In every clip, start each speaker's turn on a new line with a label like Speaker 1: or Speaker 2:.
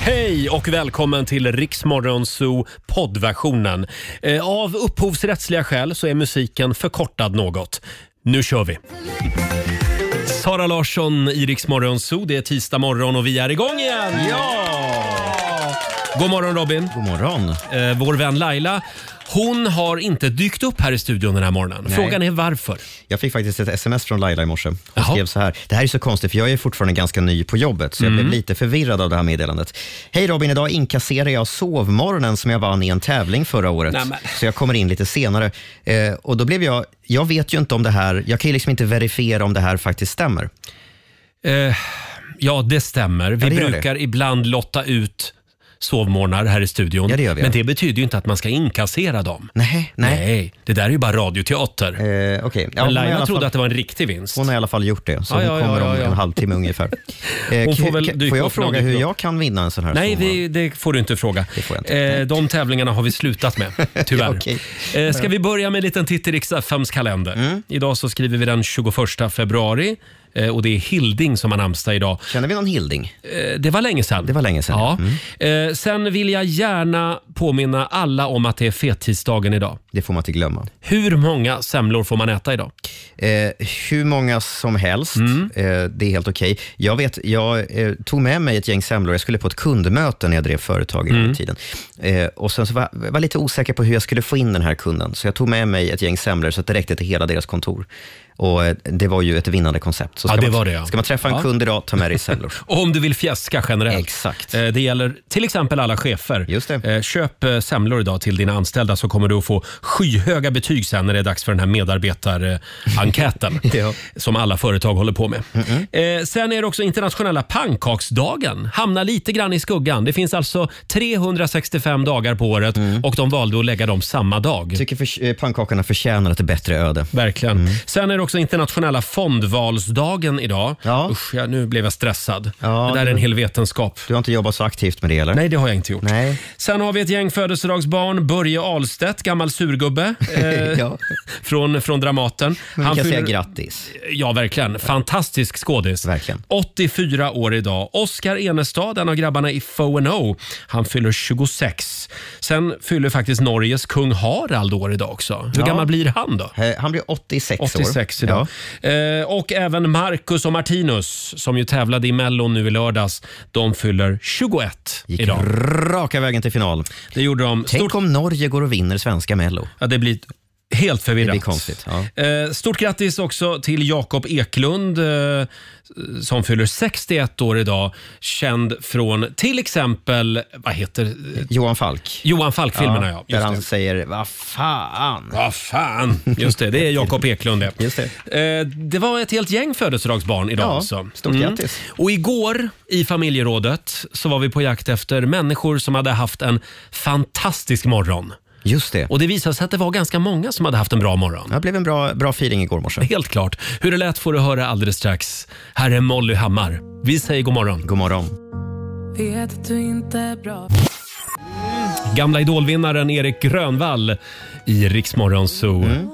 Speaker 1: Hej och välkommen till Riksmorgon Zoo poddversionen. Eh, Av upphovsrättsliga skäl så är musiken förkortad något. Nu kör vi! Sara Larsson i Riksmorgon Zoo. Det är tisdag morgon och vi är igång igen! Ja! God morgon Robin! God morgon! Eh, vår vän Laila, hon har inte dykt upp här i studion den här morgonen.
Speaker 2: Nej.
Speaker 1: Frågan är varför?
Speaker 2: Jag fick faktiskt ett sms från Laila i morse. Hon
Speaker 1: Jaha.
Speaker 2: skrev så här. Det här är så konstigt för jag är fortfarande ganska ny på jobbet så jag
Speaker 1: Mm.
Speaker 2: blev lite förvirrad av det här meddelandet. Hej Robin, idag inkasserar jag sovmorgonen som jag vann i en tävling förra året.
Speaker 1: Nej, men-
Speaker 2: Så jag kommer in lite senare. Eh, och då blev jag, jag vet ju inte om det här, jag kan ju liksom inte verifiera om det här faktiskt stämmer.
Speaker 1: Eh, ja, det stämmer. Vi
Speaker 2: Ja, det gör
Speaker 1: brukar ibland lotta ut sovmorgnar här i studion.
Speaker 2: Ja, det gör vi,
Speaker 1: Men
Speaker 2: ja.
Speaker 1: det betyder ju inte att man ska inkassera dem.
Speaker 2: Nej, nej.
Speaker 1: det där är ju bara radioteater.
Speaker 2: Eh, Okej. Ja,
Speaker 1: men
Speaker 2: hon har i
Speaker 1: Laila
Speaker 2: alla
Speaker 1: trodde
Speaker 2: fall-
Speaker 1: att det var en riktig vinst.
Speaker 2: Hon har i alla fall gjort det, så
Speaker 1: Ja,
Speaker 2: hon
Speaker 1: ja, ja,
Speaker 2: kommer om
Speaker 1: ja, ja.
Speaker 2: en halvtimme ungefär. Eh,
Speaker 1: Hon får
Speaker 2: k-
Speaker 1: väl
Speaker 2: k-
Speaker 1: dyka
Speaker 2: får jag
Speaker 1: upp någon
Speaker 2: fråga
Speaker 1: dyker
Speaker 2: hur
Speaker 1: upp.
Speaker 2: jag kan vinna en sån här
Speaker 1: Nej,
Speaker 2: sovmorgon?
Speaker 1: vi, det får du inte fråga. Eh, de tävlingarna har vi slutat med, tyvärr.
Speaker 2: Okej.
Speaker 1: eh, ska vi börja med en liten titt i riks kalender?
Speaker 2: Mm.
Speaker 1: Idag så skriver vi den 21 februari eh, och det är Hilding som har namnsdag idag.
Speaker 2: Känner vi någon Hilding?
Speaker 1: Eh, det var länge sedan.
Speaker 2: Det var länge sedan.
Speaker 1: Ja. Eh,
Speaker 2: Mm.
Speaker 1: sen vill jag gärna påminna alla om att det är fettisdagen idag.
Speaker 2: Det får man inte glömma.
Speaker 1: Hur många semlor får man äta idag?
Speaker 2: Eh, hur många som helst.
Speaker 1: Mm.
Speaker 2: Eh, det är helt okej. Jag vet, jag eh, tog med mig ett gäng semlor. Jag skulle på ett kundmöte när jag drev företag
Speaker 1: Mm.
Speaker 2: en gång i tiden. Eh, och sen så var jag var lite osäker på hur jag skulle få in den här kunden. Så jag tog med mig ett gäng semlor så att det räckte till hela deras kontor. Och eh, det var ju ett vinnande koncept. Så
Speaker 1: Ja,
Speaker 2: ska
Speaker 1: det
Speaker 2: man,
Speaker 1: var det, ja.
Speaker 2: Ska man träffa en
Speaker 1: Ja.
Speaker 2: kund idag, ta med dig semlor.
Speaker 1: Och om du vill fjäska generellt.
Speaker 2: Exakt.
Speaker 1: Eh, Det gäller till exempel alla chefer.
Speaker 2: Just det.
Speaker 1: Eh, Köp eh, semlor idag till dina anställda så kommer du att få skyhöga betyg sen när det är dags för den här medarbetarenkäten
Speaker 2: Ja.
Speaker 1: som alla företag håller på med. Eh, Sen är det också internationella pannkaksdagen. Hamnar lite grann i skuggan. Det finns alltså 365 dagar på året
Speaker 2: Mm.
Speaker 1: och de valde att lägga dem samma dag.
Speaker 2: Jag tycker för, eh, pannkakorna förtjänar ett bättre öde.
Speaker 1: Verkligen.
Speaker 2: Mm.
Speaker 1: Sen är det också internationella fondvalsdagen idag.
Speaker 2: Ja.
Speaker 1: Usch, ja, nu blev jag stressad.
Speaker 2: Ja,
Speaker 1: det där är en
Speaker 2: du-
Speaker 1: hel vetenskap.
Speaker 2: Du har inte jobbat så aktivt med det, eller?
Speaker 1: Nej, det har jag inte gjort.
Speaker 2: Nej.
Speaker 1: Sen har vi ett gäng födelsedagsbarn. Börje Ahlstedt, gammal surgubbe eh,
Speaker 2: ja.
Speaker 1: från, från Dramaten.
Speaker 2: Men vi kan
Speaker 1: fyller-
Speaker 2: säga grattis.
Speaker 1: Ja, verkligen. Fantastisk skådis.
Speaker 2: Verkligen.
Speaker 1: 84 år idag. Oscar Enestad, en av grabbarna i FO&O. Han fyller 26. Sen fyller faktiskt Norges kung Harald år idag också. Hur
Speaker 2: Ja.
Speaker 1: gammal blir han då?
Speaker 2: Eh, Han blir 86, år.
Speaker 1: 86 idag. Eh, och även Marcus och Martinus som ju tävlade i Mellon nu i lördags. De fyller 21
Speaker 2: Gick
Speaker 1: idag.
Speaker 2: raka vägen till final.
Speaker 1: Det gjorde de.
Speaker 2: Tänk
Speaker 1: Stort,
Speaker 2: om Norge går och vinner svenska Mello.
Speaker 1: ja, det blir helt förvirrat.
Speaker 2: Det blir konstigt, ja.
Speaker 1: Eh, Stort grattis också till Jakob Eklund eh, som fyller 61 år idag. Känd från till exempel, vad heter eh,
Speaker 2: Johan Falk.
Speaker 1: Johan Falk-filmerna ja.
Speaker 2: där
Speaker 1: Just
Speaker 2: han
Speaker 1: det.
Speaker 2: säger vad fan.
Speaker 1: Vad fan! Just det, det är Jakob Eklund det.
Speaker 2: Just
Speaker 1: det. Eh, det var ett helt gäng födelsedagsbarn idag
Speaker 2: Ja,
Speaker 1: alltså.
Speaker 2: stort grattis.
Speaker 1: Och igår i familjerådet så var vi på jakt efter människor som hade haft en fantastisk morgon.
Speaker 2: Just det.
Speaker 1: Och det visade sig att det var ganska många som hade haft en bra morgon.
Speaker 2: Det blev en bra, bra feeling igår morse.
Speaker 1: Helt klart. Hur det lät får du höra alldeles strax. Här är Molly Hammar. Vi säger god morgon.
Speaker 2: God morgon.
Speaker 3: Vet att du inte är bra
Speaker 1: Gamla idolvinnaren Erik Grönvall i Rix Morgon Zoo.
Speaker 2: Mm.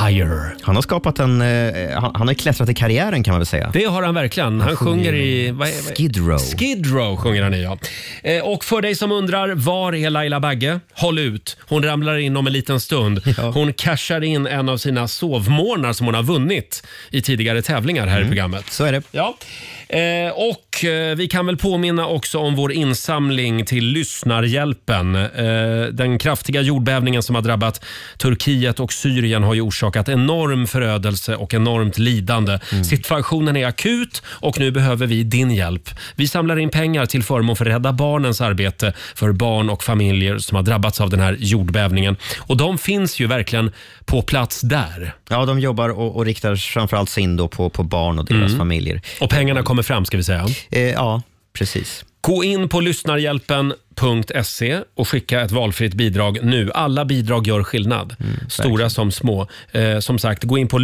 Speaker 1: Higher.
Speaker 2: Han har skapat en, eh, han, han har klättrat i karriären kan man väl säga.
Speaker 1: Det har han verkligen. Han sjunger i... Vad är, vad är?
Speaker 2: Skid Row.
Speaker 1: Skid Row sjunger han i, ja. Eh, Och för dig som undrar, var är Laila Bagge? Håll ut. Hon ramlar in om en liten stund.
Speaker 2: Ja.
Speaker 1: Hon cashar in en av sina sovmorgnar som hon har vunnit i tidigare tävlingar här i programmet.
Speaker 2: Mm. Så är det.
Speaker 1: Ja. Eh, och eh, vi kan väl påminna också om vår insamling till Lyssnarhjälpen. Eh, den kraftiga jordbävningen som har drabbat Turkiet och Syrien har ju orsakat enorm förödelse och enormt lidande. Situationen är akut och nu behöver vi din hjälp. Vi samlar in pengar till förmån för Rädda Barnens arbete för barn och familjer som har drabbats av den här jordbävningen. Och de finns ju verkligen på plats där.
Speaker 2: Ja, de jobbar och, och riktar framförallt sig in då på, på barn och deras familjer.
Speaker 1: Och pengarna kommer fram Mm. ska vi säga.
Speaker 2: Eh, ja, precis.
Speaker 1: Gå in på lyssnarhjälpen.se och skicka ett valfritt bidrag nu. Alla bidrag gör skillnad, stora som små. Eh, som sagt, gå in på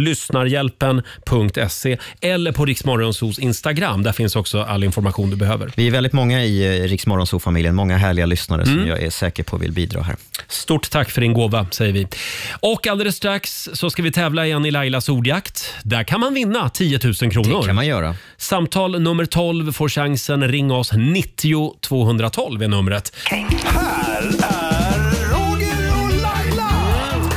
Speaker 1: lyssnarhjälpen.se eller på Riksmorgonsos Instagram. Där finns också all information du behöver.
Speaker 2: Vi är väldigt många i eh, Rix familjen många härliga lyssnare
Speaker 1: Mm.
Speaker 2: som jag är säker på vill bidra här.
Speaker 1: Stort tack för din gåva, säger vi. Och alldeles strax så ska vi tävla igen i Lailas ordjakt. Där kan man vinna 10 000 kronor.
Speaker 2: Det kan man göra.
Speaker 1: Samtal nummer 12 får chansen. Ring oss 90 90 212 är numret.
Speaker 4: Här är Roger och Laila!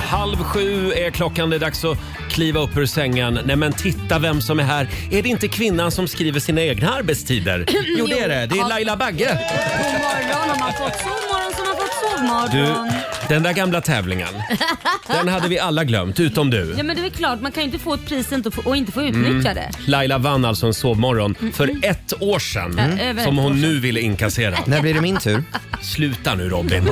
Speaker 1: Halv sju är klockan, det är dags att kliva upp ur sängen. Nej men titta vem som är här. Är det inte kvinnan som skriver sina egna arbetstider? Jo det är det, det är
Speaker 5: Ja.
Speaker 1: Laila Bagge.
Speaker 5: God morgon, har man fått sovmorgon så har man fått
Speaker 1: Du,
Speaker 5: sovmorgon.
Speaker 1: den där gamla tävlingen, den hade vi alla glömt utom du. Mm.
Speaker 5: Ja men det är väl klart, man kan ju inte få ett pris inte få- och inte få utnyttja det.
Speaker 1: Laila vann alltså en sovmorgon för ett år sedan
Speaker 5: Mm. Ja, över
Speaker 1: som
Speaker 5: ett år
Speaker 1: hon
Speaker 5: sedan.
Speaker 1: nu ville inkassera.
Speaker 2: När blir det min tur?
Speaker 1: Sluta nu Robin.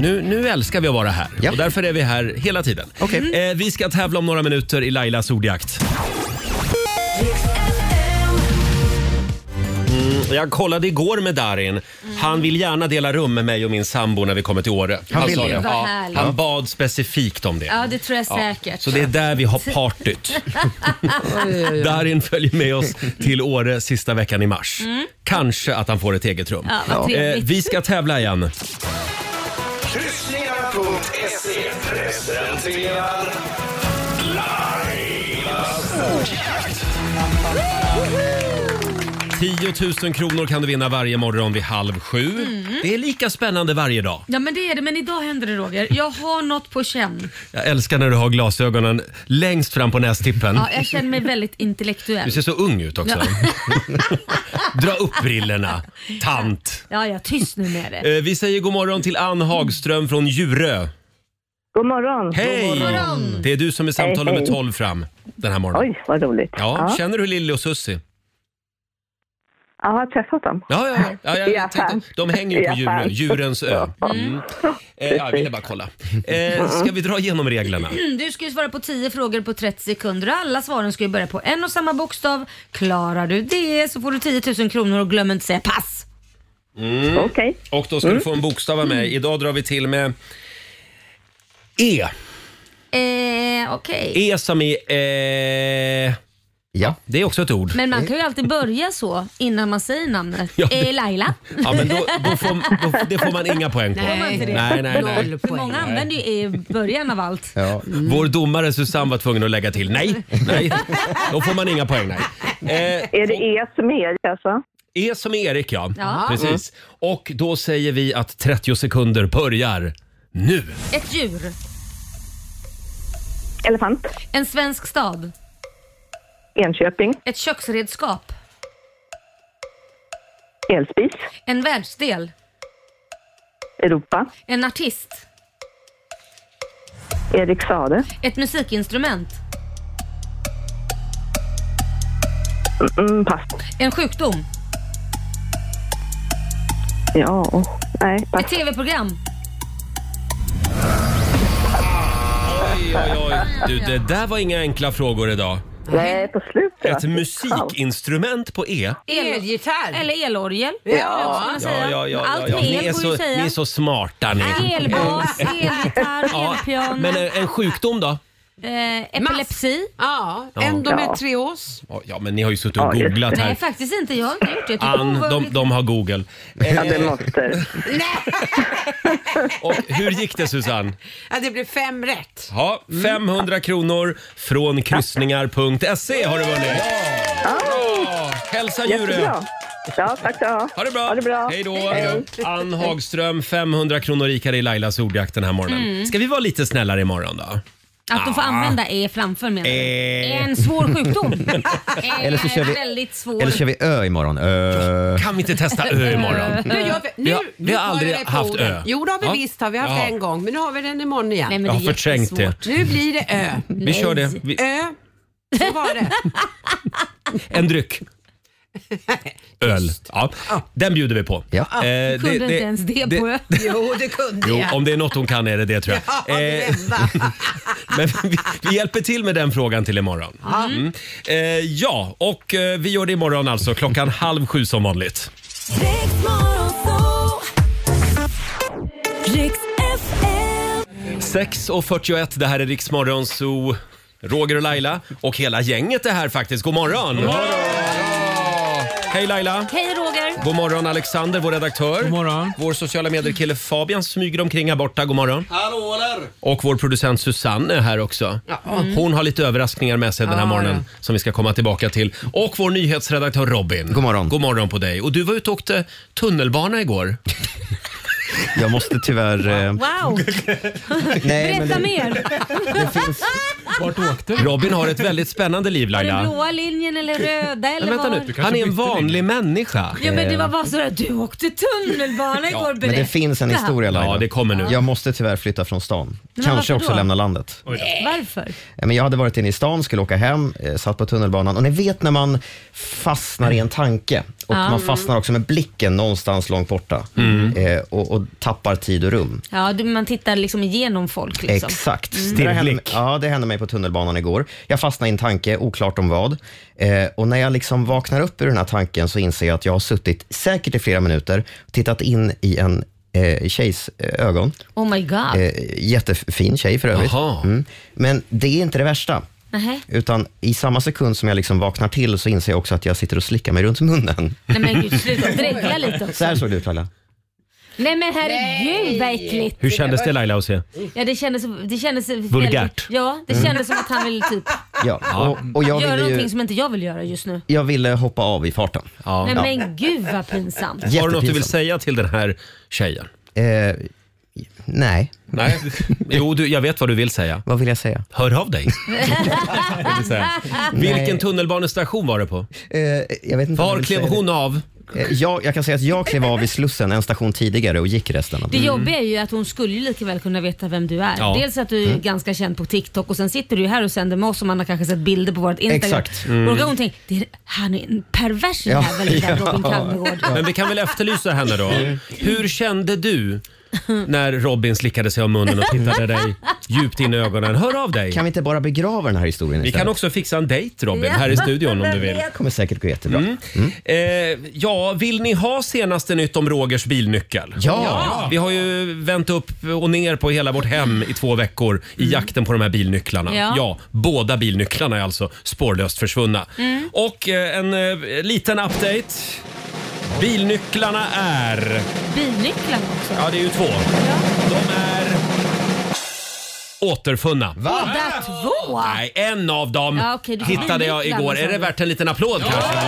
Speaker 1: Nu, nu älskar vi att vara här
Speaker 2: Ja.
Speaker 1: och därför är vi här hela tiden.
Speaker 2: Okej.
Speaker 1: Eh, vi ska tävla om några minuter i Lailas ordjakt. Mm, jag kollade igår med
Speaker 5: Mm.
Speaker 1: Darin. Han vill gärna dela rum med mig och min sambo när vi kommer till Åre. Han,
Speaker 2: vill
Speaker 1: sa
Speaker 2: det.
Speaker 1: det.
Speaker 5: Vad
Speaker 1: Ja,
Speaker 5: härligt.
Speaker 1: han bad specifikt om det.
Speaker 5: Ja det tror jag säkert.
Speaker 1: Så det är där vi har partyt. Darin följer med oss till Åre sista veckan i mars. Kanske att han får ett eget rum.
Speaker 5: Mm.
Speaker 1: Eh,
Speaker 5: Ja, vad trevligt.
Speaker 1: vi ska tävla igen.
Speaker 4: Kryssningar.se E presenterar Lailas ordjakt.
Speaker 1: 10 000 kronor kan du vinna varje morgon vid halv sju.
Speaker 5: Mm.
Speaker 1: Det är lika spännande varje dag.
Speaker 5: Ja men det är det, men idag händer det Roger. Jag har något på känn.
Speaker 1: Jag älskar när du har glasögonen längst fram på nästippen.
Speaker 5: Ja, jag känner mig väldigt intellektuell.
Speaker 1: Du ser så ung ut också. Dra upp brillorna, tant.
Speaker 5: Ja, ja, tyst nu med det.
Speaker 1: Eh, Vi säger god morgon till Ann Hagström från Djurö.
Speaker 6: God morgon.
Speaker 1: Hej! Det är du som är samtal
Speaker 6: Hej,
Speaker 1: nummer
Speaker 6: hej.
Speaker 1: 12 fram den här morgonen.
Speaker 6: Oj, vad roligt.
Speaker 1: Ja,
Speaker 6: ja.
Speaker 1: Känner du Lilly och Susie?
Speaker 6: ja jag har träffat dem.
Speaker 1: Ja, ja, ja. ja,
Speaker 6: I
Speaker 1: jag
Speaker 6: affären.
Speaker 1: tänkte, de hänger ju på
Speaker 6: I
Speaker 1: djur,
Speaker 6: affären.
Speaker 1: djurens ö. Mm. Eh, ja, jag ville bara kolla. Eh, ska vi dra igenom reglerna?
Speaker 5: Du ska ju svara på 10 frågor på 30 sekunder och alla svaren ska ju börja på en och samma bokstav. Klarar du det så får du 10 000 kronor och glöm inte säga pass.
Speaker 6: Okej.
Speaker 1: Mm. Och då ska du få en bokstav av mig. Idag drar vi till med E.
Speaker 5: Eh, okej.
Speaker 1: E som i... Eh,
Speaker 2: Ja.
Speaker 1: det är också ett ord.
Speaker 5: Men man kan ju alltid börja så innan man säger namnet.
Speaker 1: Ja, det-
Speaker 5: Eh, Laila.
Speaker 1: Ja, men då, då får, Mm, då, det får man inga poäng på.
Speaker 5: Får man inte det?
Speaker 1: Nej, nej, nej.
Speaker 5: För många använder ju E i början av allt.
Speaker 2: ja.
Speaker 1: Vår domare Susanne var tvungen att lägga till nej, nej. Då får man inga poäng, nej. Eh,
Speaker 6: Är det E som är Erik alltså?
Speaker 1: E som Erik, ja. Mm.
Speaker 5: Ja.
Speaker 1: Precis. Och då säger vi att 30 sekunder börjar nu.
Speaker 5: Ett djur.
Speaker 6: Elefant.
Speaker 5: En svensk stad.
Speaker 6: Enköping.
Speaker 5: Ett köksredskap.
Speaker 6: Elspis.
Speaker 5: En världsdel.
Speaker 6: Europa.
Speaker 5: En artist.
Speaker 6: Erik Sade.
Speaker 5: Ett musikinstrument.
Speaker 6: Mm, pass.
Speaker 5: En sjukdom.
Speaker 6: Ja. Nej,
Speaker 5: Ett
Speaker 6: pass.
Speaker 5: tv-program.
Speaker 1: Oj, oj, oj. Du, det där var inga enkla frågor idag.
Speaker 6: Nej, på slutet. va?
Speaker 1: Ett musikinstrument på E.
Speaker 5: Elgitarr. Eller elorgel. Ja,
Speaker 1: Ja, ja, ja,
Speaker 5: Allt
Speaker 1: ja, ja.
Speaker 5: med
Speaker 1: Ni, är
Speaker 5: el går
Speaker 1: så,
Speaker 5: ju att
Speaker 1: ni är
Speaker 5: säga.
Speaker 1: så smarta ni.
Speaker 5: Elbas, elgitarr,
Speaker 1: Ja,
Speaker 5: elpiano,
Speaker 1: men en en sjukdom då?
Speaker 5: eh, epilepsi.
Speaker 7: Ja, endometrios.
Speaker 1: Ja, Ja, men ni har ju suttit och
Speaker 6: Ja, just
Speaker 1: googlat
Speaker 5: Nej,
Speaker 1: här.
Speaker 5: faktiskt inte. Jag har inte gjort det. Typ. Jag tycker
Speaker 1: Ann,
Speaker 5: det var
Speaker 1: de,
Speaker 5: roligt.
Speaker 1: de har Google. Eh,
Speaker 6: Ja, det måste.
Speaker 1: Och hur gick det Susanne?
Speaker 7: Ja, det blev fem rätt.
Speaker 1: Ja, 500 kronor från kryssningar.se E har du vunnit. Ja. Hälsa Djurö.
Speaker 6: Jättebra. Ja, tack ska du ha.
Speaker 1: Ha det bra!
Speaker 6: Ha det bra.
Speaker 1: Hej då! Ann Hagström, 500 kronor rikare i Lailas ordjakt den här morgonen. Ska vi vara lite snällare imorgon då?
Speaker 5: Att de får använda E framför menar du?
Speaker 1: Eh.
Speaker 5: En svår sjukdom. Eh,
Speaker 2: Eller så kör vi-
Speaker 5: Väldigt svår.
Speaker 2: Eller kör vi Ö imorgon? Ö.
Speaker 1: Kan vi inte testa Ö imorgon?
Speaker 7: Nu gör vi, nu,
Speaker 1: Vi har- vi
Speaker 7: nu
Speaker 1: har
Speaker 7: tar jag
Speaker 1: aldrig
Speaker 7: dig på
Speaker 1: haft
Speaker 7: orden.
Speaker 1: ö.
Speaker 7: Jo, det har vi
Speaker 1: Ja.
Speaker 7: visst. Har vi haft
Speaker 1: Jaha.
Speaker 7: en gång, men nu har vi den imorgon igen.
Speaker 5: Nej, men
Speaker 1: Jag har
Speaker 5: det är
Speaker 1: förträngt det.
Speaker 5: jättesvårt.
Speaker 7: Nu blir det ö.
Speaker 1: Vi kör det. Vi,
Speaker 7: Ö. Så var det.
Speaker 1: en dryck. Öl. Ja. Den bjuder vi på.
Speaker 2: Ja.
Speaker 1: Eh, det-
Speaker 5: Kunde inte ens det, på Ö.
Speaker 7: Jo, det kunde
Speaker 1: Jo,
Speaker 7: jag.
Speaker 1: om det är något hon kan är det det tror
Speaker 7: Ja,
Speaker 1: jag.
Speaker 7: det
Speaker 1: Eh,
Speaker 7: enda.
Speaker 1: men vi, vi hjälper till med den frågan till imorgon. Mm. Eh, ja, och eh, vi gör det imorgon alltså klockan halv sju som vanligt.
Speaker 8: Riks FM.
Speaker 1: 6.41, det här är Riksmorgon Zoo. Roger och Laila och hela gänget är här faktiskt. God morgon! Hej Laila!
Speaker 5: Hej Roger!
Speaker 1: God morgon Alexander, vår redaktör. God
Speaker 6: morgon.
Speaker 1: Vår sociala medier-kille Fabian smyger omkring här borta. God morgon.
Speaker 4: Hallå där!
Speaker 1: Och vår producent Susanne är här också. Mm. Hon har lite överraskningar med sig den här
Speaker 7: Ja,
Speaker 1: morgonen
Speaker 7: ja.
Speaker 1: som vi ska komma tillbaka till. Och vår nyhetsredaktör Robin.
Speaker 2: God morgon.
Speaker 1: God morgon på dig. Och du var ute och åkte tunnelbana igår.
Speaker 2: Jag måste tyvärr... Eh,
Speaker 5: Wow!
Speaker 2: nej, men
Speaker 5: Berätta
Speaker 2: det,
Speaker 5: mer!
Speaker 6: Vart åkte du?
Speaker 1: Robin har ett väldigt spännande liv
Speaker 5: Var det
Speaker 1: Laila.
Speaker 5: blåa linjen eller röda eller
Speaker 1: Men vänta
Speaker 5: var?
Speaker 1: nu, han är en
Speaker 6: bytte
Speaker 1: vanlig människa.
Speaker 5: Ja men det var bara så att du åkte tunnelbana igår.
Speaker 2: men det finns en
Speaker 5: Berätta.
Speaker 2: historia Laila.
Speaker 1: Ja, det kommer nu.
Speaker 2: Jag måste tyvärr flytta från stan.
Speaker 5: Men varför
Speaker 2: Kanske
Speaker 5: då?
Speaker 2: också lämna landet.
Speaker 5: Varför?
Speaker 2: Eh, Men jag hade varit inne i stan, skulle åka hem, eh, satt på tunnelbanan och ni vet när man fastnar i en tanke och man fastnar också med blicken någonstans långt borta
Speaker 1: Mm.
Speaker 2: eh, och, och tappar tid och rum.
Speaker 5: Ja, du, man tittar liksom igenom folk liksom.
Speaker 2: Exakt. Det där hände,
Speaker 1: Stirrblick.
Speaker 2: ja, det hände mig på tunnelbanan igår. Jag fastnade i en tanke, oklart om vad. Eh, och när jag liksom vaknar upp ur den här tanken så inser jag att jag har suttit säkert i flera minuter, tittat in i en eh, tjejs eh, ögon.
Speaker 5: Oh my god.
Speaker 2: Eh, jättefin tjej för övrigt.
Speaker 1: Jaha.
Speaker 2: Mm. Men det är inte det värsta.
Speaker 5: Nähä.
Speaker 2: Utan i samma sekund som jag liksom vaknar till så inser jag också att jag sitter och slickar mig runt munnen.
Speaker 5: Nej men gud, sluta dregla lite
Speaker 2: Så
Speaker 5: också.
Speaker 2: här såg det ut Laila.
Speaker 5: Nej men herregud vad äckligt.
Speaker 1: Hur kändes det Laila att se?
Speaker 5: Ja, det kändes, det kändes
Speaker 1: Vulgärt. Mm.
Speaker 5: ja, det kändes som att han ville typ
Speaker 2: Ja. Och, och jag,
Speaker 5: göra
Speaker 2: ville
Speaker 5: någonting
Speaker 2: ju,
Speaker 5: som inte jag vill göra just nu.
Speaker 2: jag ville hoppa av i farten.
Speaker 1: Ja.
Speaker 5: Nej men gud vad pinsamt.
Speaker 1: Har du något du vill
Speaker 2: Jättepinsamt.
Speaker 1: säga till den här tjejen?
Speaker 2: Eh, nej,
Speaker 1: Nej. Jo, du, jag vet vad du vill säga.
Speaker 2: vad vill jag säga?
Speaker 1: Hör av dig. Jag vill säga. Vilken tunnelbanestation var det på?
Speaker 2: Eh, jag vet inte vad jag
Speaker 1: Var
Speaker 2: vill
Speaker 1: klev
Speaker 2: säga.
Speaker 1: hon av?
Speaker 2: Eh, jag, jag kan säga att jag klev av i Slussen en station tidigare och gick resten av
Speaker 5: Det jobbiga är ju att hon skulle ju lika väl kunna veta vem du är.
Speaker 1: Ja.
Speaker 5: Dels att du är
Speaker 2: Mm.
Speaker 5: ganska känd på TikTok och sen sitter du ju här och sänder med oss och man har kanske sett bilder på vårt Instagram.
Speaker 2: Exakt. Mm.
Speaker 5: Och då kan hon tänka, det är, han är en pervers
Speaker 2: Ja.
Speaker 5: jävel den där Robin
Speaker 2: Ja.
Speaker 5: Calmegård.
Speaker 1: Men vi kan väl efterlysa henne då. Hur kände du när Robin slickade sig om munnen och tittade dig djupt in i ögonen? Hör av dig.
Speaker 2: Kan vi inte bara begrava den här historien
Speaker 1: Vi
Speaker 2: istället?
Speaker 1: kan också fixa en dejt Robin här i studion om du vill. Mm.
Speaker 2: Det kommer säkert gå jättebra. Mm.
Speaker 1: Eh, ja, vill ni ha senaste nytt om Rogers bilnyckel?
Speaker 2: Ja.
Speaker 1: Vi har ju vänt upp och ner på hela vårt hem i två veckor i
Speaker 2: Mm.
Speaker 1: jakten på de här bilnycklarna.
Speaker 5: Ja.
Speaker 1: båda bilnycklarna är alltså spårlöst försvunna. Och eh, en eh, liten update. Bilnycklarna är...
Speaker 5: Binycklarna också.
Speaker 1: Ja, det är ju två. De är återfunna.
Speaker 5: Båda två!
Speaker 1: Nej, en av dem
Speaker 5: Ja, okej, du får
Speaker 1: hittade
Speaker 5: bli
Speaker 1: jag
Speaker 5: nycklarna,
Speaker 1: igår.
Speaker 5: sa
Speaker 1: Är det
Speaker 5: du.
Speaker 1: värt en liten applåd kanske? Ja.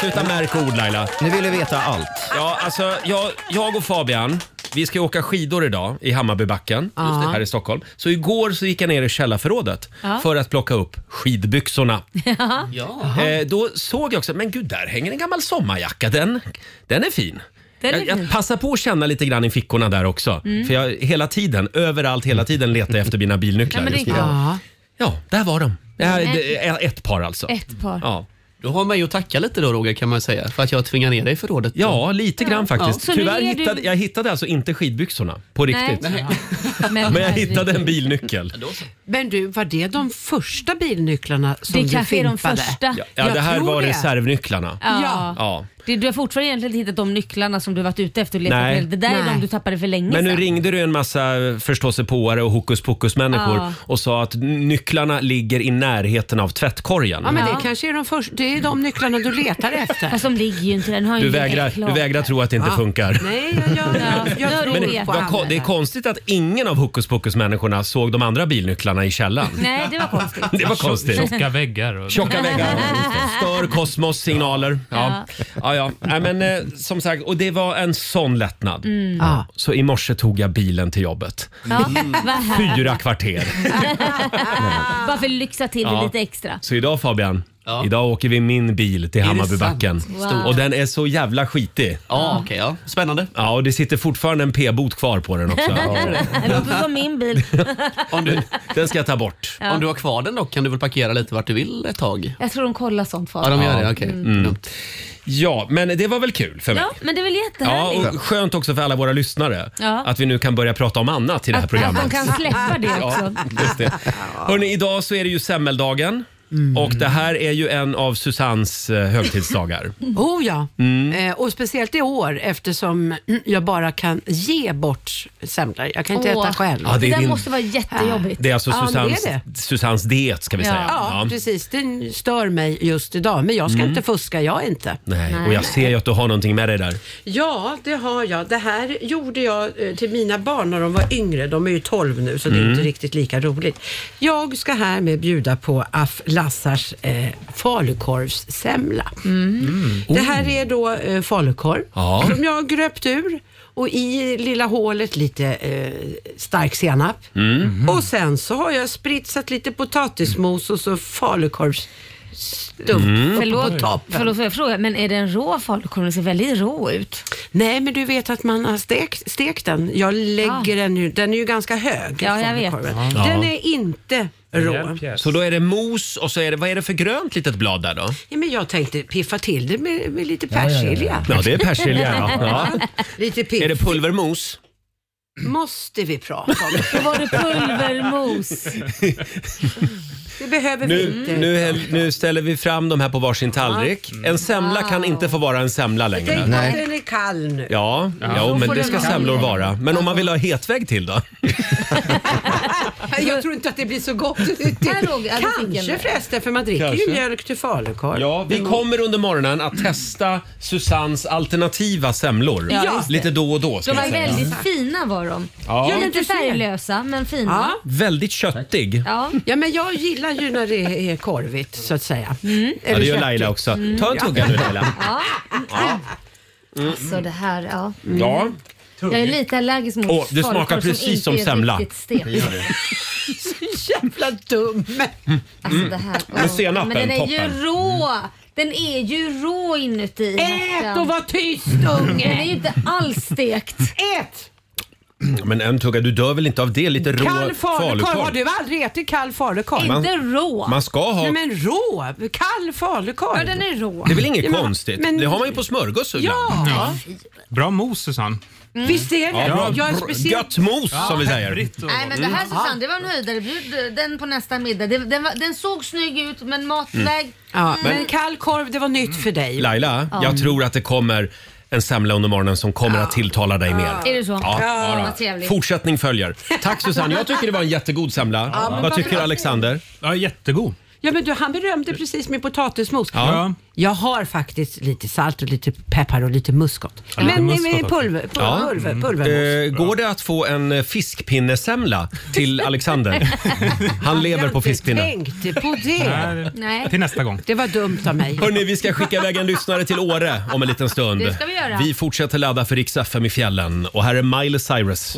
Speaker 1: Sluta märka ord Laila.
Speaker 2: Nu vill du veta allt.
Speaker 1: Ja, alltså, jag, jag och Fabian, vi ska ju åka skidor idag i Hammarbybacken
Speaker 7: det.
Speaker 1: här i Stockholm. Så igår så gick jag ner i källarförrådet
Speaker 5: Ja.
Speaker 1: för att plocka upp skidbyxorna. Eh, då såg jag också, men gud där hänger en gammal sommarjacka. Den, den är fin.
Speaker 5: Den är
Speaker 1: jag, jag
Speaker 5: fin.
Speaker 1: passar på att känna lite grann i fickorna där också. För jag hela tiden, överallt, hela tiden letar jag efter mina
Speaker 5: Ja,
Speaker 1: bilnycklar.
Speaker 5: men det
Speaker 1: just nu.
Speaker 5: är klart.
Speaker 7: Ja.
Speaker 1: ja, där var de. Det här,
Speaker 5: Nej.
Speaker 1: det är ett par alltså.
Speaker 5: Ett par.
Speaker 1: Ja.
Speaker 9: Du har mig att tacka lite då Roger kan man säga för att jag tvingar ner dig i förrådet.
Speaker 1: Ja, lite grann faktiskt.
Speaker 5: Så nu
Speaker 1: Tyvärr
Speaker 5: ger du-
Speaker 1: hittade jag hittade alltså inte skidbyxorna på riktigt.
Speaker 5: Men,
Speaker 1: Men jag hittade en bilnyckel.
Speaker 7: Men du, var det de första bilnycklarna som
Speaker 5: Det
Speaker 7: du
Speaker 5: kanske är de
Speaker 7: fimpade?
Speaker 5: första.
Speaker 1: Ja, ja
Speaker 7: Jag
Speaker 1: det här
Speaker 7: tror
Speaker 1: var
Speaker 7: det.
Speaker 1: reservnycklarna.
Speaker 5: Ja.
Speaker 7: Ja.
Speaker 1: Ja.
Speaker 5: Det, du har fortfarande egentligen inte hittat de nycklarna som du varit ute efter och letat
Speaker 1: Nej.
Speaker 5: efter. Det där är
Speaker 7: Nej.
Speaker 5: de du tappade för länge
Speaker 1: Men nu
Speaker 5: sedan.
Speaker 1: ringde du en massa förståsigpåare och hokus pokus-människor
Speaker 5: Ja.
Speaker 1: och sa att nycklarna ligger i närheten av tvättkorgen.
Speaker 7: Ja, men
Speaker 5: Ja.
Speaker 7: det kanske är de första. Det är de nycklarna du letar efter. Ah.
Speaker 5: Fast de ligger ju inte den har ju
Speaker 1: du,
Speaker 5: inte
Speaker 1: vägrar,
Speaker 5: äcklat.
Speaker 1: du vägrar tro att det inte funkar.
Speaker 7: Nej, jag, jag,
Speaker 5: Ja.
Speaker 7: jag,
Speaker 5: Ja,
Speaker 7: jag
Speaker 5: det
Speaker 7: tror
Speaker 5: vet
Speaker 7: på
Speaker 5: jag.
Speaker 1: Vad ko- det är konstigt att ingen av hokus pokus-människorna såg de andra bilnycklarna i källaren.
Speaker 5: Nej, det var konstigt.
Speaker 1: Det var konstigt.
Speaker 6: Tjocka väggar. Och...
Speaker 1: Tjocka väggar. Stör kosmos signaler. Ja. Ja, ja. Nej, men, eh, som sagt, och det var en sån lättnad.
Speaker 7: Ja.
Speaker 1: Så i morse tog jag bilen till jobbet.
Speaker 5: Ja, vad här.
Speaker 1: Mm. Fyra kvarter.
Speaker 5: Bara för att lyxa till
Speaker 1: Ja.
Speaker 5: det lite extra.
Speaker 1: Så idag Fabian,
Speaker 9: Ja.
Speaker 1: idag åker vi min bil till
Speaker 9: det
Speaker 1: Hammarbybacken.
Speaker 9: sant?
Speaker 5: Wow.
Speaker 1: Och den är så jävla skitig.
Speaker 9: Ja, okej. ja. Spännande.
Speaker 1: Ja, och det sitter fortfarande en p-bot kvar på den också.
Speaker 5: Det låter som min bil.
Speaker 9: Om du,
Speaker 1: Den ska jag ta bort.
Speaker 9: om du har kvar den dock kan du väl parkera lite vart du vill ett tag?
Speaker 5: Jag tror de kollar sånt för
Speaker 9: Ja, de
Speaker 5: mig.
Speaker 9: gör det. Okej. Mm. Dumt.
Speaker 1: Mm. Ja, men det var väl kul för mig.
Speaker 5: Ja, men det är väl
Speaker 1: Ja,
Speaker 5: jättehärligt?
Speaker 1: och skönt också för alla våra lyssnare
Speaker 5: Ja.
Speaker 1: att vi nu kan börja prata om annat i det här
Speaker 5: att, att
Speaker 1: programmet.
Speaker 5: de kan släppa det också.
Speaker 1: Just det. Hörrni, idag så är det ju semmeldagen. Och det här är ju en av Susannes eh, högtidsdagar. Mm.
Speaker 7: Oh ja, eh, och speciellt i år eftersom jag bara kan ge bort semlor. Jag kan inte
Speaker 10: Åh.
Speaker 7: äta själv.
Speaker 1: Ja, det är Det där din- måste
Speaker 10: vara jättejobbigt.
Speaker 1: Det är alltså
Speaker 7: Ja,
Speaker 1: Susannes,
Speaker 7: det är
Speaker 1: Susannes diet ska vi
Speaker 7: Ja.
Speaker 1: säga.
Speaker 7: Ja, precis. Den stör mig just idag, men jag ska inte fuska, jag inte.
Speaker 1: Mm. Nej, och jag ser ju att du har någonting med dig där.
Speaker 7: Ja, det har jag. Det här gjorde jag eh, till mina barn när de var yngre. De är ju 12 nu, så det är
Speaker 1: Mm.
Speaker 7: inte riktigt lika roligt. Jag ska härmed bjuda på Aff Lassars eh, falukorvssemla.
Speaker 1: Mm.
Speaker 7: Det
Speaker 1: Oh.
Speaker 7: här är då eh, falukorv
Speaker 4: Ja.
Speaker 7: som jag har gröpt ur och i lilla hålet lite eh, stark senap.
Speaker 1: Mm.
Speaker 7: Mm-hmm. Och sen så har jag spritsat lite potatismos och så falukorvsstump
Speaker 10: Mm.
Speaker 7: uppe på
Speaker 10: Förlåt,
Speaker 7: toppen.
Speaker 10: förlåt för jag frågar, men är det en rå falukorv? Den ser väldigt rå ut.
Speaker 7: Nej, men du vet att man har stekt, stekt den. Jag lägger den ju, den är ju ganska hög.
Speaker 10: Ja, jag vet.
Speaker 7: falukorven.
Speaker 1: Ah. Ja.
Speaker 7: Den är inte rå.
Speaker 1: Så då är det mos och så är det, vad är det för grönt litet blad där då?
Speaker 7: Ja, men jag tänkte piffa till det med, med lite
Speaker 1: Ja, ja, ja, ja.
Speaker 7: persilja.
Speaker 1: Ja, det är persilja, ja.
Speaker 7: lite piff.
Speaker 1: Är det pulvermos?
Speaker 7: Måste vi prata om.
Speaker 10: Då var det pulvermos.
Speaker 7: Det behöver vi
Speaker 1: Nu,
Speaker 7: inte.
Speaker 1: nu, häll- nu ställer vi fram de här på varsin tallrik. En semla kan inte få vara en semla
Speaker 7: Tänk
Speaker 1: längre.
Speaker 7: Mm. att den är kall nu.
Speaker 1: Ja,
Speaker 7: Ja.
Speaker 1: ja.
Speaker 7: Så
Speaker 1: men
Speaker 7: får
Speaker 1: det
Speaker 7: den
Speaker 1: ska
Speaker 7: vara.
Speaker 1: semlor vara. Men om man vill ha hetvägg till då?
Speaker 7: Jag tror inte att det blir så gott.
Speaker 10: Här, Roger, ja, du fick en
Speaker 7: Kanske
Speaker 10: där.
Speaker 7: förresten, för man dricker
Speaker 1: Kanske.
Speaker 7: ju mjölk till falukorv. Mm.
Speaker 1: Ja, vi kommer under morgonen att testa Susannes alternativa semlor.
Speaker 10: Ja.
Speaker 1: Lite då och då.
Speaker 10: De
Speaker 1: Ska
Speaker 10: var
Speaker 1: jag säga.
Speaker 10: väldigt fina var de.
Speaker 1: Ja. Ja, men
Speaker 10: Lite
Speaker 7: du ser.
Speaker 10: färglösa men fina.
Speaker 7: Ja.
Speaker 1: väldigt köttig.
Speaker 10: Ja.
Speaker 7: ja, men jag gillar ju när det är korvigt så att säga.
Speaker 10: Mm.
Speaker 1: Ja,
Speaker 7: Eller
Speaker 1: det gör
Speaker 7: köttigt.
Speaker 1: Laila också. Ta en tugga nu Laila.
Speaker 10: Ja.
Speaker 1: Ja.
Speaker 5: Mm.
Speaker 10: Alltså det här, ja.
Speaker 1: Ja.
Speaker 10: Jag är lite allergisk mot
Speaker 1: Åh, det smakar
Speaker 10: falukorv
Speaker 1: precis som
Speaker 10: inte är
Speaker 1: semla.
Speaker 10: riktigt stek.
Speaker 7: Så jävla dum.
Speaker 10: Alltså det här.
Speaker 1: Men Mm. senapen,
Speaker 10: Men den är
Speaker 1: toppen. Mm.
Speaker 10: ju rå. Den är ju rå inuti.
Speaker 7: Ät och var tyst
Speaker 10: Den är ju
Speaker 7: unge!
Speaker 10: inte alls stekt.
Speaker 7: Ät!
Speaker 1: Men en tugga, du dör väl inte av det? Lite rå
Speaker 7: Kall falukorv. Har
Speaker 1: falukorv.
Speaker 7: du aldrig ätit kall falukorv?
Speaker 1: Man-
Speaker 10: Inte rå.
Speaker 1: Man ska ha...
Speaker 7: Nej men rå! Kall falukorv.
Speaker 10: Ja, den är rå.
Speaker 1: Det är väl inget
Speaker 7: Ja, men-
Speaker 1: konstigt?
Speaker 7: men-
Speaker 1: Det har man ju på smörgås
Speaker 7: Ja!
Speaker 11: Bra mos Susanne.
Speaker 10: Mm.
Speaker 7: Visst är det?
Speaker 1: Ja,
Speaker 7: jag är
Speaker 1: bra-
Speaker 7: speciellt...
Speaker 1: Gött mos som vi säger.
Speaker 11: pepprigt och-
Speaker 10: Nej men det här Susanne, det var en höjdare. Bjud den på nästa middag. Det- Den, var, den såg snygg ut men Mm. matväg.
Speaker 7: Mm. Ja, men kall korv, det var nytt för dig.
Speaker 1: Mm. Laila, jag tror att det kommer en semla under morgonen som kommer att tilltala dig mer.
Speaker 10: Är det så?
Speaker 1: Ja, ja,
Speaker 10: Vad
Speaker 1: då.
Speaker 10: trevligt.
Speaker 1: Fortsättning följer. Tack Susanne, jag tycker det var en jättegod semla.
Speaker 7: men
Speaker 1: Vad
Speaker 7: vad
Speaker 1: tycker
Speaker 7: bra.
Speaker 1: Alexander?
Speaker 11: Ja, jättegod.
Speaker 7: Ja, men du, han berömde precis min potatismos.
Speaker 1: Ja.
Speaker 7: Jag har faktiskt lite salt och lite peppar och lite muskot.
Speaker 11: Ja, lite
Speaker 7: men
Speaker 11: muskot
Speaker 7: med
Speaker 11: också.
Speaker 7: pulver, pulver,
Speaker 1: Ja.
Speaker 7: pulver, pulvermos.
Speaker 1: Eh, går det att få en eh, fiskpinnesemla till Alexander? Han lever på
Speaker 7: Jag
Speaker 1: fiskpinne.
Speaker 7: tänkte på det.
Speaker 11: Nej,
Speaker 10: Nej.
Speaker 11: Till nästa gång.
Speaker 7: Det var dumt av mig.
Speaker 1: Hörni, vi ska skicka iväg en lyssnare till Åre om en liten stund.
Speaker 10: Det ska vi göra.
Speaker 1: Vi fortsätter ladda för Rix FM i fjällen och här är Miley Cyrus.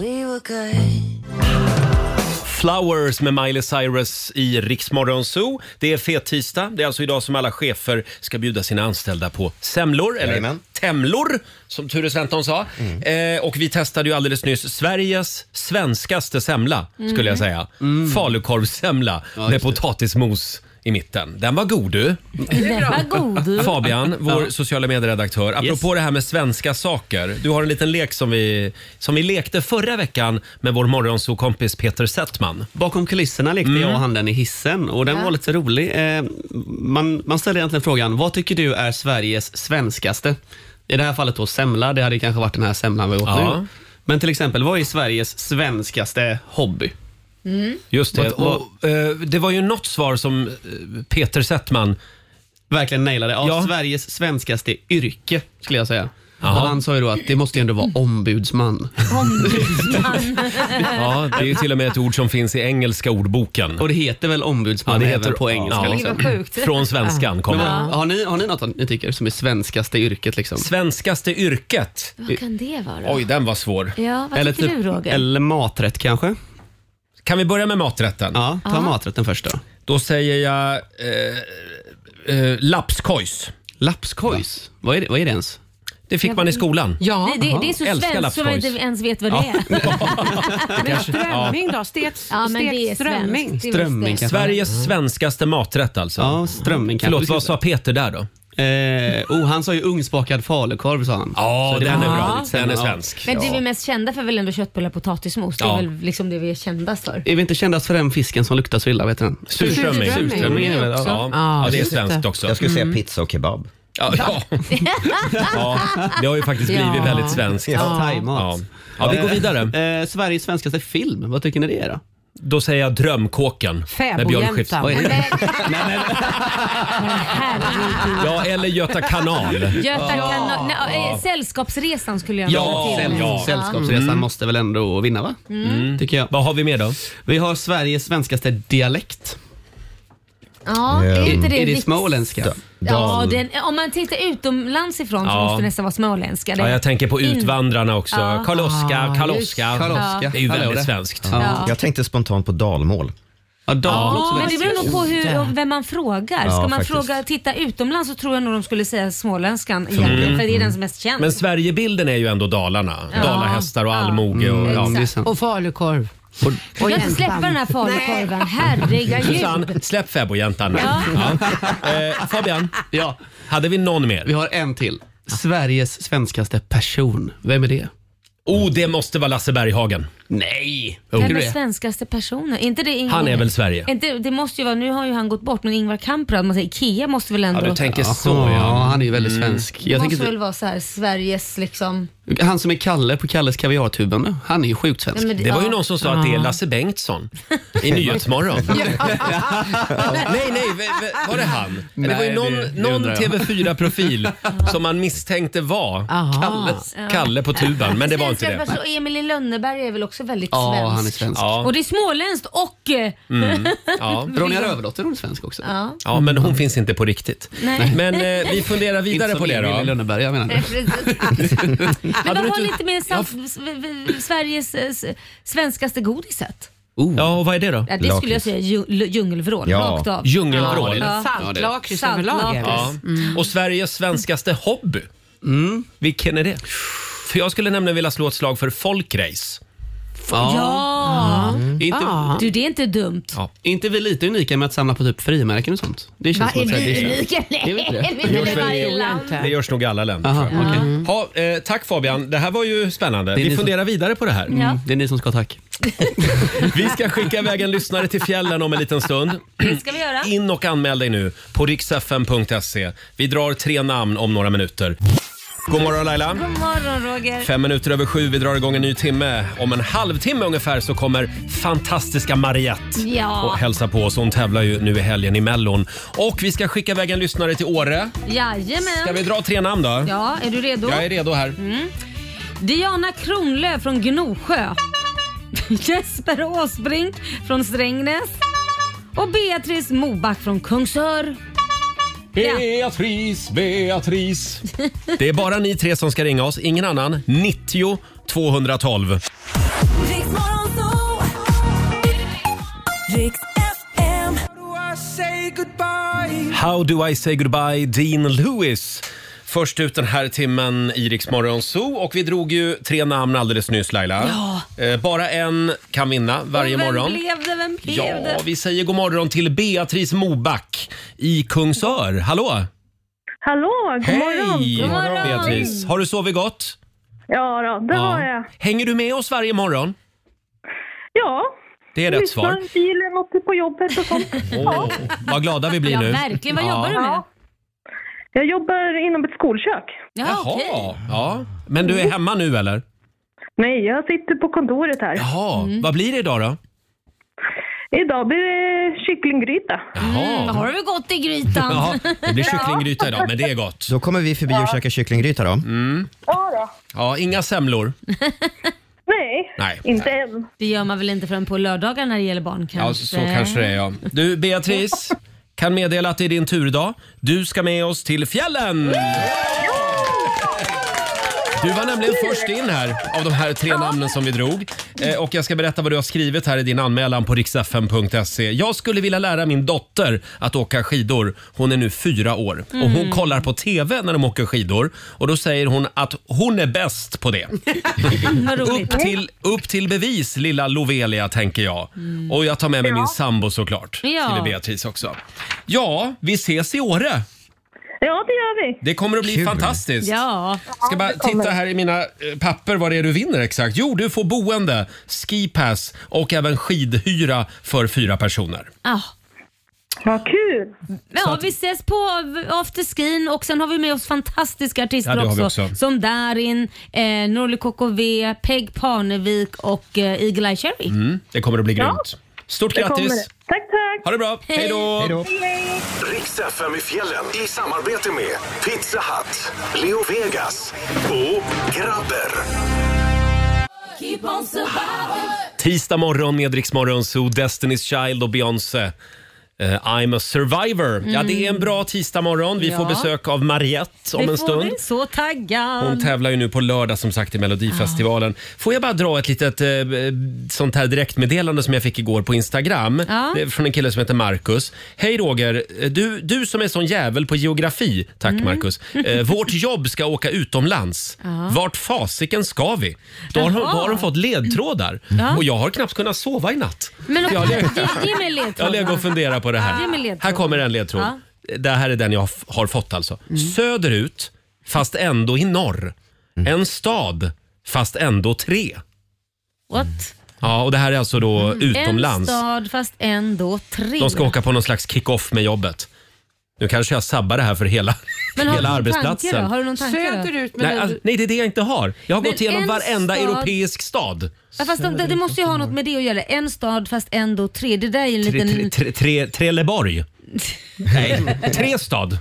Speaker 1: Flowers med Miley Cyrus i Riksmorgon Zoo. Det är fet tisdag. Det är alltså idag som alla chefer ska bjuda sina anställda på semlor, eller
Speaker 2: Jajamän.
Speaker 1: temlor som Ture Sventon sa. Eh, och vi testade ju alldeles nyss Sveriges svenskaste semla, skulle jag säga. Falukorvssemla med potatismos i mitten. Den var god du.
Speaker 10: Vad god du
Speaker 1: Fabian, vår sociala medieredaktör. Apropå det här med svenska saker. Du har en liten lek som vi, som vi lekte förra veckan med vår morgonsokompis Peter Settman.
Speaker 9: Bakom kulisserna lekte
Speaker 1: Mm.
Speaker 9: jag och han den i hissen och den var lite rolig. Eh, man, man ställer egentligen frågan, vad tycker du är Sveriges svenskaste? I det här fallet då semla, det hade kanske varit den här semlan vi åt
Speaker 1: Ja.
Speaker 9: nu. Men till exempel, vad är Sveriges svenskaste hobby?
Speaker 1: Just det.
Speaker 9: Vad-
Speaker 1: Och, eh, det var ju något svar som eh, Peter Settman...
Speaker 9: Verkligen nailade. Ja,
Speaker 1: Ja.
Speaker 9: Sveriges svenskaste yrke, skulle jag säga.
Speaker 1: Jaha.
Speaker 9: Och han sa ju då att det måste ju ändå vara ombudsman.
Speaker 1: Ja, det är ju till och med ett ord som finns i engelska ordboken.
Speaker 9: Och det heter väl ombudsman
Speaker 1: Ja, det
Speaker 9: även
Speaker 1: heter-
Speaker 9: på engelska?
Speaker 1: ja.
Speaker 9: Liksom.
Speaker 10: Vad sjukt.
Speaker 1: Från svenskan kommer
Speaker 9: Men
Speaker 1: det.
Speaker 9: vad- Har, ni, har ni något ni tycker som är svenskaste yrket? Liksom?
Speaker 1: Svenskaste yrket.
Speaker 10: Vad kan det vara?
Speaker 1: Oj, den var svår.
Speaker 10: Ja, vad tycker du Roger?
Speaker 9: eller maträtt kanske?
Speaker 1: Kan vi börja med maträtten?
Speaker 9: Ja, ta maträtten först då.
Speaker 1: Då säger jag eh, eh, lapskojs.
Speaker 9: Lapskojs, vad, är det, vad är det ens?
Speaker 1: Det fick man i skolan.
Speaker 7: Ja.
Speaker 10: Nej, det, det är så
Speaker 1: Älskar
Speaker 10: svenskt så man
Speaker 1: lapskojs.
Speaker 10: inte ens vet vad det är.
Speaker 7: Men strömming då? Stekt,
Speaker 10: Ja, men det är
Speaker 7: stekt strömming?
Speaker 10: svenskt. Det är visst
Speaker 9: Strömming
Speaker 10: det.
Speaker 9: kanske?
Speaker 1: Sveriges svenskaste maträtt alltså.
Speaker 9: Ja, strömming kanske.
Speaker 1: Förlåt, vad sa Peter där då?
Speaker 9: Eh, oh, han sa ju ugnsbakad falukorv sa han.
Speaker 1: Ja,
Speaker 5: den är bra.
Speaker 1: Den är
Speaker 5: Men det vi är mest kända för är väl ändå köttbullar och potatismos? Det är
Speaker 9: Ja.
Speaker 5: väl liksom det vi är kändast för.
Speaker 9: Är vi inte kändast för den fisken som luktar så illa? Vet du den?
Speaker 5: Surströmming.
Speaker 9: Surströmming är väl,
Speaker 5: Också.
Speaker 9: ja.
Speaker 5: Ja,
Speaker 1: Ja, det är svenskt också.
Speaker 2: Jag skulle säga
Speaker 5: Mm.
Speaker 2: pizza och kebab.
Speaker 1: Ja, ja. ja, det har ju faktiskt blivit
Speaker 5: Ja.
Speaker 1: väldigt svenskt.
Speaker 9: Ja. Thaimat.
Speaker 1: Ja. ja, vi går vidare.
Speaker 9: Eh, Sveriges svenskaste film, vad tycker ni det är då?
Speaker 1: Då säger jag Drömkåken med Björn Skifs. Vad är det? Ja, eller Göta kanal.
Speaker 5: Göta
Speaker 1: Ja.
Speaker 5: kanal. Nej, eh, sällskapsresan skulle jag
Speaker 9: Ja,
Speaker 5: vilja till.
Speaker 9: säll- Sällskapsresan måste väl ändå vinna va?
Speaker 5: Mm.
Speaker 9: Tycker jag.
Speaker 1: Vad har vi mer då?
Speaker 9: Vi har Sveriges svenskaste dialekt. Mm.
Speaker 5: Ja, är inte det,
Speaker 9: är det
Speaker 5: riks-
Speaker 9: småländska?
Speaker 5: Ja, den, om man tittar utomlands ifrån så
Speaker 1: Ja.
Speaker 5: måste det nästan vara småländska. Det-
Speaker 1: Ja, jag tänker på Utvandrarna också.
Speaker 5: Ja.
Speaker 1: Karl-Oskar,
Speaker 5: Ah,
Speaker 1: Karl-Oskar.
Speaker 5: just- Karl-Oskar.
Speaker 1: Det är ju
Speaker 9: Hallå
Speaker 1: väldigt
Speaker 9: där.
Speaker 1: svenskt.
Speaker 5: Ja.
Speaker 2: Jag tänkte spontant på dalmål.
Speaker 9: Ja,
Speaker 5: Ja, men det beror nog på hur, vem man frågar. Ska
Speaker 2: Ja,
Speaker 5: man
Speaker 2: faktiskt.
Speaker 5: fråga titta utomlands så tror jag nog de skulle säga småländskan egentligen, för det är den som är mest känd.
Speaker 1: Mm. Men Sverigebilden är ju ändå Dalarna.
Speaker 5: Ja. Mm,
Speaker 1: Dalahästar och allmoge. Och, ja.
Speaker 9: det är sant.
Speaker 7: Och falukorv.
Speaker 5: Du kan inte släppa den här falukorven, herregud.
Speaker 1: Susanne, släpp fäbodjäntan nu. Ja. Eh, Fabian,
Speaker 9: Ja,
Speaker 1: hade vi någon mer?
Speaker 9: vi har en till. Sveriges svenskaste person. Vem är det?
Speaker 1: Oh, det måste vara Lasse Berghagen.
Speaker 9: Nej! Oh.
Speaker 1: Vem
Speaker 5: Vem är
Speaker 9: det?
Speaker 5: svenskaste personen? Inte det Ingvar-
Speaker 1: Han är väl Sverige?
Speaker 5: Inte, det måste ju vara, nu har ju han gått bort, men Ingvar Kamprad, man säger Ikea måste väl
Speaker 1: Ja,
Speaker 5: ändå...
Speaker 1: du tänker
Speaker 9: Ja,
Speaker 1: så ja. Mm.
Speaker 9: han är ju väldigt svensk. Jag
Speaker 5: måste
Speaker 9: tänker,
Speaker 5: väl vara så här, Sveriges liksom...
Speaker 9: inte- han som är Kalle på Kalles kaviartuben, då, han är ju sjukt svensk.
Speaker 5: Nej, men
Speaker 1: Det var ju
Speaker 5: ja.
Speaker 1: någon som sa att det är Lasse Bengtsson i Nyhetsmorgon. nej, nej, v- v- var det han? det var ju
Speaker 9: Nej, det- det
Speaker 1: någon, någon
Speaker 9: undrar jag.
Speaker 1: TV4-profil som man misstänkte var
Speaker 7: Aha.
Speaker 1: Kalles, Kalle på tuben, men det var inte
Speaker 5: Svenska
Speaker 1: det.
Speaker 5: person- Emil i Lönneberg är väl också väldigt
Speaker 9: Ja,
Speaker 5: svensk?
Speaker 9: han är svensk.
Speaker 1: Ja, Mm.
Speaker 5: Och det är småländskt och... eh,
Speaker 9: Mm.
Speaker 1: ja.
Speaker 9: Ronja Rövardotter hon är svensk också.
Speaker 5: Ja,
Speaker 1: ja, men hon finns inte på riktigt.
Speaker 5: nej.
Speaker 1: Men eh, vi funderar vidare
Speaker 9: Inte
Speaker 1: på
Speaker 9: som
Speaker 1: det
Speaker 9: Emil i
Speaker 1: då.
Speaker 9: Lönneberga, jag menar.
Speaker 5: Men
Speaker 1: du
Speaker 5: vad har
Speaker 1: inte-
Speaker 5: lite mer sant, s- v- v- Sveriges eh, s- svenskaste godiset?
Speaker 9: Oh.
Speaker 1: Ja, och vad är det då?
Speaker 5: Ja, det skulle jag säga ju- l- djungelvrål,
Speaker 2: Ja.
Speaker 5: rakt av.
Speaker 1: Djungelvrål.
Speaker 5: Ja.
Speaker 7: Saltlakrits
Speaker 5: Ja, det-
Speaker 7: överlag. är det.
Speaker 1: Ja. Och Sveriges svenskaste hobby.
Speaker 9: Mm.
Speaker 1: Vilken är det? För jag skulle nämligen vilja slå ett slag för folkrace.
Speaker 5: Ja. Ah.
Speaker 9: Inte,
Speaker 5: Du, det är inte dumt.
Speaker 9: inte vi lite unika med att samla på typ frimärken och sånt? Det känns
Speaker 5: Va,
Speaker 9: som
Speaker 5: är
Speaker 9: att
Speaker 5: vi
Speaker 9: det
Speaker 5: unika?
Speaker 9: är väl
Speaker 5: Nej,
Speaker 9: inte det.
Speaker 5: det är väl
Speaker 1: Det
Speaker 5: varje
Speaker 7: tror jag
Speaker 5: land.
Speaker 7: inte.
Speaker 1: Det görs nog i alla länder.
Speaker 9: Aha,
Speaker 1: tror jag.
Speaker 9: okej.
Speaker 1: Ha, eh, tack Fabian, det här var ju spännande.
Speaker 9: Det är ni
Speaker 1: Vi
Speaker 9: som-
Speaker 1: funderar vidare på det här.
Speaker 5: Ja.
Speaker 9: Mm, det är ni som ska ha tack.
Speaker 1: Vi ska skicka iväg en lyssnare till fjällen om en liten stund.
Speaker 5: Det ska vi göra.
Speaker 1: In och anmäl dig nu på riksfn.se. Vi drar tre namn om några minuter. God morgon Laila!
Speaker 5: God morgon Roger.
Speaker 1: Fem minuter över sju, vi drar igång en ny timme. Om en halvtimme ungefär så kommer fantastiska Mariette
Speaker 5: Ja.
Speaker 1: och hälsa på oss. Hon tävlar ju nu i helgen i Mellon. Och vi ska skicka iväg en lyssnare till Åre. Ska
Speaker 5: Jajamän.
Speaker 1: vi dra tre namn då?
Speaker 5: Ja, är du redo? Mm.
Speaker 1: Jag är redo här.
Speaker 5: Diana Kronlöf från Gnosjö. Jesper Åsbrink från Strängnäs. Och Beatrice Moback från Kungsör. Ja.
Speaker 1: Beatrice, Beatrice. Det är bara ni tre som ska ringa oss, ingen annan. 90 212.
Speaker 12: Riks Morgonzoo. Riks FM.
Speaker 1: How do I say goodbye, Dean Lewis. Först ut den här timmen i Rix Morgon Zoo och vi drog ju tre namn alldeles nyss Laila. Eh, Bara en kan vinna varje
Speaker 5: Och vem
Speaker 1: morgon.
Speaker 5: blev det? Vem blev
Speaker 1: Ja,
Speaker 5: det?
Speaker 1: vi säger god morgon till Beatrice Moback i Kungsör. Hallå!
Speaker 6: Hallå, god morgon.
Speaker 1: God
Speaker 5: morgon.
Speaker 1: Beatrice! Har du sovit gott?
Speaker 6: Ja, då, det har jag.
Speaker 1: Hänger du med oss varje morgon?
Speaker 6: Ja,
Speaker 1: Det är rätt svar.
Speaker 6: lyssnar bilen och på jobbet och sånt.
Speaker 1: Åh, vad glada vi blir
Speaker 5: Ja,
Speaker 1: nu.
Speaker 5: verkligen. Vad jobbar du med?
Speaker 6: Jag jobbar inom ett skolkök.
Speaker 5: Ja,
Speaker 1: Jaha,
Speaker 5: okej.
Speaker 1: ja. Men
Speaker 6: Mm.
Speaker 1: du är hemma nu eller?
Speaker 6: Nej, jag sitter på kontoret här. Mm.
Speaker 1: Jaha,
Speaker 5: Mm.
Speaker 1: vad blir det idag då?
Speaker 6: Idag blir det kycklinggryta.
Speaker 1: Jaha.
Speaker 5: Då Mm, har du väl gått i grytan.
Speaker 1: Ja, det blir kycklinggryta idag, men det är gott. Mm.
Speaker 2: Då kommer vi förbi och käkar kycklinggryta då.
Speaker 6: Ja, då.
Speaker 1: Ja, inga semlor.
Speaker 6: Nej,
Speaker 1: Nej.
Speaker 6: inte än.
Speaker 5: Det gör man väl inte förrän på lördagar när det gäller barn kanske?
Speaker 1: Ja, så kanske det är ja. Du, Beatrice, kan meddela att det är din tur idag. Du ska med oss till fjällen! Du var nämligen först in här av de här tre namnen som vi drog. Eh, och jag ska berätta vad du har skrivit här i din anmälan på riksfn.se. Jag skulle vilja lära min dotter att åka skidor. Hon är nu fyra år och hon kollar på TV när de åker skidor och då säger hon att hon är bäst på det.
Speaker 5: Mm. Vad roligt.
Speaker 1: Upp till, upp till bevis lilla Lovelia tänker jag. Och jag tar med mig min sambo såklart.
Speaker 5: Mm. Ja.
Speaker 1: Skriver Beatrice också. Ja, vi ses i Åre.
Speaker 6: Ja, det gör vi.
Speaker 1: Det kommer att bli fantastiskt.
Speaker 5: Ja.
Speaker 1: Ska bara titta här i mina eh, papper vad det är du vinner exakt. Jo, du får boende, skipass och även skidhyra för fyra personer.
Speaker 5: Ah.
Speaker 6: Vad kul!
Speaker 5: Ja, vi ses på afterskin och sen har vi med oss fantastiska artister
Speaker 1: Ja, det har vi
Speaker 5: också,
Speaker 1: också.
Speaker 5: Som Darin, eh, Norli KKV, Peg Parnevik och eh, Eagle-Eye Cherry.
Speaker 1: Mm, det kommer att bli
Speaker 5: Ja.
Speaker 1: grymt. Stort
Speaker 5: Det kommer
Speaker 1: grattis!
Speaker 5: det.
Speaker 6: Tack, tack!
Speaker 1: Ha det bra!
Speaker 5: Hej.
Speaker 1: Hej då!
Speaker 4: Riks FM i fjällen i samarbete med Pizza Hut, Leo Vegas och Grabber.
Speaker 13: Keep on surviving.
Speaker 1: Tisdag morgon med Rix Morgon Zoo, Destiny's Child och Beyoncé. Eh, I'm a survivor. Ja,
Speaker 5: Mm.
Speaker 1: det är en bra tisdag morgon. Vi
Speaker 5: Ja.
Speaker 1: får besök av Mariette om
Speaker 5: Det
Speaker 1: en
Speaker 5: får
Speaker 1: stund.
Speaker 5: vi. Så taggad!
Speaker 1: Hon tävlar ju nu på lördag som sagt i Melodifestivalen.
Speaker 5: Ah.
Speaker 1: Får jag bara dra ett litet eh, sånt här direktmeddelande som jag fick igår på Instagram.
Speaker 5: Ja.
Speaker 1: Det är från en kille som heter Marcus. Hej Roger, Eh, du, du som är sån jävel på geografi. Tack
Speaker 5: Mm.
Speaker 1: Marcus. Eh, vårt jobb ska åka utomlands.
Speaker 5: Ja.
Speaker 1: Vart fasiken ska vi? Då har, de- då
Speaker 5: Jaha.
Speaker 1: har de fått ledtrådar.
Speaker 5: Ja.
Speaker 1: Och jag har knappt kunnat sova i natt.
Speaker 5: Men
Speaker 1: jag har
Speaker 5: okej,
Speaker 1: legat-
Speaker 5: ge,
Speaker 1: jag
Speaker 5: ge mig
Speaker 1: har legat och
Speaker 5: ledtrådarna.
Speaker 1: funderat på det
Speaker 5: Ge mig
Speaker 1: här.
Speaker 5: ledtrådar.
Speaker 1: Här kommer en ledtråd.
Speaker 5: Ja.
Speaker 1: Det här är den jag f- har fått alltså. Söderut, fast ändå i norr. En stad, fast ändå tre.
Speaker 5: What? Mm.
Speaker 1: Ja, och det här är alltså då utomlands.
Speaker 5: En stad fast ändå tre.
Speaker 1: De ska åka på någon slags kick-off med jobbet. Nu kanske jag sabbar det här för hela,
Speaker 5: Men har du
Speaker 1: hela
Speaker 5: någon
Speaker 1: arbetsplatsen.
Speaker 5: tanke då? Har du någon tanke då?
Speaker 7: Söderut,
Speaker 1: Nej, alltså, nej, det är det jag inte har. Jag har
Speaker 5: Men
Speaker 1: gått igenom
Speaker 5: en
Speaker 1: varenda
Speaker 5: stad-
Speaker 1: europeisk stad.
Speaker 5: Ja, fast de, det, det måste ju ha något med det att göra. En stad fast ändå tre. Det där är ju en
Speaker 1: Tre,
Speaker 5: liten...
Speaker 1: tre, tre, tre, Trelleborg. Nej, tre stad.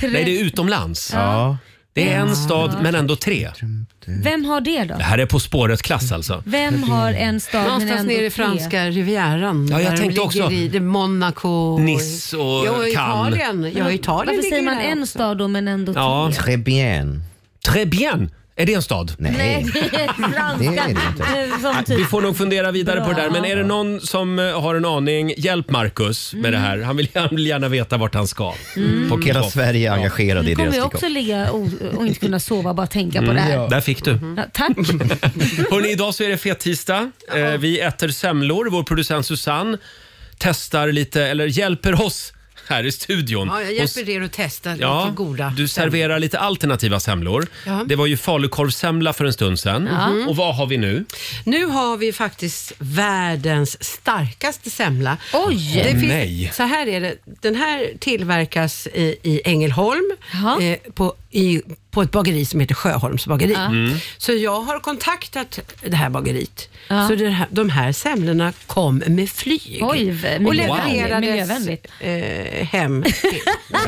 Speaker 5: Tre-
Speaker 1: Nej, det är utomlands.
Speaker 5: Ja.
Speaker 1: Det är en stad,
Speaker 5: Ja.
Speaker 1: men ändå tre.
Speaker 5: Mm. Vem har det då?
Speaker 1: Det här är På spåret-klass alltså.
Speaker 5: Vem har en stad men
Speaker 7: Någonstans
Speaker 5: ändå
Speaker 7: nere i
Speaker 5: tre?
Speaker 7: franska rivieran.
Speaker 1: Ja, jag
Speaker 7: där de
Speaker 1: tänkte
Speaker 7: ligger
Speaker 1: också.
Speaker 7: I det Monaco.
Speaker 1: Nice och
Speaker 7: ja, och
Speaker 1: Cannes.
Speaker 7: Italien. Ja, Italien
Speaker 5: Varför
Speaker 7: ligger
Speaker 5: säger
Speaker 7: ju
Speaker 5: man
Speaker 7: där
Speaker 5: en stad då men ändå tre?
Speaker 1: Ja.
Speaker 2: Très bien.
Speaker 1: Très bien. Är det en stad?
Speaker 5: Nej, det är franska.
Speaker 1: Det är det
Speaker 5: Eh, Som
Speaker 1: Vi
Speaker 5: typ.
Speaker 1: får nog fundera vidare på det där.
Speaker 5: Bra.
Speaker 1: Men är det någon som eh, har en aning, hjälp Marcus med det här. Han vill, han vill gärna veta vart han ska.
Speaker 5: Mm.
Speaker 1: På
Speaker 2: Hela
Speaker 1: kick-off.
Speaker 2: Sverige är engagerad i
Speaker 5: Nu
Speaker 2: deras
Speaker 5: kommer jag
Speaker 2: kick-off.
Speaker 5: också ligga och, och inte kunna sova bara tänka på det
Speaker 1: Mm,
Speaker 5: här.
Speaker 1: ja. Där fick du.
Speaker 5: Ja, tack.
Speaker 1: Hörrni, idag så är det fettisdag. Eh, vi äter semlor. Vår producent Susanne testar lite, eller hjälper oss här i studion.
Speaker 7: Ja, jag
Speaker 1: Hon s-
Speaker 7: hjälper er att testa
Speaker 1: Ja,
Speaker 7: lite goda.
Speaker 1: du serverar lite alternativa semlor.
Speaker 7: Ja.
Speaker 1: Det var ju falukorvssemla för en stund sedan. Mm-hmm.
Speaker 7: Ja.
Speaker 1: Och vad har vi nu?
Speaker 7: Nu har vi faktiskt världens starkaste semla.
Speaker 5: Oj!
Speaker 1: Åh,
Speaker 7: Det
Speaker 1: nej.
Speaker 7: Så här är det. Den här tillverkas i, i Ängelholm eh, på, i, på ett bageri som heter Sjöholms bageri.
Speaker 5: Ja. Mm.
Speaker 7: Så jag har kontaktat det här bageriet.
Speaker 5: Ja.
Speaker 7: Så det här, de här semlorna kom med flyg.
Speaker 5: Oj, miljövänligt.
Speaker 7: och levererades
Speaker 5: Miljövänligt.
Speaker 7: eh, hem.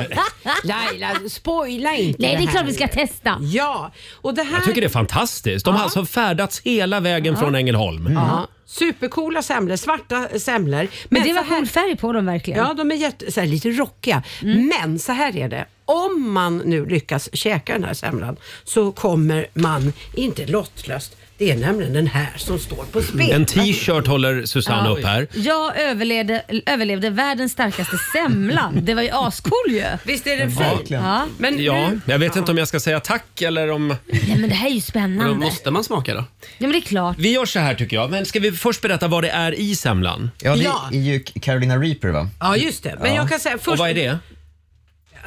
Speaker 7: Laila, spoila inte
Speaker 5: Nej, det är
Speaker 7: här
Speaker 5: klart vi
Speaker 7: nu.
Speaker 5: ska testa.
Speaker 7: Ja, och det här...
Speaker 1: Jag tycker det är fantastiskt. De har
Speaker 7: Ja.
Speaker 1: alltså färdats hela vägen från Ängelholm.
Speaker 7: Ja. Supercoola semlor, svarta semlor. Men,
Speaker 5: Men det var
Speaker 7: så här-
Speaker 5: cool färg på dem verkligen. Mm.
Speaker 7: Ja, de är jätte, så här, lite rockiga. Men så här är det. Om man nu lyckas käka den här semlan så kommer man inte lottlöst. Det är nämligen den här som står på spel.
Speaker 1: Mm. En t-shirt håller
Speaker 7: Ah,
Speaker 1: Susanne upp här.
Speaker 5: Jag överlevde, överlevde världens starkaste semla. Det var ju ascool ju.
Speaker 7: Visst är den fin?
Speaker 5: Ja.
Speaker 7: Men
Speaker 1: Ja,
Speaker 7: nu,
Speaker 1: jag vet inte om jag ska säga tack eller om...
Speaker 5: Nej, men det här är ju
Speaker 9: Då
Speaker 5: spännande.
Speaker 9: måste man smaka då.
Speaker 5: Ja, men det är klart.
Speaker 1: Vi gör så här tycker jag. Men ska vi först berätta vad det är i semlan?
Speaker 2: Ja, det
Speaker 7: Ja.
Speaker 2: är ju Carolina Reaper va?
Speaker 7: ja, just det. Men
Speaker 2: Ja.
Speaker 7: jag kan säga först.
Speaker 1: Och vad är det?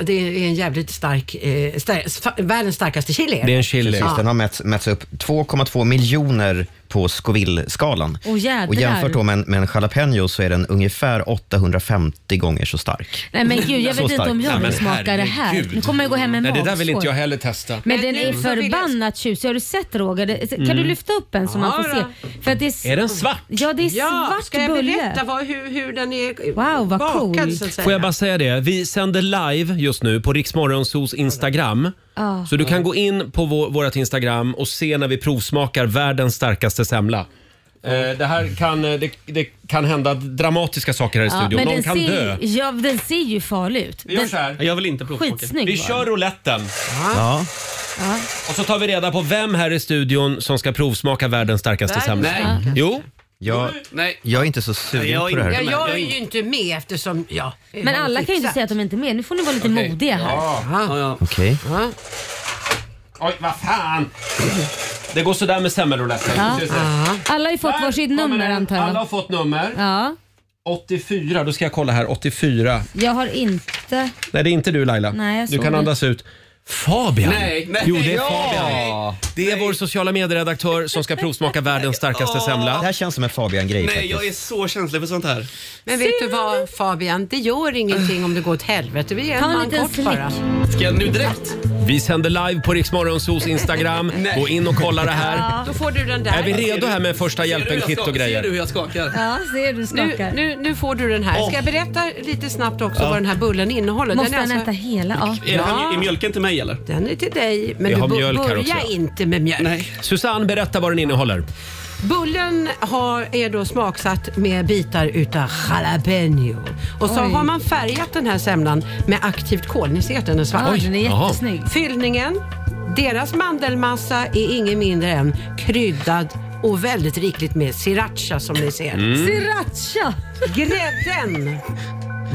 Speaker 7: Det är en jävligt stark, eh, stark fa- världens starkaste chili.
Speaker 1: Det är en chili.
Speaker 2: Precis, den har mätts, mätts upp 2,2 miljoner på Scoville-skalan.
Speaker 5: Åh, jädrar.
Speaker 2: och jämfört då med, en- med en jalapeno så är den ungefär 850 gånger så stark.
Speaker 5: Nej men gud, jag
Speaker 2: Så
Speaker 5: vet inte
Speaker 2: stark.
Speaker 5: om jag
Speaker 1: Nej,
Speaker 5: vill
Speaker 1: men
Speaker 5: smaka det här.
Speaker 1: herregud.
Speaker 5: Nu kommer jag gå hem med
Speaker 1: Nej, det där vill
Speaker 5: magsår.
Speaker 1: inte jag heller testa.
Speaker 5: Men
Speaker 7: Men
Speaker 5: den är
Speaker 7: nu så vill jag-
Speaker 5: förbannat tjusig. Har du sett Roger? Det- Kan du lyfta upp en så man får
Speaker 7: Ja,
Speaker 5: se? För att det
Speaker 1: Mm. Är den svart?
Speaker 5: Ja, det är
Speaker 7: Ja,
Speaker 5: svart
Speaker 7: ska jag berätta
Speaker 5: bulle.
Speaker 7: vad, hur, hur den är
Speaker 5: Wow, vad
Speaker 7: bakad
Speaker 5: cool.
Speaker 7: så att säga.
Speaker 1: Får jag bara säga det? Vi sänder live just nu på Riksmorgonsos Instagram.
Speaker 5: Ja.
Speaker 1: Så du kan gå in på vår, vårt Instagram och se när vi provsmakar världens starkaste semla. Eh, det här kan, eh, det, det kan hända dramatiska saker här i
Speaker 5: Ja,
Speaker 1: studion.
Speaker 5: men
Speaker 1: Någon
Speaker 5: den
Speaker 1: kan dö.
Speaker 5: ser, ja, den ser ju farlig ut.
Speaker 1: Vi gör
Speaker 5: Den-
Speaker 1: så här.
Speaker 9: Jag vill inte provsmaka.
Speaker 5: Skitsnygg
Speaker 1: Vi
Speaker 5: var
Speaker 1: kör
Speaker 5: den.
Speaker 1: rouletten.
Speaker 2: Ja.
Speaker 1: Och så tar vi reda på vem här i studion som ska provsmaka världens starkaste
Speaker 7: Världens
Speaker 1: semla.
Speaker 7: starkaste.
Speaker 1: Jo,
Speaker 2: Jag,
Speaker 9: Nej.
Speaker 2: jag är inte så sugen
Speaker 9: Jag är
Speaker 2: på det här.
Speaker 7: Ja,
Speaker 9: inte-
Speaker 7: jag är ju inte med eftersom... Ja,
Speaker 5: Men alla kan ju inte säga att de inte är med. Nu får ni vara lite
Speaker 9: Okej.
Speaker 5: modiga här.
Speaker 9: Ja, ja.
Speaker 2: Okej.
Speaker 7: Ja.
Speaker 1: Oj, vad fan! Det går sådär med semmelrouletten.
Speaker 5: Ja.
Speaker 1: Vi ses sen.
Speaker 5: Alla har ju fått
Speaker 1: Där
Speaker 5: varsitt
Speaker 1: kommer
Speaker 5: nummer
Speaker 1: den.
Speaker 5: antar
Speaker 1: Alla har
Speaker 5: jag.
Speaker 1: fått nummer.
Speaker 5: Ja,
Speaker 1: 84, då ska jag kolla här. 84.
Speaker 5: jag har inte...
Speaker 10: inte.
Speaker 1: Nej, det är inte du Laila.
Speaker 10: Nej, jag
Speaker 1: du
Speaker 10: såg
Speaker 1: kan
Speaker 10: det.
Speaker 1: andas ut. Fabian!
Speaker 10: Nej, nej,
Speaker 1: jo, det är
Speaker 10: ja!
Speaker 1: Fabian. Det är vår sociala medieredaktör som ska provsmaka världens starkaste semla. Det här känns som en Fabian-grej
Speaker 9: Nej, jag är så känslig för sånt här.
Speaker 7: Men vet du vad Fabian, det gör ingenting om det går åt helvete. Vi är en
Speaker 9: Ta en
Speaker 7: man
Speaker 9: liten
Speaker 7: kort bara.
Speaker 9: Ska jag nu direkt?
Speaker 1: Vi sänder live på Riksmorgonsos Instagram. Gå in och kolla det här.
Speaker 7: Då får du den där.
Speaker 1: Är vi redo här med första hjälpen-kit och
Speaker 9: Ser du hur
Speaker 1: grejer?
Speaker 9: jag skakar?
Speaker 10: Ja, ser du
Speaker 7: nu, nu, nu får du den här. Ska jag berätta lite snabbt också
Speaker 9: Ja.
Speaker 7: vad den här bullen innehåller?
Speaker 10: Måste
Speaker 7: den alltså-
Speaker 10: han äta hela? Ja.
Speaker 9: Är, det här, är mjölken till mig eller?
Speaker 7: Den är till dig, men
Speaker 1: Vi
Speaker 7: du
Speaker 1: har
Speaker 7: bo-
Speaker 1: mjölk här
Speaker 7: börja
Speaker 1: också.
Speaker 7: inte med mjölk.
Speaker 1: Susanne, berätta vad den innehåller.
Speaker 7: Bullen har, är då smaksatt med bitar utav jalapeno. Och så
Speaker 10: Oj.
Speaker 7: har man färgat den här semlan med aktivt kol. Ni ser att den är svart.
Speaker 10: Ja, Oj, den är jaha. jättesnygg.
Speaker 7: Fyllningen, deras mandelmassa är ingen mindre än kryddad och väldigt rikligt med sriracha som ni ser.
Speaker 14: Mm.
Speaker 10: Sriracha!
Speaker 7: Grädden!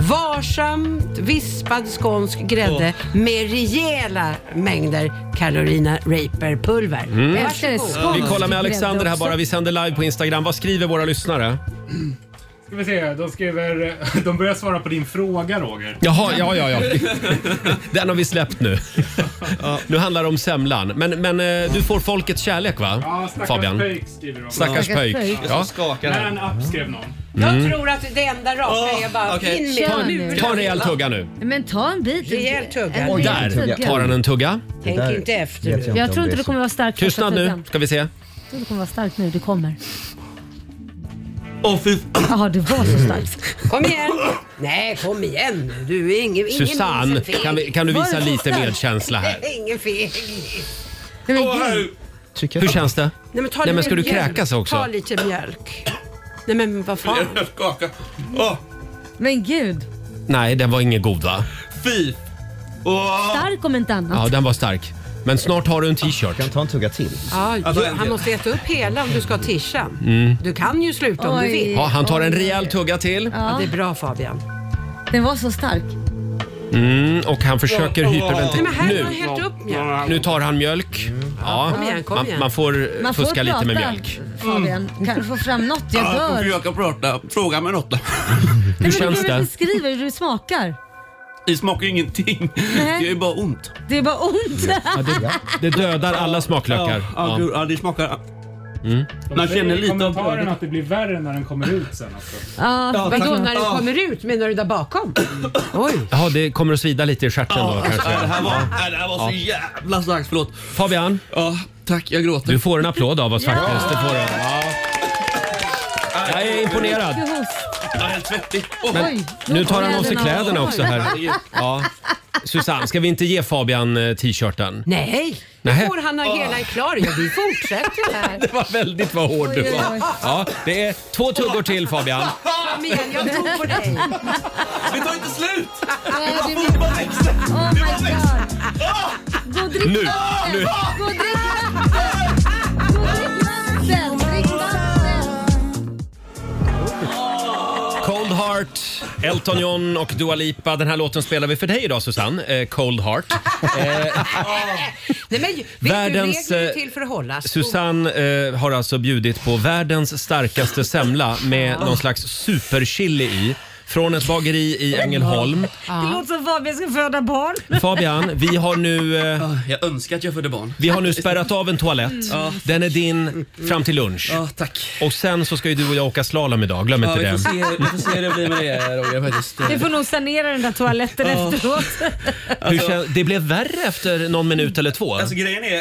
Speaker 7: Varsamt vispad skånsk grädde med rejäla mängder Carolina Reaper-pulver.
Speaker 1: Mm.
Speaker 7: Varsågod.
Speaker 1: Vi kollar med Alexander här bara. Vi sänder live på Instagram. Vad skriver våra lyssnare?
Speaker 11: Ska vi se, de skriver... De börjar svara på din fråga Roger.
Speaker 1: Jaha, ja, ja, ja. Den har vi släppt nu. Nu handlar det om semlan. Men, men eh, du får folkets kärlek va?
Speaker 11: Ja, stackars
Speaker 1: Fabian?
Speaker 11: pöjk skriver de.
Speaker 1: Stackars
Speaker 11: Stackars
Speaker 1: pöjk.
Speaker 11: pöjk.
Speaker 1: Ja.
Speaker 11: När en app skrev någon.
Speaker 1: Mm.
Speaker 7: Jag tror att det enda raka är bara
Speaker 10: okej.
Speaker 7: in
Speaker 10: Ta en-
Speaker 7: med
Speaker 1: Ta en rejäl tugga nu.
Speaker 10: Men ta en bit.
Speaker 7: Rejäl tugga.
Speaker 10: En
Speaker 1: Och
Speaker 10: rejäl
Speaker 1: där
Speaker 10: tugga.
Speaker 1: tar han en tugga.
Speaker 7: Tänk där inte efter
Speaker 10: vet jag nu. inte om Jag tror det inte är det så. kommer vara starkt första
Speaker 1: Tystnad nu,
Speaker 10: tuggan.
Speaker 1: ska vi se.
Speaker 10: Jag tror det kommer vara starkt nu. Det kommer.
Speaker 1: Åh fy...
Speaker 10: Ja, ah, det var så starkt.
Speaker 7: Kom igen! Nej, kom igen nu. Du är ingen, ingen
Speaker 1: Susanne,
Speaker 7: ingen feg.
Speaker 1: kan, vi, kan du
Speaker 7: Var
Speaker 1: visa
Speaker 7: det så
Speaker 1: lite
Speaker 7: starkt?
Speaker 1: medkänsla här?
Speaker 7: Nej, Ingen feg.
Speaker 1: Hur känns det?
Speaker 7: Nej, men ta
Speaker 1: Nej, men
Speaker 7: lite
Speaker 1: ska du
Speaker 7: mjölk.
Speaker 1: kräkas också?
Speaker 7: Ta lite mjölk. Nej men vad fan. Mm.
Speaker 9: Jag skakar. Åh,
Speaker 10: Men gud,
Speaker 1: Nej, den var ingen god va?
Speaker 9: fy!
Speaker 10: stark om inte annat.
Speaker 1: Ja, den var stark. Men snart har du en t-shirt. Kan ta en tugga till.
Speaker 7: Ja, du, han måste äta upp hela om du ska ha tishan.
Speaker 1: Mm.
Speaker 7: Du kan ju sluta om du
Speaker 10: Oj.
Speaker 7: vill.
Speaker 1: Ja, han tar en rejäl tugga till.
Speaker 7: Ja, det är bra Fabian.
Speaker 10: Den var så stark.
Speaker 1: Mm, och han försöker
Speaker 7: Nej, men här har
Speaker 1: hyperventilera.
Speaker 7: han hällt upp mjölk.
Speaker 1: Nu, nu tar han mjölk. Ja,
Speaker 10: Kom igen, kom
Speaker 1: man,
Speaker 10: igen. Mm.
Speaker 1: man får eh,
Speaker 10: Man får
Speaker 1: fuska lite med
Speaker 10: prata,
Speaker 1: mjölk.
Speaker 10: Fabian, kan du få fram något? Jag
Speaker 9: Jag
Speaker 10: dör.
Speaker 9: försöker prata. Fråga mig något.
Speaker 1: Hur känns
Speaker 10: Du
Speaker 1: det?
Speaker 10: beskriver hur du smakar.
Speaker 9: Det smakar ju ingenting.
Speaker 10: Nej.
Speaker 9: Det är bara ont.
Speaker 10: Det är bara ont.
Speaker 1: Ja, det, det dödar alla smaklökar.
Speaker 9: Ja, ja, gud, ja, det smakar...
Speaker 11: De
Speaker 9: Man
Speaker 11: säger
Speaker 9: känner
Speaker 11: i
Speaker 9: lite av
Speaker 11: kommentaren
Speaker 9: brödet.
Speaker 11: att det blir värre när den kommer ut sen. Alltså.
Speaker 10: Ja,
Speaker 7: Vadå
Speaker 11: tack.
Speaker 7: när det
Speaker 11: Ja.
Speaker 7: kommer ut? Menar du där bakom?
Speaker 1: Jaha, det kommer att svida lite i stjärten då kanske.
Speaker 9: Nej, det här var,
Speaker 1: Ja.
Speaker 9: nej, det här var så jävla starkt. Förlåt.
Speaker 1: Fabian.
Speaker 9: Ja, tack. Jag gråter.
Speaker 1: Du får en applåd av oss faktiskt. Det får du. Ja. Jag är imponerad.
Speaker 9: Jag är helt svettig. Åh.
Speaker 1: Men nu tar han av sig kläderna också här. Ja. Susanne, ska vi inte ge Fabian eh, t-shirten?
Speaker 7: Nej,
Speaker 1: Nähä.
Speaker 7: nu får han ha hela klar. Ja, vi fortsätter här.
Speaker 1: Det var väldigt vad hård du
Speaker 7: Oj, oj,
Speaker 1: var.
Speaker 7: oj.
Speaker 1: Ja, det är två tuggor till Fabian.
Speaker 7: Kom igen, jag tror på dig.
Speaker 9: Det tar inte slut!
Speaker 10: Nej, det blir- Oh my god. Gå och drick
Speaker 1: Nu,
Speaker 10: vatten.
Speaker 1: nu.
Speaker 10: Gå och drick vatten. Gå och drick vatten. Drick vatten.
Speaker 1: Cold Heart, Elton John och Dua Lipa. Den här låten spelar vi för dig idag Susanne. Eh, Cold Heart. Eh,
Speaker 7: Nej, men, vet
Speaker 1: Världens,
Speaker 7: du,
Speaker 1: eh,
Speaker 7: regler är till för att hållas.
Speaker 1: Susanne eh, har alltså bjudit på världens starkaste semla med någon slags superchili i. Från ett bageri i Ängelholm.
Speaker 10: Det låter som Fabian ska föda barn.
Speaker 1: Fabian, vi har nu... Eh,
Speaker 9: Ah, Jag önskar att jag födde barn.
Speaker 1: Vi har nu spärrat av en toalett.
Speaker 9: Ja.
Speaker 1: Den är din fram till lunch.
Speaker 9: Ja, tack.
Speaker 1: Och sen så ska ju du och jag åka slalom idag, glöm inte
Speaker 9: ja,
Speaker 1: det.
Speaker 9: Vi får se, vi får se hur det blir med det Roger faktiskt.
Speaker 10: Du får nog sanera den där toaletten
Speaker 9: Ja.
Speaker 10: efteråt.
Speaker 1: Hur kän- det blev värre efter någon minut eller två.
Speaker 9: Alltså grejen är,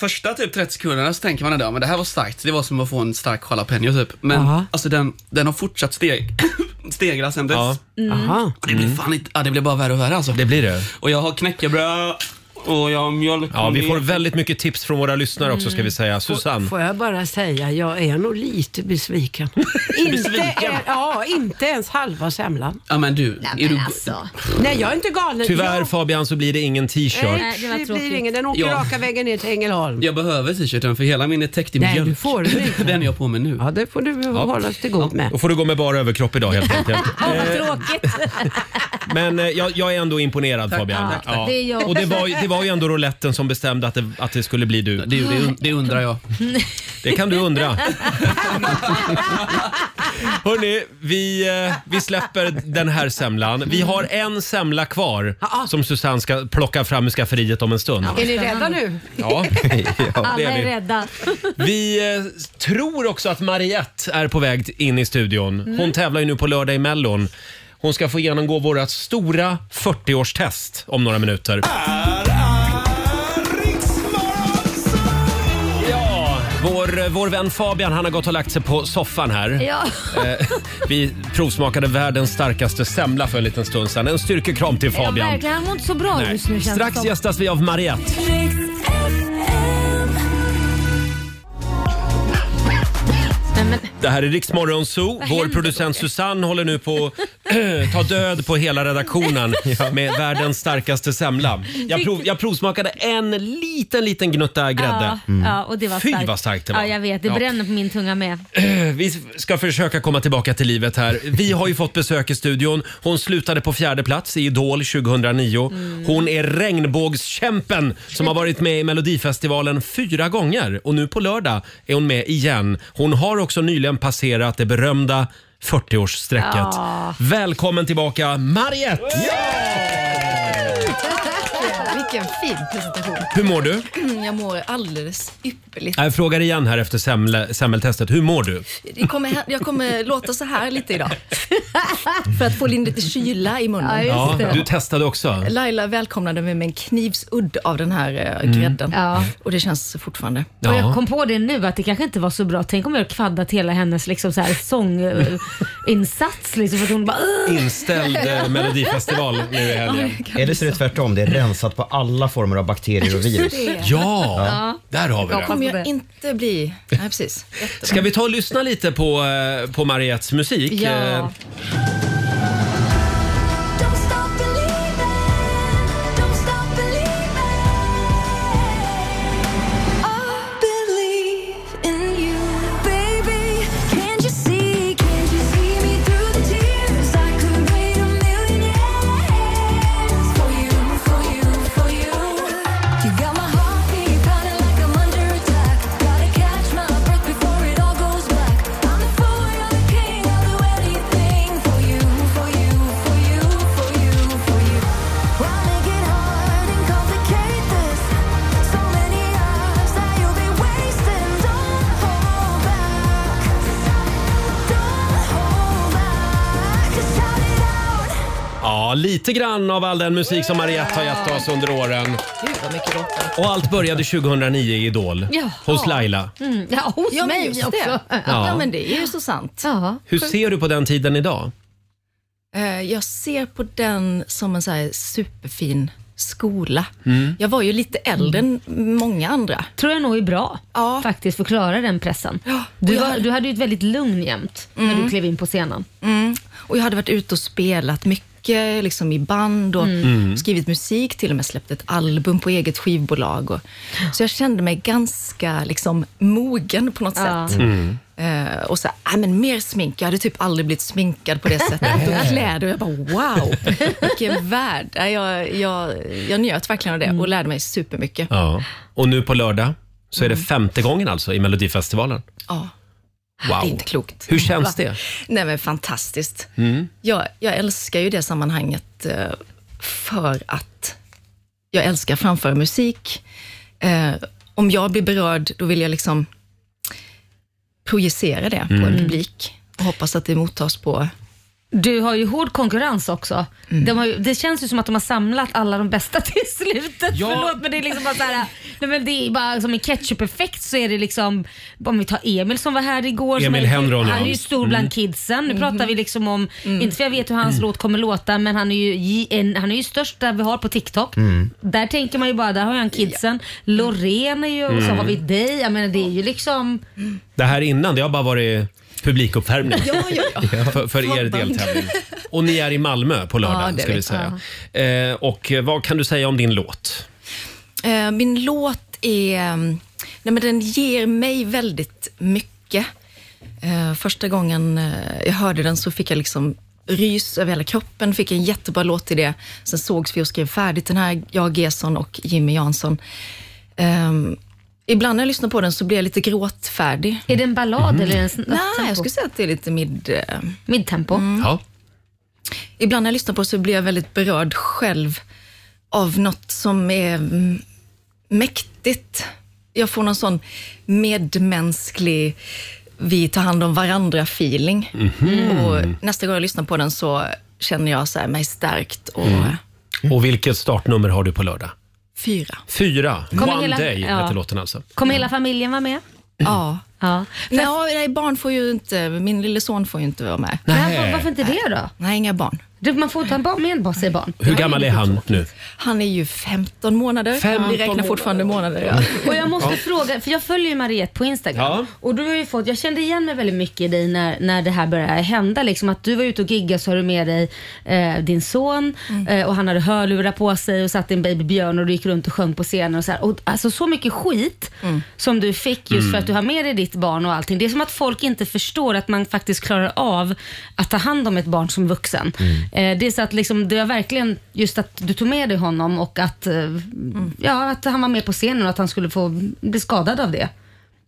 Speaker 9: första typ 30 sekunderna så tänker man ändå, men det här var starkt. Det var som att få en stark jalapeno typ. Men alltså den, den har fortsatt steg, stegra sen dess.
Speaker 7: Mm. Aha.
Speaker 9: Och Det blir fan inte, ja, det blir bara värre och värre alltså.
Speaker 1: Mm. Det blir det.
Speaker 9: Och jag har knäckebröd och jag har mjölk.
Speaker 1: Ja, vi
Speaker 9: med.
Speaker 1: får väldigt mycket tips från våra lyssnare också
Speaker 9: Mm.
Speaker 1: ska vi säga. Susanne,
Speaker 7: Får jag bara säga, jag är nog lite besviken. inte, en, ja, inte ens halva semlan.
Speaker 9: Ja men du, är du...
Speaker 7: alltså. Nej, jag är inte galen.
Speaker 1: tyvärr
Speaker 7: jag,
Speaker 1: Fabian så blir det ingen t-shirt.
Speaker 7: Nej, det, blir ingen. Den åker
Speaker 9: Ja.
Speaker 7: raka vägen ner till Ängelholm.
Speaker 9: Jag behöver t-shirten för hela min är täckt i
Speaker 7: Nej,
Speaker 9: mjölk.
Speaker 7: du får den inte.
Speaker 9: Den är jag på mig nu.
Speaker 7: Ja, det får du hålla dig god med.
Speaker 1: Då får du gå med bara överkropp idag helt enkelt.
Speaker 10: Vad
Speaker 1: Eh,
Speaker 10: tråkigt.
Speaker 1: Men eh, jag, jag är ändå imponerad Fabian.
Speaker 9: tack, tack.
Speaker 1: Ja.
Speaker 10: Det är jag.
Speaker 1: Och det var, ju- det var ju ändå rouletten som bestämde att det, att det skulle bli du.
Speaker 9: Det, det, det undrar jag.
Speaker 1: Det kan du undra. Hörni, vi, eh, vi släpper den här semlan. Vi har en semla kvar som Susanne ska plocka fram ur skafferiet om en stund.
Speaker 7: Är ni rädda nu?
Speaker 1: Eh, Ja,
Speaker 5: Alla
Speaker 1: det
Speaker 5: är,
Speaker 1: är vi.
Speaker 5: rädda.
Speaker 1: Vi eh, tror också att Mariette är på väg in i studion. Hon
Speaker 5: Mm.
Speaker 1: tävlar ju nu på lördag i Mellon. Hon ska få genomgå vårt stora 40-årstest om några minuter. Ja, Vår, eh, vår vän Fabian han har gått och lagt sig på soffan här.
Speaker 5: Ja.
Speaker 1: Eh, vi provsmakade världens starkaste semla för en liten stund sedan. En styrkekram till
Speaker 5: Ja,
Speaker 1: Fabian.
Speaker 5: verkligen. Han mår inte så bra
Speaker 1: Nej.
Speaker 5: just nu känns det
Speaker 1: Strax
Speaker 5: som.
Speaker 1: gästas vi av Mariette. Det här är Riksmorgon Zoo. Vår producent Susanne håller nu på att eh, ta död på hela redaktionen med världens starkaste semla. Jag, prov, jag provsmakade en liten, liten gnutta grädde. Mm.
Speaker 5: Ja, ja, och det var
Speaker 1: Fy
Speaker 5: starkt.
Speaker 1: vad starkt det var.
Speaker 5: Ja, jag vet. Det
Speaker 1: Ja.
Speaker 5: bränner på min tunga med.
Speaker 1: Eh, Vi ska försöka komma tillbaka till livet här. Vi har ju fått besök i studion. Hon slutade på fjärde plats i Idol 2009. Hon är regnbågskämpen som har varit med i Melodifestivalen fyra gånger och nu på lördag är hon med igen. Hon har också nyligen passerat det berömda 40-årsstrecket.
Speaker 15: Ja.
Speaker 1: Välkommen tillbaka Mariette!
Speaker 15: Vilken fin presentation.
Speaker 1: Hur mår du?
Speaker 15: Mm, Jag mår alldeles ypperligt.
Speaker 1: Jag frågar igen här efter semle, semmeltestet. Hur mår du?
Speaker 15: Det kommer, jag kommer låta så här lite idag. För att få in lite kyla i munnen.
Speaker 1: du testade också.
Speaker 15: Laila välkomnade mig med en knivsudd av den här eh,
Speaker 1: Mm.
Speaker 15: grädden. Och det känns fortfarande.
Speaker 1: Ja.
Speaker 5: Och jag kom på det nu att det kanske inte var så bra. Tänk om jag kvaddat hela hennes liksom så här sånginsats. Liksom, för att hon bara...
Speaker 2: Mm.
Speaker 5: "Ugh."
Speaker 1: Inställd eh, Melodifestival nu i helgen.
Speaker 2: Eller så är det tvärtom, det är rensat på alla former av bakterier och virus.
Speaker 15: Just det.
Speaker 1: Ja, där har vi
Speaker 15: Jag kommer
Speaker 1: det.
Speaker 15: jag inte bli... Nej, precis. Jättebra.
Speaker 1: Ska vi ta och lyssna lite på, eh, på Mariettes musik?
Speaker 15: Ja.
Speaker 1: Eh, Ja, lite grann av all den musik som Mariette har gett oss under åren.
Speaker 15: Gud vad mycket låtar.
Speaker 1: Och allt började 2009 i Idol,
Speaker 15: Jaha.
Speaker 1: hos Laila.
Speaker 15: Mm. Ja, hos
Speaker 5: mig också.
Speaker 15: Ja.
Speaker 1: Ja.
Speaker 15: men det är ju så sant.
Speaker 1: Hur ser du på den tiden idag?
Speaker 15: Eh, Jag ser på den som en så här superfin skola. Jag var ju lite äldre än många andra.
Speaker 5: Mm. Tror jag nog är bra faktiskt för att klara den pressen. Du,
Speaker 15: jag-
Speaker 5: var, du hade ju ett väldigt lugn jämt när
Speaker 15: Mm.
Speaker 5: du klev in på scenen.
Speaker 15: Mm. Och jag hade varit ute och spelat mycket liksom i band och
Speaker 5: Mm. Mm.
Speaker 15: skrivit musik, till och med släppt ett album på eget skivbolag. Och, så jag kände mig ganska liksom, mogen på något
Speaker 5: Ja.
Speaker 15: sätt.
Speaker 6: Mm.
Speaker 15: Eh, och så, nej men mer smink. Jag hade typ aldrig blivit sminkad på det sättet. Och kläder. Och jag bara wow, vilken värld. Nej, Jag, jag, jag njöt verkligen av det och lärde mig supermycket.
Speaker 1: Mm. Ja. Och nu på lördag så är det femte gången alltså i Melodifestivalen.
Speaker 15: Mm. Ja.
Speaker 1: Wow.
Speaker 15: Det är inte klokt.
Speaker 1: Hur känns
Speaker 15: Va?
Speaker 1: det?
Speaker 15: Nej men fantastiskt.
Speaker 1: Mm.
Speaker 15: Jag, jag älskar ju det sammanhanget eh, för att jag älskar framföra musik. Eh, Om jag blir berörd, då vill jag liksom projicera det på en
Speaker 5: Mm.
Speaker 15: publik och hoppas att det mottas på...
Speaker 5: Du har ju hård konkurrens också. De har ju, det känns ju som att de har samlat alla de bästa till slutet.
Speaker 15: Ja.
Speaker 5: Förlåt men det är liksom bara såhär, nej men det är bara som en ketchup-effekt så är det liksom, om vi tar Emil som var här igår. som
Speaker 1: Emil
Speaker 5: är,
Speaker 1: Henron,
Speaker 5: Han
Speaker 1: ja.
Speaker 5: är ju stor
Speaker 1: Mm.
Speaker 5: bland kidsen. Nu pratar vi liksom om, inte för jag vet hur hans låt kommer låta men han är ju, i- en, han är ju störst där vi har på TikTok.
Speaker 6: Mm.
Speaker 5: Där tänker man ju bara, där har han kidsen. Loreen är ju, och så
Speaker 1: Mm.
Speaker 5: har vi dig. Jag menar det är ju liksom,
Speaker 1: Det här innan, det har bara varit publikuppvärmning för, för er
Speaker 5: Fan, band.
Speaker 1: deltävling. Och ni är i Malmö på
Speaker 15: Ja,
Speaker 1: lördag,
Speaker 15: det
Speaker 1: ska
Speaker 15: är
Speaker 1: vi
Speaker 15: vi.
Speaker 1: säga. Eh, och eh, vad kan du säga om din låt?
Speaker 15: Eh, Min låt är... eh, Nej men den ger mig väldigt mycket. Eh, Första gången eh, jag hörde den så fick jag liksom rys över hela kroppen, fick en jättebra låt i det. Sen sågs vi och skrev färdigt den här, jag, Gesson och Jimmy Jansson. Ehm, Ibland när jag lyssnar på den så blir jag lite gråtfärdig.
Speaker 5: Är det en ballad eller en
Speaker 15: Nej, jag skulle säga att det är lite mid... eh, Mm.
Speaker 5: Midtempo?
Speaker 1: Ja.
Speaker 15: Ibland när jag lyssnar på det så blir jag väldigt berörd själv av något som är mm, mäktigt. Jag får någon sån medmänsklig, vi tar hand om varandra-feeling.
Speaker 1: Mhm.
Speaker 15: Och Nästa gång jag lyssnar på den så känner jag så här mig stärkt och
Speaker 1: Mm. Och vilket startnummer har du på lördag?
Speaker 15: fyra.
Speaker 1: Fyra.
Speaker 5: Kommer
Speaker 1: One
Speaker 5: hela-
Speaker 1: Day
Speaker 5: ja.
Speaker 1: heter låten alltså.
Speaker 5: Kommer hela familjen vara med?
Speaker 15: Ja.
Speaker 5: ja.
Speaker 15: Nej, nej, barn får ju inte, min lille son får ju inte vara med.
Speaker 1: Nej. Men varför
Speaker 5: inte det då?
Speaker 15: Nej, inga barn.
Speaker 5: man får ta en barn med en barn, säger barn.
Speaker 1: Hur gammal är han nu?
Speaker 15: Han är ju 15 månader.
Speaker 1: 15
Speaker 15: Vi räknar fortfarande månader. Ja.
Speaker 5: Och jag måste
Speaker 15: Ja.
Speaker 5: fråga, för jag följer ju Mariette på Instagram.
Speaker 15: Ja.
Speaker 5: Och du har ju fått, jag kände igen mig väldigt mycket i dig när, när det här började hända. Liksom att du var ute och giggade så har du med dig eh, din son eh, och han hade hörlurar på sig och satt i en babybjörn och du gick runt och sjöng på scenen. Och så, här. Och, alltså, så mycket skit som du fick just
Speaker 15: Mm.
Speaker 5: för att du har med dig ditt barn och allting. Det är som att folk inte förstår att man faktiskt klarar av att ta hand om ett barn som vuxen.
Speaker 1: Mm.
Speaker 5: Eh, det är så att liksom, det var verkligen just att du tog med dig honom och att, eh,
Speaker 15: Mm.
Speaker 5: ja, att han var med på scenen och att han skulle få bli skadad av det.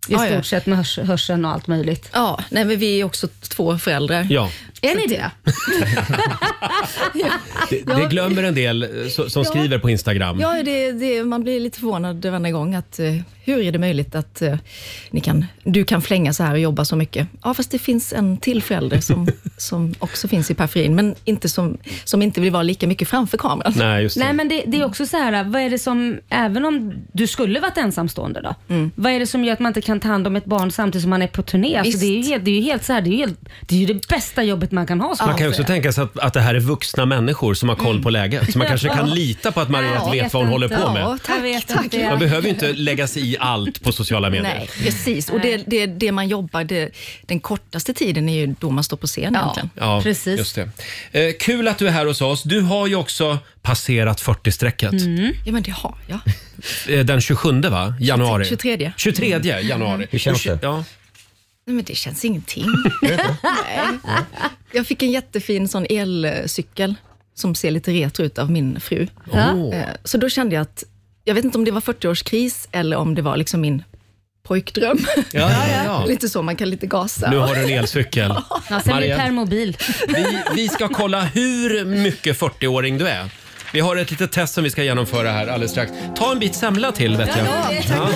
Speaker 5: I
Speaker 15: Ja,
Speaker 5: stort
Speaker 15: ja.
Speaker 5: sett med hörs- hörseln och allt möjligt.
Speaker 15: Ja, nej, men vi är också två föräldrar.
Speaker 1: Ja.
Speaker 5: Är ni det?
Speaker 1: Det, det glömmer en del eh, so- som
Speaker 15: Ja.
Speaker 1: skriver på Instagram.
Speaker 15: Ja, det, det, man blir lite förvånad varje gång. Att, eh, hur är det möjligt att eh, ni kan, du kan flänga så här och jobba så mycket? Ja, fast det finns en till förälder som, som också finns i periferin, men inte som, som inte vill vara lika mycket framför kameran.
Speaker 1: Nej, just
Speaker 5: Nej men det, det är också så här, vad är det som, även om du skulle varit ensamstående då,
Speaker 15: Mm.
Speaker 5: vad är det som gör att man inte kan ta hand om ett barn samtidigt som man är på turné? Alltså,
Speaker 15: Visst.
Speaker 5: det är ju helt, det är ju helt så här, det är ju, helt, det, är ju det bästa jobbet man kan ha. som
Speaker 1: Man kan ju också
Speaker 5: förälder.
Speaker 1: tänka sig att, att det här är vuxna människor som har koll på läget. Så man kanske kan
Speaker 5: Ja.
Speaker 1: lita på att Mariette
Speaker 5: Ja,
Speaker 1: vet vad hon håller på med.
Speaker 5: Jag vet
Speaker 15: tack.
Speaker 5: inte.
Speaker 1: Man behöver ju inte lägga sig i allt på sociala medier.
Speaker 15: Nej, precis. Och det, det, det man jobbar, det, den kortaste tiden är ju då man står på scen egentligen.
Speaker 1: Ja, Just det. Eh, kul att du är här hos oss. Du har ju också passerat 40-strecket.
Speaker 15: Mm. Ja, men det har jag.
Speaker 1: Eh, Den 27 va? januari.
Speaker 15: 23.
Speaker 1: 23 januari.
Speaker 16: Hur känns det?
Speaker 1: Ja.
Speaker 15: Nej, men det känns ingenting. Nej. Jag fick en jättefin sån elcykel som ser lite retro ut av min fru.
Speaker 6: Ja.
Speaker 15: Eh, Så då kände jag att, jag vet inte om det var 40-årskris eller om det var liksom min pojkdröm.
Speaker 1: Ja, ja, ja.
Speaker 15: lite så, man kan lite gasa.
Speaker 1: Nu har du en elcykel.
Speaker 5: Ja, sen blir det
Speaker 1: Marianne.
Speaker 5: permobil.
Speaker 1: Vi, vi ska kolla hur mycket 40-åring du är. Vi har ett litet test som vi ska genomföra här alldeles strax. Ta en bit semla till vet jag. Ja.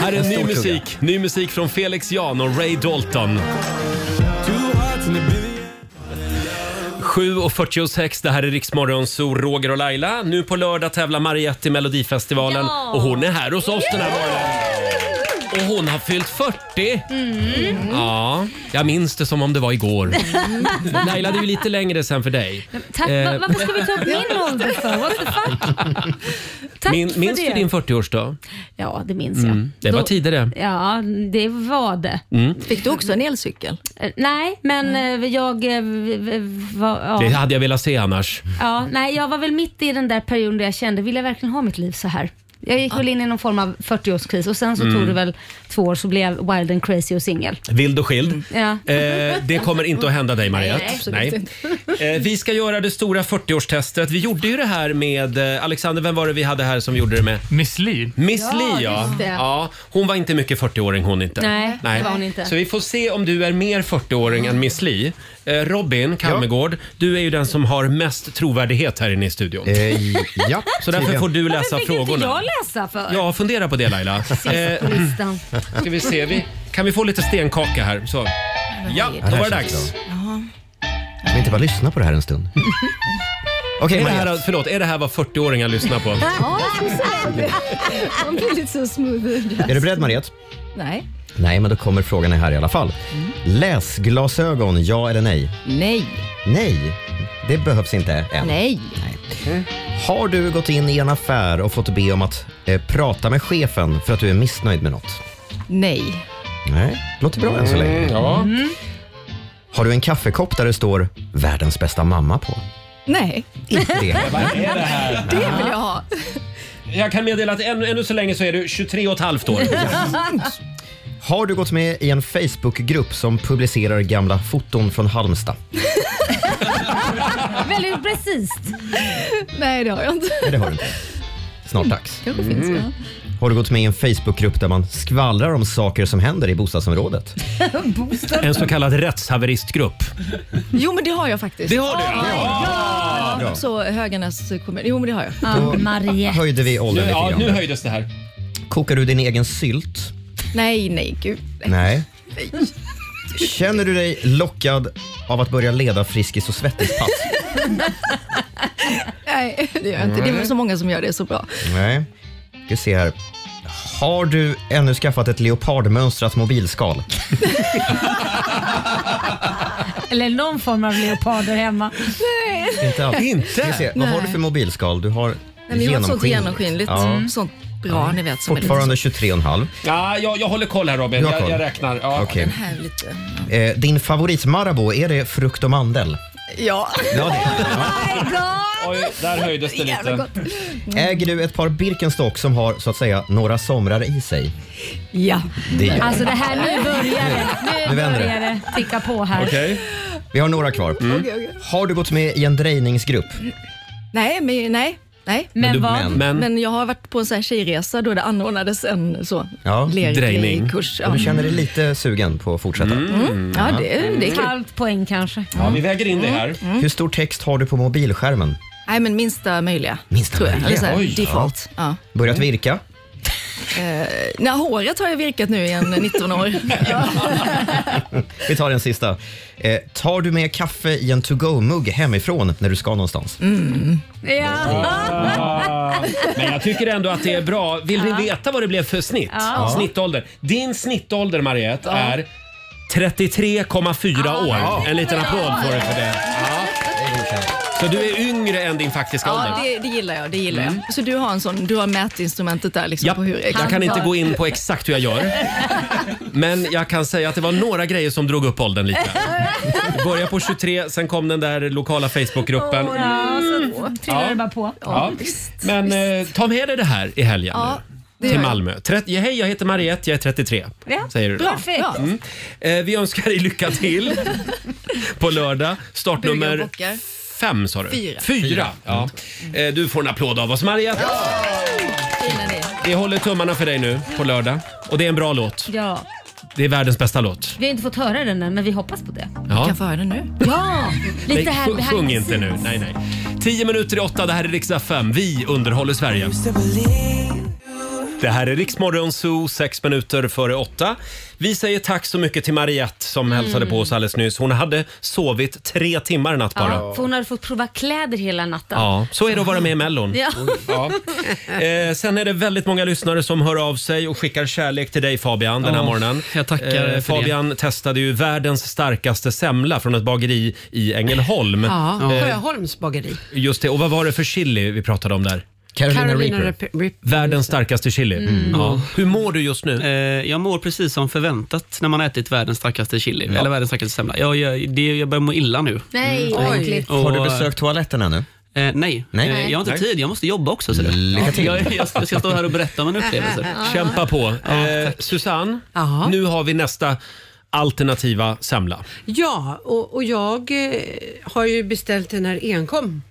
Speaker 1: Här är ny musik. Ny musik från Felix Jan och Ray Dalton. 7.46, det här är Riksmorgon, så Roger och Laila. Nu på lördag tävlar Mariette i Melodifestivalen
Speaker 6: Ja.
Speaker 1: och hon är här hos oss den här morgonen. Och hon har fyllt 40!
Speaker 5: Mm.
Speaker 1: Ja, jag minns det som om det var igår. Laila, det är ju lite längre sen för dig.
Speaker 5: Tack,
Speaker 1: Eh,
Speaker 5: va, varför ska vi ta upp min ålder för? What the fuck? Tack
Speaker 1: min,
Speaker 5: för
Speaker 1: minns
Speaker 5: det.
Speaker 1: du din 40-årsdag?
Speaker 5: Ja, det minns jag.
Speaker 1: Mm. Det var
Speaker 5: Då-
Speaker 1: tidigare.
Speaker 5: Ja, det var det.
Speaker 1: Mm.
Speaker 15: Fick du också en elcykel?
Speaker 5: Nej, men eh, jag eh, v- v- var... Ja.
Speaker 1: Det hade jag velat se annars.
Speaker 5: Ja, nej, jag var väl mitt i den där perioden där jag kände, vill jag verkligen ha mitt liv så här? Jag gick väl in i någon form av 40-årskris och sen så
Speaker 1: Mm.
Speaker 5: tog det väl två år så blev jag wild and crazy och singel.
Speaker 1: Vild och skild.
Speaker 5: Ja.
Speaker 1: Eh, det kommer inte att hända dig Mariette.
Speaker 5: Nej, absolut
Speaker 1: Eh, vi ska göra det stora 40-årstestet. Vi gjorde ju det här med, eh, Alexander, vem var det vi hade här som gjorde det med? Miss Li. Miss
Speaker 5: Ja,
Speaker 1: Li ja.
Speaker 5: just det.
Speaker 1: ja. Hon var inte mycket 40-åring hon inte.
Speaker 5: Nej, det var hon inte.
Speaker 1: Så vi får se om du är mer 40-åring än Miss Li. Eh, Robin Kalmegård, du är ju den som har mest trovärdighet här inne i studion.
Speaker 2: Eh, ja,
Speaker 1: Så därför
Speaker 2: tydligen.
Speaker 1: får du läsa
Speaker 5: Inte
Speaker 1: frågorna.
Speaker 5: jag läsa för.
Speaker 1: Ja, fundera på det Laila.
Speaker 5: Sist på
Speaker 1: Eh,
Speaker 5: listan.
Speaker 1: Ska vi se, vi, kan vi få lite stenkaka här? Så. Ja, då var det dags.
Speaker 2: Kan vi inte bara lyssna på det här en stund? Okej,
Speaker 1: är det
Speaker 2: Maria.
Speaker 1: här, förlåt, är det här vad 40-åringar lyssnar på?
Speaker 15: Ja, jag skulle säga det. Man blir lite så smooth
Speaker 2: Är du beredd Mariette?
Speaker 15: Nej.
Speaker 2: Nej, men då kommer frågan här i alla fall. Läsglasögon, ja eller nej?
Speaker 15: Mm. Nej.
Speaker 2: Nej, det behövs inte än.
Speaker 15: Nej.
Speaker 2: Har du gått in i en affär och fått be om att eh, prata med chefen för att du är missnöjd med något?
Speaker 15: Nej.
Speaker 2: Nej, låter bra än så länge.
Speaker 1: Mm, ja.
Speaker 2: Har du en kaffekopp där det står “Världens bästa mamma” på?
Speaker 15: Nej.
Speaker 2: Inte det.
Speaker 1: Vad är det här?
Speaker 15: Det vill jag ha.
Speaker 1: Jag kan meddela att ännu, ännu så länge så är du 23 och ett halvt år.
Speaker 2: Har du gått med i en Facebookgrupp som publicerar gamla foton från Halmstad?
Speaker 5: Väldigt precis.
Speaker 15: Nej, det har jag inte.
Speaker 2: Nej, det har du inte. Snart dags.
Speaker 1: Mm.
Speaker 15: Kanske finns, ja.
Speaker 2: Har du gått med i en Facebookgrupp där man skvallrar om saker som händer i bostadsområdet?
Speaker 15: Bostad.
Speaker 1: kallad rättshaveristgrupp.
Speaker 15: Jo, men det har jag faktiskt.
Speaker 1: Det har du?
Speaker 15: Ja, ja.
Speaker 2: Bra.
Speaker 15: Så Höganäs kommun. Jo, men det har jag.
Speaker 2: Då höjde vi åldern
Speaker 1: Nu-
Speaker 2: lite
Speaker 1: ja,
Speaker 2: grann.
Speaker 1: nu höjdes det här.
Speaker 2: Kokar du din egen sylt?
Speaker 15: Nej, nej, gud.
Speaker 2: Nej.
Speaker 15: Nej.
Speaker 2: Känner du dig lockad av att börja leda Friskis och Svettis-pass?
Speaker 15: nej, det gör jag inte. Det är väl så många som gör det så bra.
Speaker 2: Nej. Ska se här. Har du ännu skaffat ett leopardmönstrat mobilskal?
Speaker 5: Eller någon form av leoparder hemma.
Speaker 15: Nej.
Speaker 2: Inte alls. Ska se, vad har du
Speaker 15: Nej.
Speaker 2: för mobilskal? Du har
Speaker 15: Nej, men jag har ett sånt
Speaker 2: genomskinligt.
Speaker 15: genomskinligt.
Speaker 2: Ja.
Speaker 15: Mm. Sånt bra, ni vet. Som är lite
Speaker 2: Fortfarande 23,5.
Speaker 1: Ja, jag, jag håller koll här Robin.
Speaker 2: Du har
Speaker 1: Jag,
Speaker 2: koll?
Speaker 1: jag räknar. Ja.
Speaker 2: Okej. Den
Speaker 15: här lite.
Speaker 2: Eh, din favorit Marabou, är det frukt och mandel?
Speaker 15: Ja.
Speaker 2: Ja, det.
Speaker 1: Oj, där höjdes det
Speaker 15: Jävla
Speaker 1: lite.
Speaker 15: gott. Mm.
Speaker 2: Äger du ett par Birkenstock som har så att säga några somrar i sig?
Speaker 5: Ja.
Speaker 2: Det gör jag.
Speaker 5: Alltså det här, nu börjar det. Nu
Speaker 2: Nu vänder det.
Speaker 5: börjar det ticka på här.
Speaker 2: Vi har några kvar.
Speaker 15: Mm. Okej, okej. Mm.
Speaker 2: Har du gått med i en drejningsgrupp?
Speaker 15: Nej, men nej. Nej.
Speaker 2: Men Men du- vad? men- men-
Speaker 15: Men, jag har varit på en sån här tjejresa då det anordnades en så
Speaker 2: Ja.
Speaker 15: ler- lerkurs.
Speaker 2: Och du känner dig lite sugen på att fortsätta?
Speaker 15: Mm. Ja, det, det är
Speaker 5: Ett
Speaker 15: kul. Mm.
Speaker 5: halvt poäng kanske.
Speaker 1: Ja, vi väger in det här.
Speaker 2: Hur stor text har du på mobilskärmen?
Speaker 15: Nej, men minsta möjliga.
Speaker 2: Minsta
Speaker 15: tror jag.
Speaker 2: möjliga.
Speaker 15: Eller så här,
Speaker 2: Oj.
Speaker 15: default. Ja.
Speaker 2: Börjat virka?
Speaker 15: Eh, nej, håret har jag virkat nu i en 19 år. Ja.
Speaker 2: Vi tar den sista. Eh, tar du med kaffe i en to-go-mugg hemifrån när du ska någonstans?
Speaker 15: Mm.
Speaker 1: Ja. Men jag tycker ändå att det är bra. Vill
Speaker 5: Ja.
Speaker 1: vi veta vad det blev för snitt?
Speaker 5: Ja.
Speaker 1: Snittålder. Din snittålder Mariette
Speaker 5: Ja. Ah.
Speaker 1: är 33,4 år. En liten applåd får du för det. Ja. Så du är yngre än din faktiska ålder.
Speaker 15: Ja, det, det gillar jag. Det gillar
Speaker 1: Mm.
Speaker 15: jag. Så du har, en sån, du har mätinstrumentet där liksom
Speaker 1: Ja,
Speaker 15: på hur
Speaker 1: jag kan inte gå in på exakt hur jag gör. Men jag kan säga att det var några grejer som drog upp åldern lite. Började på 23, sen kom den där lokala Facebookgruppen.
Speaker 5: Ja, så trillar
Speaker 1: Ja.
Speaker 5: det bara på.
Speaker 1: Ja. Men eh, ta med dig det här i helgen
Speaker 5: Ja,
Speaker 1: nu.
Speaker 5: det gör
Speaker 1: Till
Speaker 5: jag.
Speaker 1: Malmö. Trett- ja, hej, jag heter Mariette, jag är 33.
Speaker 5: Ja,
Speaker 1: Säger du.
Speaker 5: bra, Perfekt. bra.
Speaker 1: Mm. Eh, vi önskar dig lycka till på lördag. Startnummer fem sa du?
Speaker 15: Fyra.
Speaker 1: Fyra. Ja. Eh, du får en applåd av oss Mariette. Vi håller tummarna för dig nu på lördag. Och det är en bra låt.
Speaker 5: Ja.
Speaker 1: Det är världens bästa låt.
Speaker 5: Vi har inte fått höra den än, men vi hoppas på det.
Speaker 1: Ja. Vi kan
Speaker 15: få höra den nu.
Speaker 5: Ja, lite
Speaker 1: Nej,
Speaker 5: här
Speaker 1: sjung-
Speaker 5: behind
Speaker 1: Sjung
Speaker 5: the
Speaker 1: inte nu.
Speaker 5: scenes.
Speaker 1: Nej, nej. Tio minuter i åtta, det här är riks FM. Vi underhåller Sverige. Det här är Riksmorgon Zoo, sex minuter före åtta. Vi säger tack så mycket till Mariette som
Speaker 5: Mm.
Speaker 1: hälsade på oss alldeles nyss. Hon hade sovit tre timmar i natt bara.
Speaker 5: Ja, för hon hade fått prova kläder hela natten.
Speaker 1: Ja, så är det att vara med i Mellon.
Speaker 5: Ja.
Speaker 1: Ja. Eh, sen är det väldigt många lyssnare som hör av sig och skickar kärlek till dig Fabian den här
Speaker 9: Ja,
Speaker 1: morgonen. Eh,
Speaker 9: jag tackar för det.
Speaker 1: Fabian testade ju världens starkaste semla från ett bageri i Ängelholm.
Speaker 7: Ja,
Speaker 1: Eh,
Speaker 7: Sjöholms bageri.
Speaker 1: Just det, och vad var det för chili vi pratade om där?
Speaker 7: Reaper. Rip-
Speaker 1: Världens starkaste chili.
Speaker 7: Mm.
Speaker 1: Ja. Hur mår du just nu?
Speaker 9: Eh, Jag mår precis som förväntat när man har ätit världens starkaste chili, eller världens starkaste semla. Jag, jag, det, jag börjar må illa nu.
Speaker 5: Nej,
Speaker 9: Mm.
Speaker 5: vad äckligt.
Speaker 2: Har du besökt toaletten ännu?
Speaker 9: Eh, nej.
Speaker 2: Nej.
Speaker 9: Eh, jag har inte
Speaker 2: Nej.
Speaker 9: tid. Jag måste jobba också. Så det.
Speaker 2: Lycka till.
Speaker 9: Jag, jag, jag ska stå här och berätta om en upplevelse.
Speaker 1: Kämpa på. eh, Susanne, nu har vi nästa alternativa semla.
Speaker 7: Ja, och, och jag eh, har ju beställt den här enkom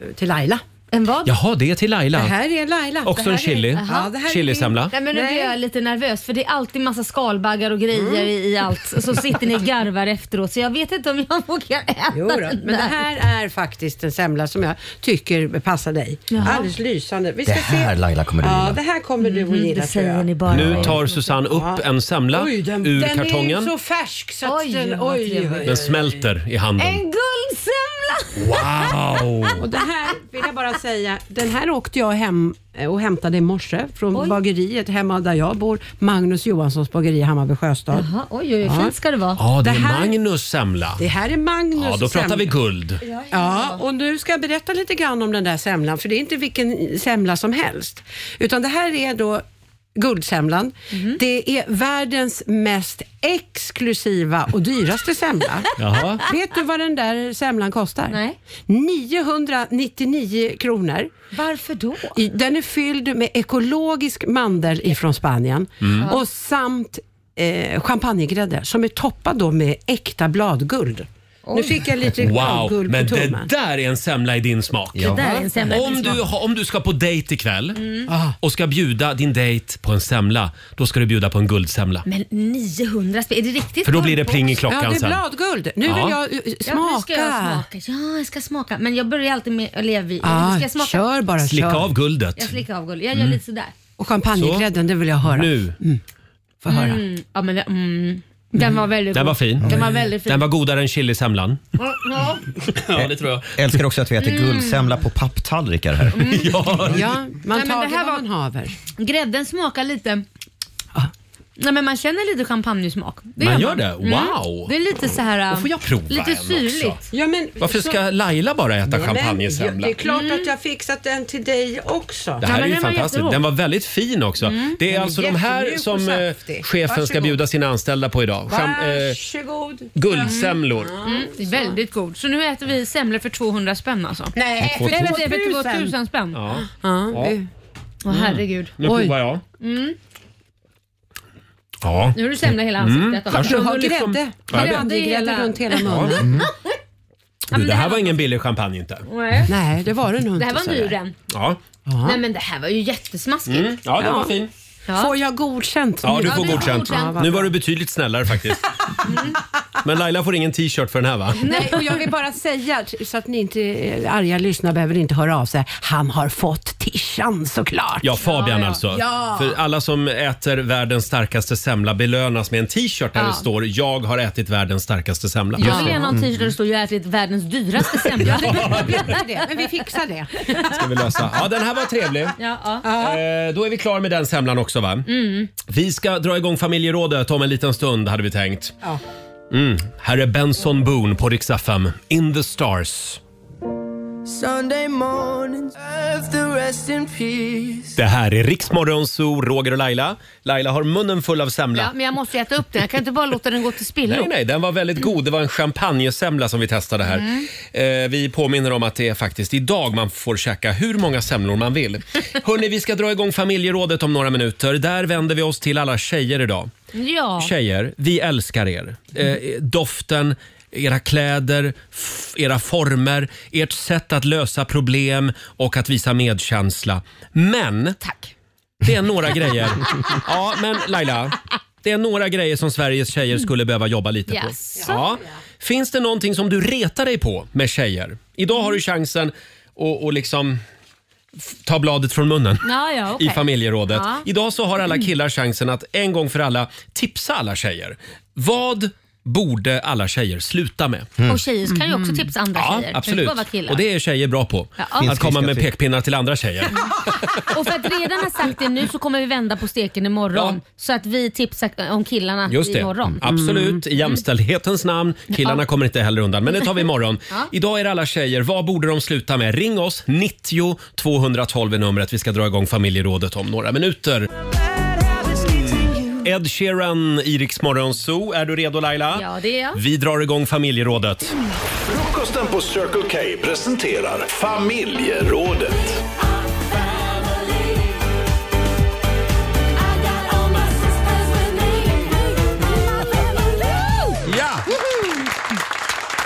Speaker 7: eh, till Laila.
Speaker 5: En vad?
Speaker 1: Jaha, det är till Laila.
Speaker 7: Det här är Laila.
Speaker 1: Också
Speaker 7: Det här
Speaker 1: en chili.
Speaker 7: Är, ja, det här är
Speaker 1: Chilisemla.
Speaker 7: min-
Speaker 5: Nej, men nu blir jag lite nervös för det är alltid massa skalbaggar och grejer
Speaker 7: Mm.
Speaker 5: i i allt. Så sitter ni och garvar efteråt så jag vet inte om jag vågar äta
Speaker 7: Jo då,
Speaker 5: den
Speaker 7: men det här är faktiskt en semla som jag tycker passar dig.
Speaker 5: Jaha.
Speaker 7: Alldeles lysande. Vi
Speaker 1: Det här, Laila, kommer du
Speaker 7: ja,
Speaker 1: gilla.
Speaker 7: Ja, det här kommer du att gilla
Speaker 5: Mm, det
Speaker 7: tror
Speaker 5: säger
Speaker 7: jag.
Speaker 5: ni bara.
Speaker 1: Nu tar Susanne upp en semla
Speaker 7: Oj, den,
Speaker 1: ur
Speaker 7: den är
Speaker 1: kartongen.
Speaker 7: ju så färsk så att
Speaker 5: Oj,
Speaker 7: den...
Speaker 5: vad
Speaker 7: Oj, oj,
Speaker 5: trevligt.
Speaker 7: oj.
Speaker 1: Den smälter i handen.
Speaker 5: En guldsemla!
Speaker 1: Wow!
Speaker 7: Och det här vill jag bara säga, den här åkte jag hem eh, och hämtade i morse från bageriet hemma där jag bor. Magnus Johanssons bageri i Hammarby Sjöstad.
Speaker 5: Jaha, oj, oj, oj,
Speaker 7: Ja.
Speaker 5: fint ska det vara.
Speaker 1: Ja, det
Speaker 7: Det
Speaker 1: är
Speaker 7: här-
Speaker 1: Magnus semla.
Speaker 7: Det här är Magnus
Speaker 1: Ja, då pratar
Speaker 7: semla.
Speaker 1: vi guld.
Speaker 7: Ja, och nu ska jag berätta lite grann om den där semlan, för det är inte vilken semla som helst. Utan det här är då guldsemlan.
Speaker 5: Mhm.
Speaker 7: Det är världens mest exklusiva och dyraste semla.
Speaker 14: Jaha.
Speaker 7: Vet du vad den där semlan kostar?
Speaker 5: Nej.
Speaker 7: 999 kronor.
Speaker 5: Varför då?
Speaker 7: I- Den är fylld med ekologisk mandel ifrån Spanien
Speaker 14: Mm.
Speaker 7: och samt eh, champagnegrädde som är toppad då med äkta bladguld. Nu fick jag lite
Speaker 1: Wow,
Speaker 7: guldgull
Speaker 1: men
Speaker 7: på
Speaker 1: det
Speaker 7: tummen.
Speaker 1: där är en semla i din smak.
Speaker 7: Det där är en semla i din
Speaker 1: om, du,
Speaker 7: smak.
Speaker 1: har- om du ska på dejt ikväll Ah.
Speaker 5: Mm.
Speaker 1: och ska bjuda din dejt på en semla, då ska du bjuda på en guldsemla.
Speaker 5: Men 900 spänn, är det riktigt?
Speaker 1: För då blir det
Speaker 5: guldbox?
Speaker 1: pling i klockan Ja, det är sen.
Speaker 7: bladguld.
Speaker 1: Nu vill
Speaker 7: jag, uh,
Speaker 5: Ja, nu ska jag
Speaker 7: smaka.
Speaker 5: smaka. Ja, jag ska smaka. Men jag börjar alltid med Levi.
Speaker 7: Ja,
Speaker 5: ska jag smaka?
Speaker 7: kör bara,
Speaker 1: Slicka av guldet.
Speaker 5: Jag slickar av guld. Jag gör
Speaker 1: Mm.
Speaker 5: lite sådär.
Speaker 7: Och champagnegrädden, det vill jag höra.
Speaker 1: Nu.
Speaker 7: Få höra.
Speaker 5: Mm. Ja, men, det- mm. Den var väldigt
Speaker 1: Den
Speaker 5: god.
Speaker 1: var fin.
Speaker 5: Den var väldigt fin.
Speaker 1: Den var godare än chilisemlan.
Speaker 5: Ja.
Speaker 9: Ja, det tror jag.
Speaker 2: Älskar också att vi äter
Speaker 5: Mm.
Speaker 2: guldsemla på papptallrikar här.
Speaker 15: Mm.
Speaker 1: Ja.
Speaker 7: Ja, man
Speaker 5: men
Speaker 7: tar
Speaker 5: det
Speaker 7: det
Speaker 5: här
Speaker 7: vad
Speaker 5: var-
Speaker 7: man haver.
Speaker 5: Grädden smakar lite...
Speaker 7: Ah.
Speaker 5: Nej, men man känner lite champagnesmak.
Speaker 1: Man gör det? Wow.
Speaker 5: Mm. Det är lite så här... um,
Speaker 1: Då får jag prova
Speaker 5: Lite
Speaker 1: en också.
Speaker 5: syrligt.
Speaker 7: Ja, men,
Speaker 1: Varför ska Laila bara äta
Speaker 7: Mm. Men,
Speaker 1: champagnesemla?
Speaker 7: Det är klart att
Speaker 5: Mm.
Speaker 7: jag fixat den till dig också.
Speaker 1: Det här är ju fantastiskt. Den var väldigt fin också.
Speaker 7: Mm.
Speaker 1: Det är
Speaker 7: Den är
Speaker 1: alltså de här
Speaker 7: jättemjuk
Speaker 1: som
Speaker 7: och
Speaker 1: eh,
Speaker 7: saftig.
Speaker 1: chefen ska
Speaker 7: Varsågod.
Speaker 1: bjuda sina anställda på idag. Cham- eh,
Speaker 7: Varsågod.
Speaker 1: guldsemlor.
Speaker 5: Mm, det är väldigt god. Så nu äter vi semlor för 200 spänn alltså?
Speaker 7: Nej,
Speaker 1: för
Speaker 5: Nej, men det är
Speaker 7: 2000.
Speaker 5: för 2000 spänn.
Speaker 1: Ja.
Speaker 5: Ja.
Speaker 1: Ja.
Speaker 5: det- Åh
Speaker 1: Mm.
Speaker 5: herregud.
Speaker 1: Nu provar jag.
Speaker 5: Mm.
Speaker 1: Ja.
Speaker 5: Nu har du semla i hela ansiktet.
Speaker 1: Mm.
Speaker 5: också.
Speaker 1: Jag
Speaker 7: har
Speaker 5: Och liksom-
Speaker 7: grädde.
Speaker 1: Ja, jag vet.
Speaker 5: Grädde i hela-
Speaker 7: runt hela munnen.
Speaker 1: Ja. Du, det här var ingen billig champagne inte.
Speaker 5: Nej.
Speaker 7: Nej, det var det nog
Speaker 5: Det
Speaker 7: inte.
Speaker 5: här var en
Speaker 7: sådär.
Speaker 5: dyr den.
Speaker 1: Ja.
Speaker 5: Nej men det här var ju jättesmaskigt.
Speaker 1: Mm. Ja, den var fin.
Speaker 7: Får jag godkänt?
Speaker 1: Ja, du
Speaker 5: Ja, Mm.
Speaker 1: får
Speaker 5: du får
Speaker 1: godkänt.
Speaker 5: godkänt.
Speaker 1: Nu var du betydligt snällare faktiskt. Men Laila får ingen t-shirt för den här va?
Speaker 7: Nej, och jag vill bara säga så att ni inte eh, arga lyssnare behöver inte höra av sig. Han har fått tishan såklart.
Speaker 1: Ja, Fabian alltså.
Speaker 7: Ja.
Speaker 1: För alla som äter världens starkaste semla belönas med en t-shirt där
Speaker 5: Ja.
Speaker 1: det står “Jag har ätit världens starkaste semla”.
Speaker 5: Jag vill
Speaker 1: Mm.
Speaker 5: gärna ha en t-shirt där det står “Jag har ätit världens dyraste semla”.
Speaker 7: Men vi fixar det.
Speaker 1: Ska vi lösa. Ja, den här var trevlig.
Speaker 5: Ja, ja.
Speaker 1: Eh, då är vi klara med den semlan också va?
Speaker 5: Mm.
Speaker 1: Vi ska dra igång familjerådet om en liten stund hade vi tänkt. Mm. Här är Benson Boone på Rix FM. In the stars.
Speaker 14: Sunday mornings after rest in peace.
Speaker 1: Det här är Riksmorgon Zoo, Roger och Laila. Laila har munnen full av semla.
Speaker 5: ja, men jag måste äta upp den. Jag kan inte bara låta den gå till spillo.
Speaker 1: Nej, nej, den var väldigt god. Det var en champagnesemla som vi testade här. Eh, vi påminner om att det är faktiskt idag man får käka hur många semlor man vill. Hörni, vi ska dra igång familjerådet om några minuter. Där vänder vi oss till alla tjejer idag.
Speaker 5: Ja.
Speaker 1: Tjejer, vi älskar er. Eh, doften, era kläder, f- era former, ert sätt att lösa problem och att visa medkänsla. Men...
Speaker 5: Tack.
Speaker 1: Det är några grejer. Ja, men Laila. Det är några grejer som Sveriges tjejer skulle behöva jobba lite på.
Speaker 5: Yes.
Speaker 1: Ja. Finns det någonting som du retar dig på med tjejer? Idag har du chansen att, att liksom f- ta bladet från munnen
Speaker 5: Ja, ja, okej.
Speaker 1: i familjerådet.
Speaker 5: Ja.
Speaker 1: Idag så har alla killar chansen att en gång för alla tipsa alla tjejer. Vad borde alla tjejer sluta med?
Speaker 5: Mm. Och tjejer kan ju också tipsa andra
Speaker 1: Mm. Ja,
Speaker 5: tjejer. Det
Speaker 1: absolut.
Speaker 5: behöver vara killar.
Speaker 1: Och det är tjejer bra på.
Speaker 5: Ja.
Speaker 1: Att komma med pekpinnar till andra tjejer.
Speaker 5: Och för att redan ha sagt det nu så kommer vi vända på steken imorgon. Så att vi tipsar om killarna
Speaker 1: Just det. Mm.
Speaker 5: imorgon. Mm.
Speaker 1: Absolut, i jämställdhetens namn. Killarna
Speaker 5: Ja.
Speaker 1: kommer inte heller undan, men det tar vi imorgon.
Speaker 5: Ja.
Speaker 1: Idag är det alla tjejer. Vad borde de sluta med? Ring oss, 90 212 är numret. Vi ska dra igång familjerådet om några minuter. Ed Sheeran, Iriks Zoo. Är du redo Laila?
Speaker 5: Ja, det är jag.
Speaker 1: Vi drar igång familjerådet.
Speaker 4: Frukosten på Circle K presenterar Familjerådet.
Speaker 1: Ja!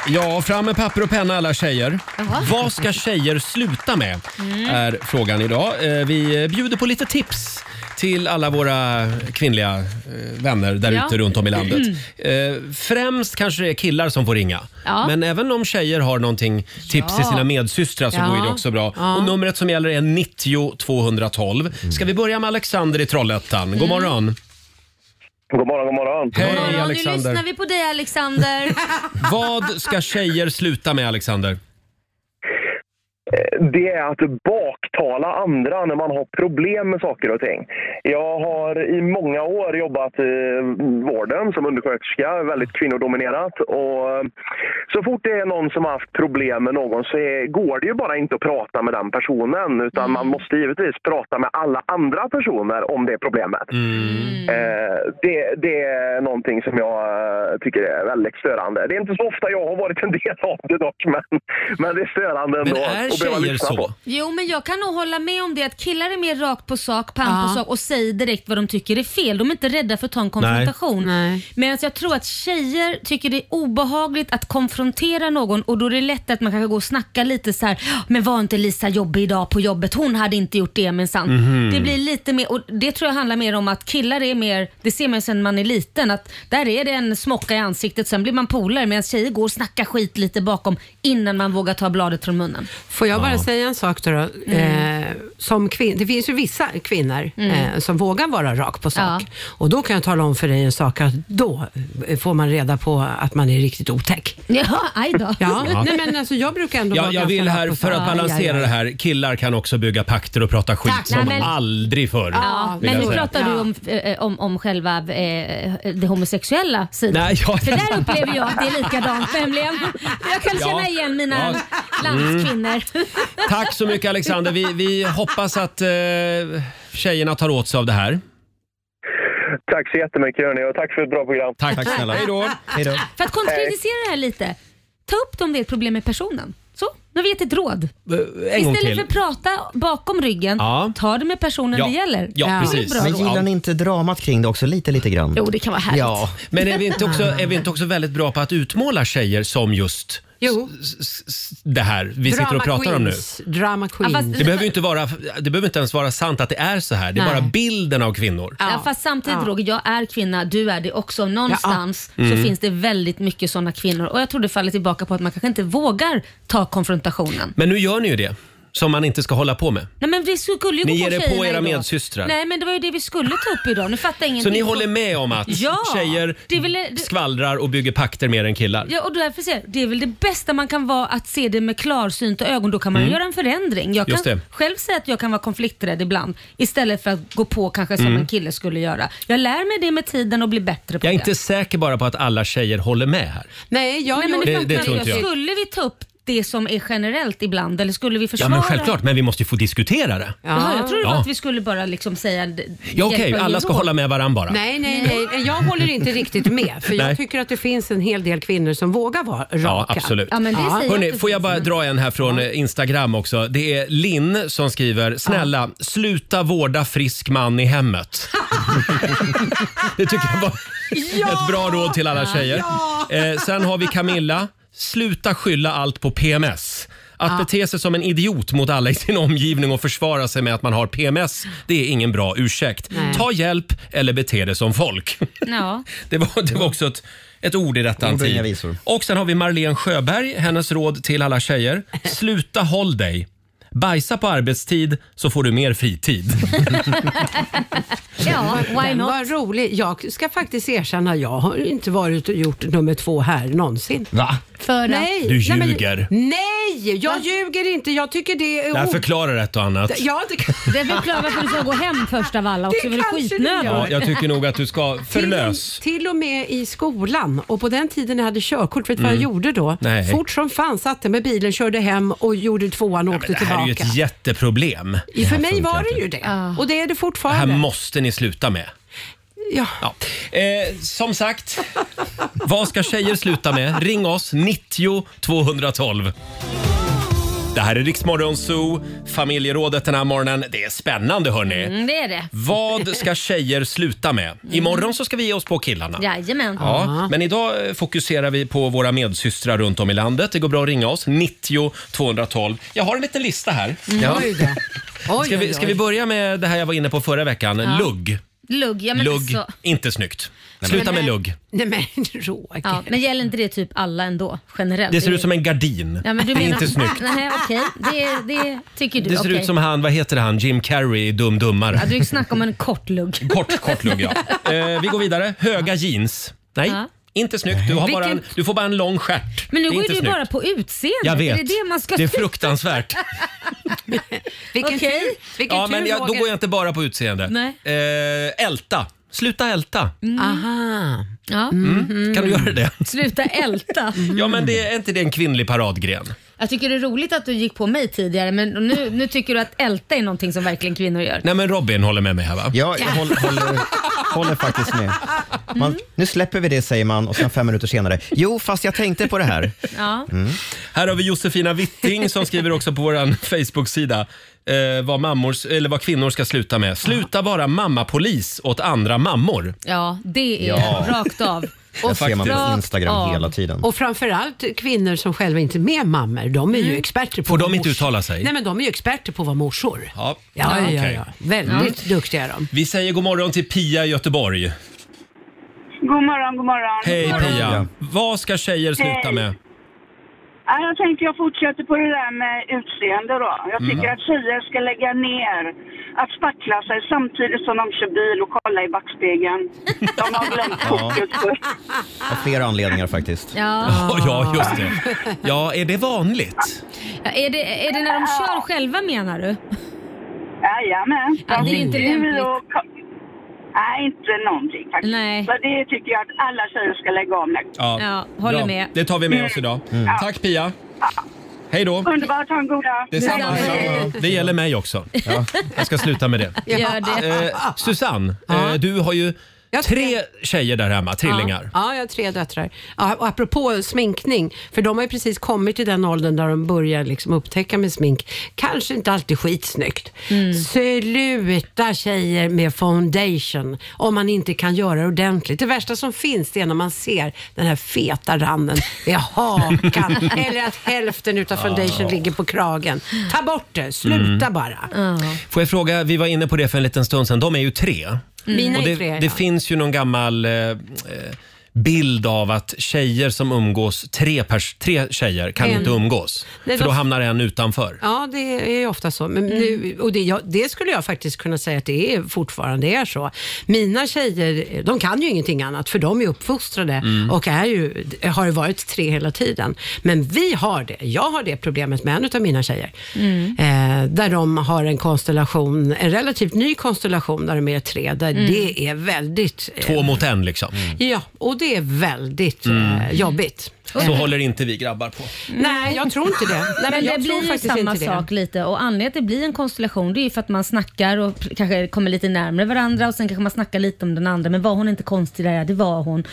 Speaker 1: Ja, fram med papper och penna alla tjejer.
Speaker 14: Jaha.
Speaker 1: Vad ska tjejer sluta med?
Speaker 14: Mm.
Speaker 1: Är frågan idag. Eh, Vi bjuder på lite tips till alla våra kvinnliga eh, vänner där
Speaker 5: Ja. Mm.
Speaker 1: ute runt om i landet. Eh, Främst kanske det är killar som får ringa.
Speaker 5: Ja.
Speaker 1: Men även om tjejer har någonting tips
Speaker 5: Ja.
Speaker 1: till sina medsystrar så
Speaker 5: Ja.
Speaker 1: går ju det också bra.
Speaker 5: Ja.
Speaker 1: Och numret som gäller är 90 212.
Speaker 17: Mm.
Speaker 1: Ska vi börja med Alexander i Trollhättan?
Speaker 5: Mm.
Speaker 1: God morgon!
Speaker 17: God morgon, god morgon!
Speaker 1: Hej
Speaker 5: Ja, nu
Speaker 1: Alexander!
Speaker 5: lyssnar vi på dig Alexander.
Speaker 1: Vad ska tjejer sluta med, Alexander?
Speaker 17: Eh, Det är att baktala andra när man har problem med saker och ting. Jag har i många år jobbat i vården som undersköterska, väldigt kvinnodominerat. Och eh, så fort det är någon som har haft problem med någon så är, går det ju bara inte att prata med den personen utan man måste givetvis prata med alla andra personer om det problemet. Eh, det, det är någonting som jag eh, tycker är väldigt störande. Det är inte så ofta jag har varit en del av det dock, men, men det är störande
Speaker 1: Men
Speaker 17: ändå.
Speaker 1: är
Speaker 17: Och behöva
Speaker 1: tjejer
Speaker 17: lyssna
Speaker 1: så?
Speaker 17: på.
Speaker 5: Jo, men jag kan nog hålla med om det att killar är mer rakt på sak, pang
Speaker 17: Ja.
Speaker 5: på sak och säger direkt vad de tycker är fel. De är inte rädda för att ta en konfrontation. Medan jag tror att tjejer tycker det är obehagligt att konfrontera någon och då är det lätt att man kanske går och snackar lite så här. "Ah, Men var inte Lisa jobbig idag på jobbet? Hon hade inte gjort det minsann.
Speaker 10: Mhm.
Speaker 5: Det blir lite mer, och det tror jag handlar mer om att killar är mer, det ser man sedan man är liten, att där är det en smocka i ansiktet, sen blir man polare medan tjejer går och snackar skit lite bakom innan man vågar ta bladet från munnen.
Speaker 7: Får jag bara säga en sak då? då?
Speaker 5: Mm.
Speaker 7: Eh, som kvin- det finns ju vissa kvinnor
Speaker 5: Mm.
Speaker 7: eh, som vågar vara rak på sak. Och då kan jag tala om för dig en sak, att då eh, får man reda på att man är riktigt otäck.
Speaker 5: Ja, aj då.
Speaker 7: Ja,
Speaker 1: Ja.
Speaker 7: Nej, men alltså, jag brukar ändå
Speaker 1: Ja,
Speaker 7: vara
Speaker 1: jag
Speaker 7: ganska
Speaker 1: vill
Speaker 7: rak
Speaker 1: här,
Speaker 7: på
Speaker 1: för
Speaker 7: sak.
Speaker 1: att balansera det här, killar kan också bygga pakter och prata skit
Speaker 5: Tack.
Speaker 1: som
Speaker 5: Nej, men-
Speaker 1: aldrig förr.
Speaker 5: Ja,
Speaker 1: vill
Speaker 5: men
Speaker 1: jag
Speaker 5: nu
Speaker 1: säga.
Speaker 5: pratar du om, eh, om, om själva eh, det homosexuella sidan.
Speaker 1: Nej, ja.
Speaker 5: För där upplever jag att det är likadant nämligen. Jag kan
Speaker 1: Ja.
Speaker 5: känna igen mina
Speaker 1: Ja. Mm.
Speaker 5: landskvinnor.
Speaker 1: Tack så mycket Alexander. Vi, vi hoppas att eh, tjejerna tar åt sig av det här.
Speaker 17: Tack så jättemycket hörni och tack för ett bra program.
Speaker 1: Tack, Tack snälla. Hej då.
Speaker 5: För att konkretisera det här lite. Ta upp det om det är ett problem med personen. Så, nu har vi gett ett råd.
Speaker 2: en gång
Speaker 5: Istället
Speaker 2: till.
Speaker 5: för att prata bakom ryggen,
Speaker 2: Ja.
Speaker 5: ta det med personen det gäller. Det är ett bra
Speaker 2: Men
Speaker 5: råd.
Speaker 2: gillar ni inte dramat kring det också lite, lite grann?
Speaker 5: Jo, det kan vara härligt.
Speaker 2: Ja.
Speaker 1: Men är vi, inte också, är vi inte också väldigt bra på att utmåla tjejer som just
Speaker 7: Jo.
Speaker 1: det här vi sitter och pratar om nu?
Speaker 7: queens, om nu. Drama queens.
Speaker 1: Det behöver ju inte, vara, det behöver inte ens vara sant att det är så här. Det är
Speaker 5: Nej.
Speaker 1: bara bilden av kvinnor.
Speaker 5: Ja. fast samtidigt
Speaker 7: Ja.
Speaker 5: Roger, jag är kvinna, du är det också. Någonstans
Speaker 1: Ja. Mm.
Speaker 5: så finns det väldigt mycket sådana kvinnor och jag tror det faller tillbaka på att man kanske inte vågar ta konfrontationen.
Speaker 1: Men nu gör ni ju det, som man inte ska hålla på med.
Speaker 5: Nej men vi skulle ju
Speaker 1: Ni
Speaker 5: gå
Speaker 1: ger er på
Speaker 5: tjejerna
Speaker 1: era
Speaker 5: idag.
Speaker 1: medsystrar.
Speaker 5: Nej men det var ju det vi skulle ta upp idag. Nu fattar jag
Speaker 1: Så
Speaker 5: ingenting.
Speaker 1: ni håller med om att
Speaker 5: Ja,
Speaker 1: tjejer
Speaker 5: det är väl- det-
Speaker 1: skvallrar och bygger pakter mer än killar?
Speaker 5: Ja, och därför säger jag, det är väl det bästa man kan vara att se det med klarsynta ögon. Då kan man
Speaker 1: Mm.
Speaker 5: göra en förändring. Jag
Speaker 1: Just
Speaker 5: kan
Speaker 1: det.
Speaker 5: själv säga att jag kan vara konflikträdd ibland istället för att gå på kanske som
Speaker 1: Mm.
Speaker 5: en kille skulle göra. Jag lär mig det med tiden och blir bättre på
Speaker 1: Jag är
Speaker 5: det.
Speaker 1: inte säker bara på att alla tjejer håller med här.
Speaker 7: Nej, jag
Speaker 5: Nej, men
Speaker 1: Det-
Speaker 5: det,
Speaker 1: det tror
Speaker 5: tror
Speaker 1: inte jag.
Speaker 5: Skulle vi ta upp det som är generellt ibland eller skulle vi försvara?
Speaker 1: Ja, men självklart. Men vi måste ju få diskutera det.
Speaker 5: Jaha, jag trodde
Speaker 1: ja.
Speaker 5: att vi skulle bara liksom säga... d-
Speaker 1: Ja, okej,
Speaker 5: hjälpa och
Speaker 1: alla
Speaker 5: ge
Speaker 1: ska
Speaker 5: råd.
Speaker 1: hålla med varandra bara.
Speaker 7: Nej, nej, nej, nej. Jag håller inte riktigt med. För
Speaker 1: Nej.
Speaker 7: jag tycker att det finns en hel del kvinnor som vågar vara raka.
Speaker 1: Ja, absolut.
Speaker 7: Hörrni,
Speaker 1: Hörrni, får jag bara dra en här från eh, Instagram också. Det är Linn som skriver, snälla sluta vårda frisk man i hemmet. det tycker jag var ett bra råd till alla tjejer. Eh, sen har vi Camilla, sluta skylla allt på PMS. Att bete sig som en idiot mot alla i sin omgivning och försvara sig med att man har PMS, det är ingen bra ursäkt.
Speaker 5: Nej.
Speaker 1: Ta hjälp eller bete dig som folk.
Speaker 5: Ja.
Speaker 1: Det var, det var också ett, ett ord i rättan
Speaker 2: Ord och inga
Speaker 1: tid.
Speaker 2: visor.
Speaker 1: Och sen har vi Marlene Sjöberg, hennes råd till alla tjejer. Sluta håll dig. Bajsa på arbetstid så får du mer fritid.
Speaker 5: Ja, why
Speaker 7: Den
Speaker 5: not?
Speaker 7: var rolig. Jag ska faktiskt erkänna, jag har inte varit och gjort nummer två här någonsin.
Speaker 1: Va?
Speaker 5: För
Speaker 7: nej.
Speaker 1: Du
Speaker 7: nej, men-
Speaker 1: ljuger.
Speaker 7: Nej, jag ljuger inte. Jag tycker det är...
Speaker 1: Det här
Speaker 7: o-
Speaker 1: förklarar ett och annat.
Speaker 7: Ja, det kan...
Speaker 5: Det förklarar varför du ska gå hem först av alla också. Det är väl
Speaker 7: kanske du
Speaker 5: skitnödigt.
Speaker 1: Ja, jag tycker nog att du ska förlös.
Speaker 7: Till och med i skolan och på den tiden när jag hade körkort, vet du vad jag
Speaker 1: Mm.
Speaker 7: gjorde då?
Speaker 1: Nej.
Speaker 7: Fort som fan satte mig i bilen, körde hem och gjorde tvåan och åkte
Speaker 1: Det här är ju
Speaker 7: tillbaka.
Speaker 1: ett jätteproblem.
Speaker 7: I- För
Speaker 1: här
Speaker 7: mig
Speaker 1: funkar
Speaker 7: var
Speaker 1: inte.
Speaker 7: det ju det och det är det
Speaker 1: Det här
Speaker 7: fortfarande.
Speaker 1: måste ni sluta med.
Speaker 7: Ja.
Speaker 1: Eh, som sagt, vad ska tjejer sluta med? Ring oss, 90 212. Det här är Riksmorgon Zoo, familjerådet den här morgonen. Det är spännande hörni.
Speaker 5: Mm, det är det.
Speaker 1: Vad ska tjejer sluta med? Imorgon så ska vi ge oss på killarna.
Speaker 5: Jajamän.
Speaker 1: Ja, men idag eh, fokuserar vi på våra medsystrar runt om i landet. Det går bra att ringa oss, 90 212. Jag har en liten lista här.
Speaker 5: Mm.
Speaker 1: Ja.
Speaker 5: Oj
Speaker 1: Ska, vi, ska vi börja med det här jag var inne på förra veckan,
Speaker 5: Ja.
Speaker 1: lugg.
Speaker 5: Lugg, ja men
Speaker 1: lugg,
Speaker 5: så.
Speaker 1: inte snyggt. Sluta med lugg.
Speaker 7: Nej men Roger.
Speaker 5: Ja, men gäller inte det typ alla ändå? Generellt?
Speaker 1: Det ser ut som en gardin.
Speaker 5: Ja, men du
Speaker 1: det är
Speaker 5: menar...
Speaker 1: inte snyggt.
Speaker 5: Nej, okej. Det, det tycker du.
Speaker 1: Det ser
Speaker 5: okej.
Speaker 1: ut som han, vad heter han, Jim Carrey i Dum Dummare.
Speaker 5: Ja, du snackar om en kort lugg.
Speaker 1: Kort, kort lugg ja. Eh, vi går vidare, höga jeans. Nej,
Speaker 5: Ja.
Speaker 1: inte snyggt. Du, har bara en,
Speaker 5: Vilken-
Speaker 1: du får bara en lång stjärt.
Speaker 5: Men nu
Speaker 1: det är
Speaker 5: går
Speaker 1: inte
Speaker 5: ju du
Speaker 1: snyggt.
Speaker 5: bara på utseendet.
Speaker 1: Jag vet.
Speaker 5: Är det det man ska
Speaker 1: Det är fruktansvärt.
Speaker 7: Vilken tur. Vilken
Speaker 1: ja,
Speaker 7: tur
Speaker 1: men jag, då
Speaker 7: Roger.
Speaker 1: går jag inte bara på utseende.
Speaker 7: Nej.
Speaker 1: Eh, älta. Sluta älta.
Speaker 5: Mm.
Speaker 7: Aha.
Speaker 5: Ja.
Speaker 1: Mm. Kan du göra det?
Speaker 5: Sluta älta.
Speaker 1: Ja, men det, är inte det en kvinnlig paradgren?
Speaker 5: Jag tycker det är roligt att du gick på mig tidigare men nu, nu tycker du att älta är någonting som verkligen kvinnor gör.
Speaker 1: Nej, men Robin håller med mig här va?
Speaker 2: Ja, jag håller, håller, håller faktiskt med. Man, nu släpper vi det, säger man, och sen fem minuter senare. Jo, fast jag tänkte på det här.
Speaker 5: Ja.
Speaker 1: Här har vi Josefina Witting som skriver också på vår Facebook-sida eh, vad, mammor, eller vad kvinnor ska sluta med. Sluta vara mammapolis åt andra mammor.
Speaker 5: Ja, det är
Speaker 1: Ja.
Speaker 5: rakt av.
Speaker 1: Det ser man på
Speaker 7: rakt
Speaker 1: Instagram
Speaker 7: av.
Speaker 1: hela tiden.
Speaker 7: Och framförallt kvinnor som själva inte är med mammor, de är
Speaker 5: Mm.
Speaker 7: ju experter på
Speaker 1: Får
Speaker 7: att
Speaker 1: de
Speaker 7: vara
Speaker 1: inte
Speaker 7: mors-
Speaker 1: uttala sig?
Speaker 7: Nej men de är ju experter på att vara morsor.
Speaker 1: Ja,
Speaker 7: Ja, ja,
Speaker 1: okej. Mm.
Speaker 7: ja. Väldigt duktiga är de.
Speaker 1: Vi säger god morgon till Pia i Göteborg.
Speaker 18: God morgon, god morgon.
Speaker 1: Hej
Speaker 18: God morgon.
Speaker 1: Pia! Vad ska tjejer sluta
Speaker 18: Hej.
Speaker 1: med?
Speaker 18: Ja, Äh, Jag tänkte jag fortsätter på det där med utseende då. Jag tycker
Speaker 1: Mm.
Speaker 18: att tjejer ska lägga ner att spackla sig samtidigt som de kör bil och kollar i backspegeln. De har glömt
Speaker 2: Ja.
Speaker 18: fokus först.
Speaker 2: Av flera anledningar faktiskt.
Speaker 5: Ja.
Speaker 1: ja, just det. Ja, är det vanligt?
Speaker 5: Ja, är, det, är det när de kör själva menar du?
Speaker 18: Jajamän.
Speaker 5: Ja, det är inte
Speaker 18: Bil
Speaker 5: lämpligt.
Speaker 18: och ko- Nej, inte någonting faktiskt.
Speaker 5: Nej.
Speaker 18: Så det tycker jag att alla tjejer ska lägga av med. Mm.
Speaker 1: bra. Det tar vi med oss idag. Mm. Tack Pia! Hej då!
Speaker 18: Underbart, ha en god dag.
Speaker 1: Detsamma. Det gäller mig också. Jag ska sluta med det.
Speaker 7: Gör det.
Speaker 1: Eh, Susanne, eh, du har ju tre tjejer där hemma, trillingar.
Speaker 7: Ja, ja, jag har tre döttrar. Ja, och apropå sminkning, för de har ju precis kommit till den åldern där de börjar liksom upptäcka med smink, kanske inte alltid skitsnyggt. Sluta tjejer med foundation om man inte kan göra det ordentligt. Det värsta som finns det är när man ser den här feta randen vid hakan eller att hälften utav foundation ligger på kragen. Ta bort det, sluta
Speaker 1: Mm.
Speaker 7: bara.
Speaker 1: Får jag fråga, vi var inne på det för en liten stund sedan, de är ju tre.
Speaker 7: Mm. Mina
Speaker 1: Och
Speaker 7: är
Speaker 1: det,
Speaker 7: tre, ja.
Speaker 1: det finns ju någon gammal eh, eh, bild av att tjejer som umgås, tre, pers, tre tjejer kan
Speaker 7: En.
Speaker 1: inte umgås.
Speaker 7: Nej,
Speaker 1: för då
Speaker 7: de-
Speaker 1: hamnar en utanför.
Speaker 7: Ja, det är ju ofta så. Men nu, och det, jag, det skulle jag faktiskt kunna säga att det är, fortfarande är så. Mina tjejer, de kan ju ingenting annat för de är uppfostrade
Speaker 12: Mm.
Speaker 7: och är ju, har ju varit tre hela tiden. Men vi har det. Jag har det problemet med en av mina tjejer.
Speaker 1: Mm-hmm.
Speaker 12: Mm.
Speaker 7: Eh, där de har en konstellation, en relativt ny konstellation där de är tre. Där
Speaker 1: Mm.
Speaker 7: det är väldigt... eh,
Speaker 1: Två mot en liksom.
Speaker 7: Ja, och det är väldigt eh,
Speaker 1: Mm.
Speaker 7: jobbigt.
Speaker 1: Så håller inte vi grabbar på.
Speaker 7: Nej, jag tror inte det. Nej, men
Speaker 5: men det
Speaker 7: jag tror
Speaker 5: blir ju
Speaker 7: faktiskt
Speaker 5: samma
Speaker 7: inte det.
Speaker 5: sak lite och anledningen till att det blir en konstellation det är ju för att man snackar och pr- kanske kommer lite närmare varandra och sen kanske man snackar lite om den andra men var hon inte konstig där? Ja, det var hon.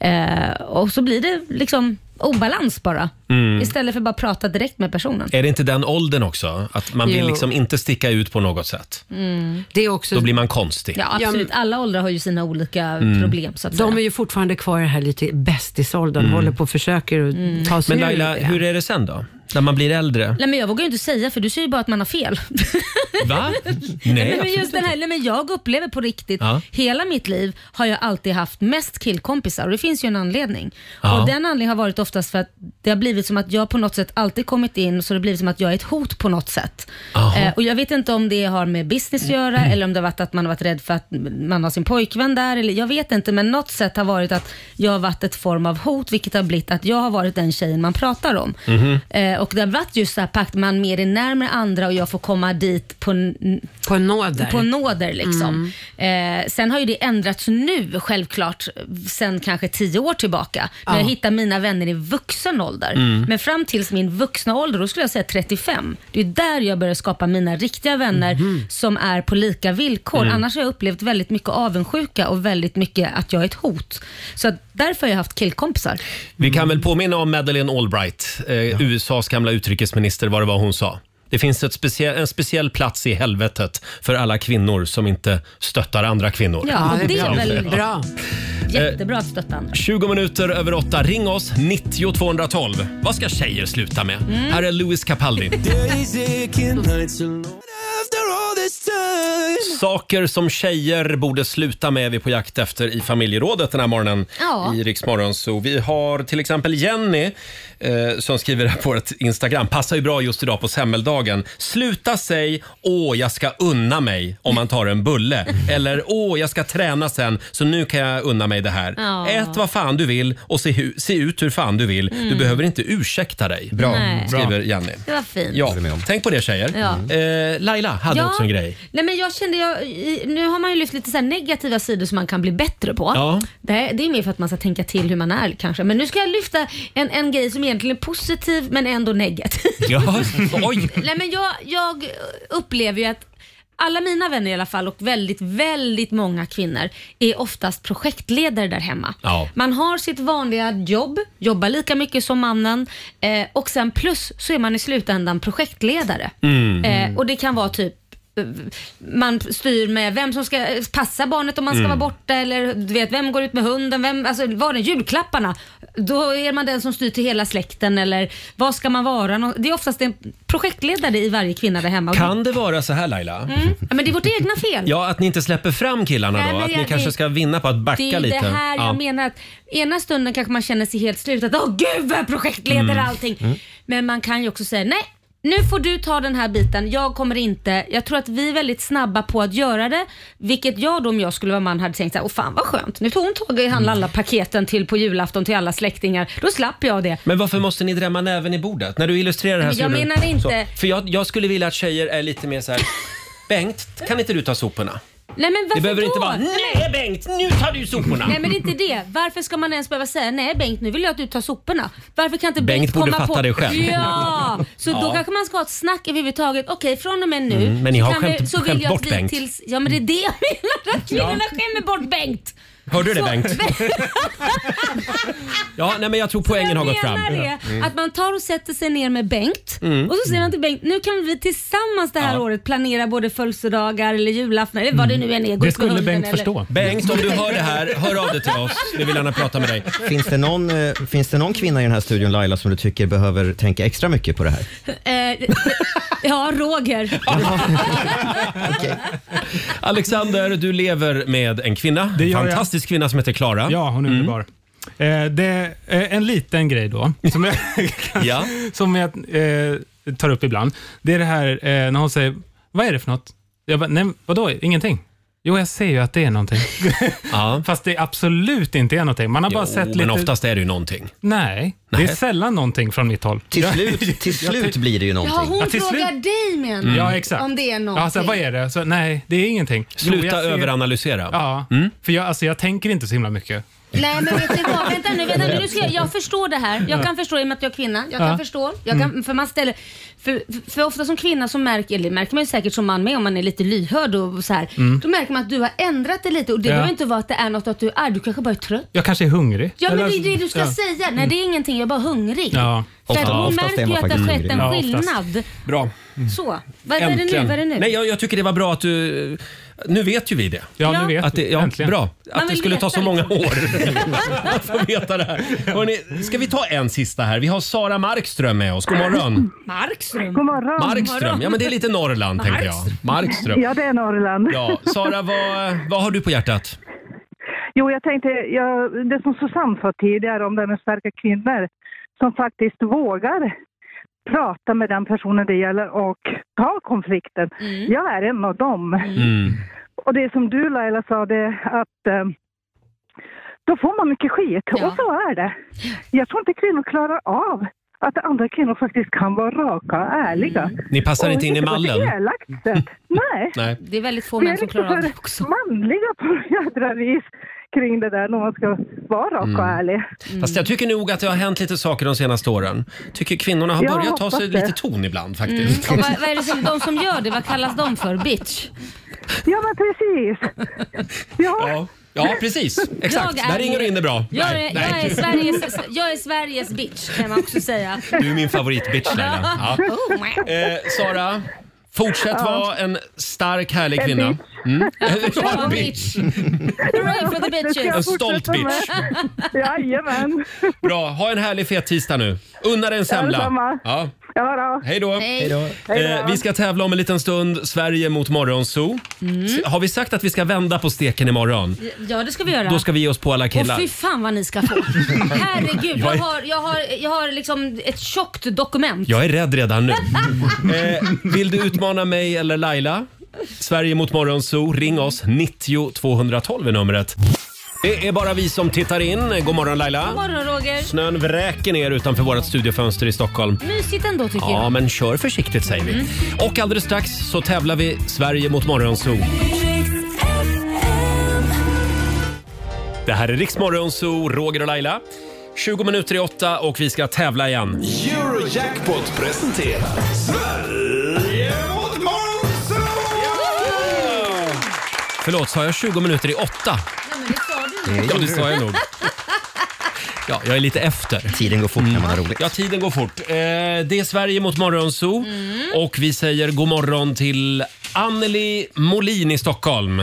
Speaker 5: Eh, och så blir det liksom obalans bara
Speaker 1: Mm.
Speaker 5: istället för att bara prata direkt med personen.
Speaker 1: Är det inte den åldern också? Att man vill
Speaker 5: Jo.
Speaker 1: liksom inte sticka ut på något sätt.
Speaker 5: Mm.
Speaker 7: Det är också
Speaker 1: Då blir man konstig.
Speaker 5: Ja, absolut. Alla åldrar har ju sina olika
Speaker 1: Mm.
Speaker 5: problem så att säga.
Speaker 7: De är ju fortfarande kvar i det här lite bästisåldern,
Speaker 1: Mm.
Speaker 7: håller på och försöker att ta sig
Speaker 1: Men
Speaker 7: ur
Speaker 1: Laila,
Speaker 7: det.
Speaker 1: hur är det sen då? När man blir äldre?
Speaker 5: Nej, men jag vågar ju inte säga för du säger ju bara att man har fel.
Speaker 1: Va?
Speaker 5: Nej, men
Speaker 1: absolut
Speaker 5: just den här, nej, men jag upplever på riktigt,
Speaker 1: Ja.
Speaker 5: hela mitt liv har jag alltid haft mest killkompisar och det finns ju en anledning.
Speaker 1: Ja.
Speaker 5: Och Den anledningen har varit oftast för att det har blivit som att jag på något sätt alltid kommit in så det har blivit som att jag är ett hot på något sätt.
Speaker 1: Aha.
Speaker 5: Eh, och Jag vet inte om det har med business att göra
Speaker 1: Mm.
Speaker 5: eller om det har varit att man har varit rädd för att man har sin pojkvän där. Eller, jag vet inte men något sätt har varit att jag har varit ett form av hot vilket har blivit att jag har varit den tjejen man pratar om.
Speaker 12: Mhm.
Speaker 5: Eh, och det har varit just så här pakt, man mer är närmare andra och jag får komma dit på, n-
Speaker 7: på nåder.
Speaker 5: På nåder liksom.
Speaker 12: Mm.
Speaker 5: Eh, sen har ju det ändrats nu självklart, sen kanske tio år tillbaka. När
Speaker 12: Ja.
Speaker 5: jag hittar mina vänner i vuxen ålder.
Speaker 12: Mm.
Speaker 5: Men fram tills min vuxna ålder, då skulle jag säga 35. Det är där jag börjar skapa mina riktiga vänner som är på lika villkor.
Speaker 12: Mhm. Mm.
Speaker 5: Annars har jag upplevt väldigt mycket avundsjuka och väldigt mycket att jag är ett hot. Så att därför har jag haft killkompisar.
Speaker 1: Vi kan väl påminna om Madeleine Albright, eh, USAs gamla utrikesminister, vad det var hon sa. Det finns ett speciell, en speciell plats i helvetet för alla kvinnor som inte stöttar andra kvinnor.
Speaker 5: Ja, och det är väl
Speaker 7: bra.
Speaker 1: Eh.
Speaker 5: Jättebra att stötta andra.
Speaker 1: 20 minuter över 8. Ring oss, 90 212. Vad ska tjejer sluta med?
Speaker 5: Mm.
Speaker 1: Här är Louis Capaldi. Saker som tjejer borde sluta med är vi på jakt efter i familjerådet den här morgonen
Speaker 5: Ja.
Speaker 1: i Riksmorgon. Så vi har till exempel Jenny eh, som skriver här på vårt Instagram. Passar ju bra just idag på semmeldagen. Sluta säg åh jag ska unna mig om man tar en bulle. Eller åh jag ska träna sen så nu kan jag unna mig det här.
Speaker 5: Ja.
Speaker 1: Ät vad fan du vill och se, hu- se ut hur fan du vill. Du
Speaker 5: Mm.
Speaker 1: behöver inte ursäkta dig.
Speaker 5: Bra, Nej. bra.
Speaker 1: skriver Jenny.
Speaker 5: Det var fint.
Speaker 1: Ja, tänk på det tjejer.
Speaker 5: Ja.
Speaker 1: Eh, Laila hade
Speaker 5: Ja.
Speaker 1: också en grej.
Speaker 5: Nej, men jag kände, jag, i- nu har man ju lyft lite så här negativa sidor som man kan bli bättre på.
Speaker 1: Ja.
Speaker 5: Det, det är mer för att man ska tänka till hur man är kanske. Men nu ska jag lyfta en, en grej som egentligen är positiv men ändå negativ.
Speaker 1: Ja, oj.
Speaker 5: Nej, men jag, jag upplever ju att alla mina vänner i alla fall och väldigt, väldigt många kvinnor är oftast projektledare där hemma.
Speaker 1: Ja.
Speaker 5: Man har sitt vanliga jobb, jobbar lika mycket som mannen eh, och sen plus så är man i slutändan projektledare.
Speaker 12: Mm.
Speaker 5: Eh, och det kan vara typ eh, man styr med vem som ska eh, passa barnet om man ska
Speaker 12: Mm.
Speaker 5: vara borta eller du vet vem går ut med hunden, vem, alltså var det julklapparna? Då är man den som styr till hela släkten eller vad ska man vara? Nå- Det är oftast en projektledare i varje kvinna där hemma.
Speaker 1: Kan det vara så här Laila?
Speaker 5: Mm. Ja, men det är vårt egna fel.
Speaker 1: Ja, att ni inte släpper fram killarna
Speaker 5: Nej,
Speaker 1: då?
Speaker 5: men
Speaker 1: Att
Speaker 5: jag-
Speaker 1: ni kanske
Speaker 5: det-
Speaker 1: ska vinna på att backa
Speaker 5: det är ju
Speaker 1: lite?
Speaker 5: det här jag
Speaker 1: Ja.
Speaker 5: menar. Att ena stunden kanske man känner sig helt slut. Att åh gud vad jag projektleder
Speaker 1: Mm.
Speaker 5: allting.
Speaker 1: Mm.
Speaker 5: Men man kan ju också säga nej. Nu får du ta den här biten, jag kommer inte. Jag tror att vi är väldigt snabba på att göra det. Vilket jag då om jag skulle vara man hade tänkt så här, åh fan vad skönt. Nu tog hon tag
Speaker 1: Mm.
Speaker 5: i att handla alla paketen till på julafton till alla släktingar. Då slapp jag det.
Speaker 1: Men varför måste ni drämma näven i bordet? När du illustrerar det här
Speaker 5: Men jag
Speaker 1: så gjorde du-
Speaker 5: menar inte-
Speaker 1: Så. För jag, jag skulle vilja att tjejer är lite mer så här... Bengt, kan inte du ta soporna?
Speaker 5: Nej men varför
Speaker 1: Det behöver
Speaker 5: då?
Speaker 1: inte vara, nej Bengt, nu tar du soporna.
Speaker 5: Nej men det är inte det. Varför ska man ens behöva säga nej Bengt, nu vill jag att du tar soporna. Varför kan inte Bengt,
Speaker 1: Bengt borde
Speaker 5: komma
Speaker 1: fatta
Speaker 5: på...
Speaker 1: det själv.
Speaker 5: Ja, så
Speaker 1: Ja.
Speaker 5: då kanske man ska ha ett snack överhuvudtaget. Okej, från och med nu
Speaker 1: Mm, men ni har
Speaker 5: så, kan
Speaker 1: skämt-
Speaker 5: så vill
Speaker 1: skämt
Speaker 5: jag att
Speaker 1: bort
Speaker 5: vi
Speaker 1: Bengt.
Speaker 5: Tills... Ja men det är det jag menar, att kvinnorna skämmer bort Bengt.
Speaker 1: Hörde du det
Speaker 5: Så-
Speaker 1: Bengt? ja, nej men jag tror poängen har gått fram.
Speaker 5: menar det,
Speaker 1: Mm.
Speaker 5: att man tar och sätter sig ner med Bengt
Speaker 1: Mm.
Speaker 5: och så säger man till Bengt, nu kan vi tillsammans det här året planera både födelsedagar eller julaftnar eller vad det nu än är. gå ut med hunden eller-
Speaker 1: Mm. Bengt, om du hör det här, hör av dig till oss. Vi vill gärna prata med dig.
Speaker 2: Finns det, någon, eh, finns det någon kvinna i den här studion, Laila, som du tycker behöver tänka extra mycket på det här?
Speaker 5: Eh, ja, Roger.
Speaker 1: Alexander, du lever med en kvinna.
Speaker 19: gör
Speaker 1: En
Speaker 19: jag.
Speaker 1: fantastisk kvinna som heter Klara.
Speaker 19: Ja, hon är
Speaker 2: Mm.
Speaker 19: underbar. Eh, det är eh, en liten grej då, som jag,
Speaker 1: Ja.
Speaker 19: som jag eh, tar upp ibland. Det är det här eh, när hon säger, vad är det för något? Jag bara, nej, vadå, ingenting? Jo, jag ser ju att det är någonting. Fast det absolut inte är någonting. Man har bara
Speaker 1: Jo,
Speaker 19: sett
Speaker 1: men
Speaker 19: lite...
Speaker 1: oftast är det ju någonting.
Speaker 19: Nej, det är
Speaker 1: Nej.
Speaker 19: sällan någonting från mitt håll.
Speaker 2: Till slut- till slut blir det ju
Speaker 5: Ja, hon
Speaker 19: till slut- Mm.
Speaker 5: frågar dig menar du?
Speaker 19: Ja, exakt.
Speaker 5: Om det är någonting.
Speaker 19: Ja, så här, vad är det? Så, nej, det är ingenting.
Speaker 1: Sluta
Speaker 19: jag ser-
Speaker 1: överanalysera.
Speaker 19: Ja,
Speaker 2: Mm.
Speaker 19: för jag, alltså, jag tänker inte så himla mycket.
Speaker 5: Nej men vet du vad, vänta nu, vänta nu. nu ska jag, jag förstår det här. Jag kan förstå i och med att jag är kvinna. Jag kan
Speaker 19: Ja.
Speaker 5: förstå. Jag kan,
Speaker 19: Mm.
Speaker 5: för, man ställer, för, för ofta som kvinna så märker, eller märker man ju säkert som man med om man är lite lyhörd och så här.
Speaker 19: Mm.
Speaker 5: Då märker man att du har ändrat dig lite och det
Speaker 19: Ja.
Speaker 5: behöver inte vara att det är något att du är arg. Du kanske bara är trött.
Speaker 19: Jag kanske är hungrig.
Speaker 5: Ja men
Speaker 19: Eller-
Speaker 5: det är det du ska
Speaker 19: ja. Mm.
Speaker 5: säga. Nej det är ingenting, jag är bara hungrig.
Speaker 19: Ja.
Speaker 5: För att
Speaker 19: Ofta-
Speaker 5: hon
Speaker 19: oftast
Speaker 5: märker
Speaker 19: är
Speaker 5: ju
Speaker 19: man
Speaker 5: att det har
Speaker 19: faktiskt
Speaker 5: skett en
Speaker 1: hungrig. Ja, oftast.
Speaker 5: skillnad.
Speaker 1: Bra.
Speaker 5: Så. Vad vad är det nu? Vad är det nu?
Speaker 1: Nej, jag, jag tycker det var bra att du... Nu vet ju vi det.
Speaker 5: Ja, nu vet
Speaker 1: att det,
Speaker 5: vi.
Speaker 1: ja,
Speaker 5: Äntligen.
Speaker 1: Bra.
Speaker 5: Man
Speaker 1: Att det
Speaker 5: vill
Speaker 1: skulle ta
Speaker 5: veta
Speaker 1: så många år att få veta det här. Hörrni, ska vi ta en sista här? Vi har Sara Markström med oss. God morgon.
Speaker 5: Markström.
Speaker 12: God morgon.
Speaker 1: Markström. Ja, men det är lite Norrland tänkte jag. Markström.
Speaker 12: Ja, det är Norrland.
Speaker 1: Ja, Sara, vad, vad har du på hjärtat?
Speaker 12: Jo, jag tänkte, ja, det som Susanne sa tidigare om det här med starka kvinnor som faktiskt vågar prata med den personen det gäller och ta konflikten. Jag är en av dem.
Speaker 1: Mm.
Speaker 12: Och det som du Laila sa, det att eh, då får man mycket skit. Och så är det. Jag tror inte kvinnor klarar av att andra kvinnor faktiskt kan vara raka och ärliga.
Speaker 1: Ni passar
Speaker 12: Och
Speaker 1: inte in i
Speaker 12: på ett
Speaker 1: mallen.
Speaker 12: elakt sätt. Nej.
Speaker 1: Nej.
Speaker 5: Det är väldigt få
Speaker 12: Det är
Speaker 5: män som
Speaker 12: liksom
Speaker 5: klarar av
Speaker 12: för
Speaker 5: det också.
Speaker 12: manliga på något jädra vis kring det där när man ska vara rak och ärlig.
Speaker 1: Fast jag tycker nog att det har hänt lite saker de senaste åren. Tycker kvinnorna har
Speaker 12: Jag
Speaker 1: börjat ta
Speaker 12: hoppas
Speaker 1: sig
Speaker 12: det.
Speaker 1: lite ton ibland
Speaker 5: Mm.
Speaker 1: faktiskt.
Speaker 5: Och vad, vad är det som, de som gör det, vad kallas de för? Bitch?
Speaker 12: Ja men precis.
Speaker 1: Ja, ja precis. Exakt.
Speaker 5: Jag är-
Speaker 1: Där ringer du in det bra.
Speaker 5: Jag är,
Speaker 1: Nej,
Speaker 5: jag,
Speaker 1: nej.
Speaker 5: är Sveriges, jag är Sveriges bitch kan man också säga.
Speaker 1: Du är min favoritbitch Laila. Ja.
Speaker 5: Oh, my.
Speaker 1: Eh, Sara, fortsätt
Speaker 5: Ja.
Speaker 1: vara en stark härlig
Speaker 5: En
Speaker 1: kvinna. Mm.
Speaker 5: Ja,
Speaker 1: Ja,
Speaker 5: bitch. Hurra for the
Speaker 1: En
Speaker 5: bitches.
Speaker 1: stolt bitch.
Speaker 12: Jajamän.
Speaker 1: Bra, ha en härlig fet tisdag nu. Unna dig en semla.
Speaker 12: detsamma.
Speaker 1: Ja.
Speaker 12: Ja, då.
Speaker 1: Hej då.
Speaker 12: Hej. Hej
Speaker 1: Eh,
Speaker 12: då.
Speaker 1: vi ska tävla om en liten stund. Sverige mot Morgonzoo.
Speaker 5: Mm.
Speaker 1: S- Har vi sagt att vi ska vända på steken imorgon?
Speaker 5: Ja, det ska vi göra.
Speaker 1: Då ska vi ge oss på alla killar.
Speaker 5: Och fy fan vad ni ska få. Herregud,
Speaker 1: Jag
Speaker 5: jag
Speaker 1: är-
Speaker 5: har, jag har, jag har liksom ett tjockt dokument.
Speaker 1: Jag är rädd redan nu. Eh, vill du utmana mig eller Laila? Sverige mot Morgonzoo. Ring oss. 90 212 är numret. Det är bara vi som tittar in. God morgon Laila.
Speaker 5: God morgon Roger.
Speaker 1: Snön vräker ner utanför vårt studiofönster i Stockholm.
Speaker 5: Mysigt ändå tycker
Speaker 1: Ja,
Speaker 5: jag.
Speaker 1: men kör försiktigt säger vi.
Speaker 5: Mm.
Speaker 1: Och alldeles strax så tävlar vi Sverige mot Morgonzoo. Det här är Riks Morgonzoo, Roger och Laila. 20 minuter i åtta och vi ska tävla igen.
Speaker 4: Eurojackpot presenterar Sverige mot Morgonzoo!
Speaker 1: Förlåt, sa jag 20 minuter i åtta? Ja, det sa jag nog. Ja, jag är lite efter. Mm.
Speaker 2: Tiden går fort när man har roligt.
Speaker 1: Ja, tiden går fort. Eh, det är Sverige mot Morgonzoo och vi säger god morgon till Anneli Molin i Stockholm.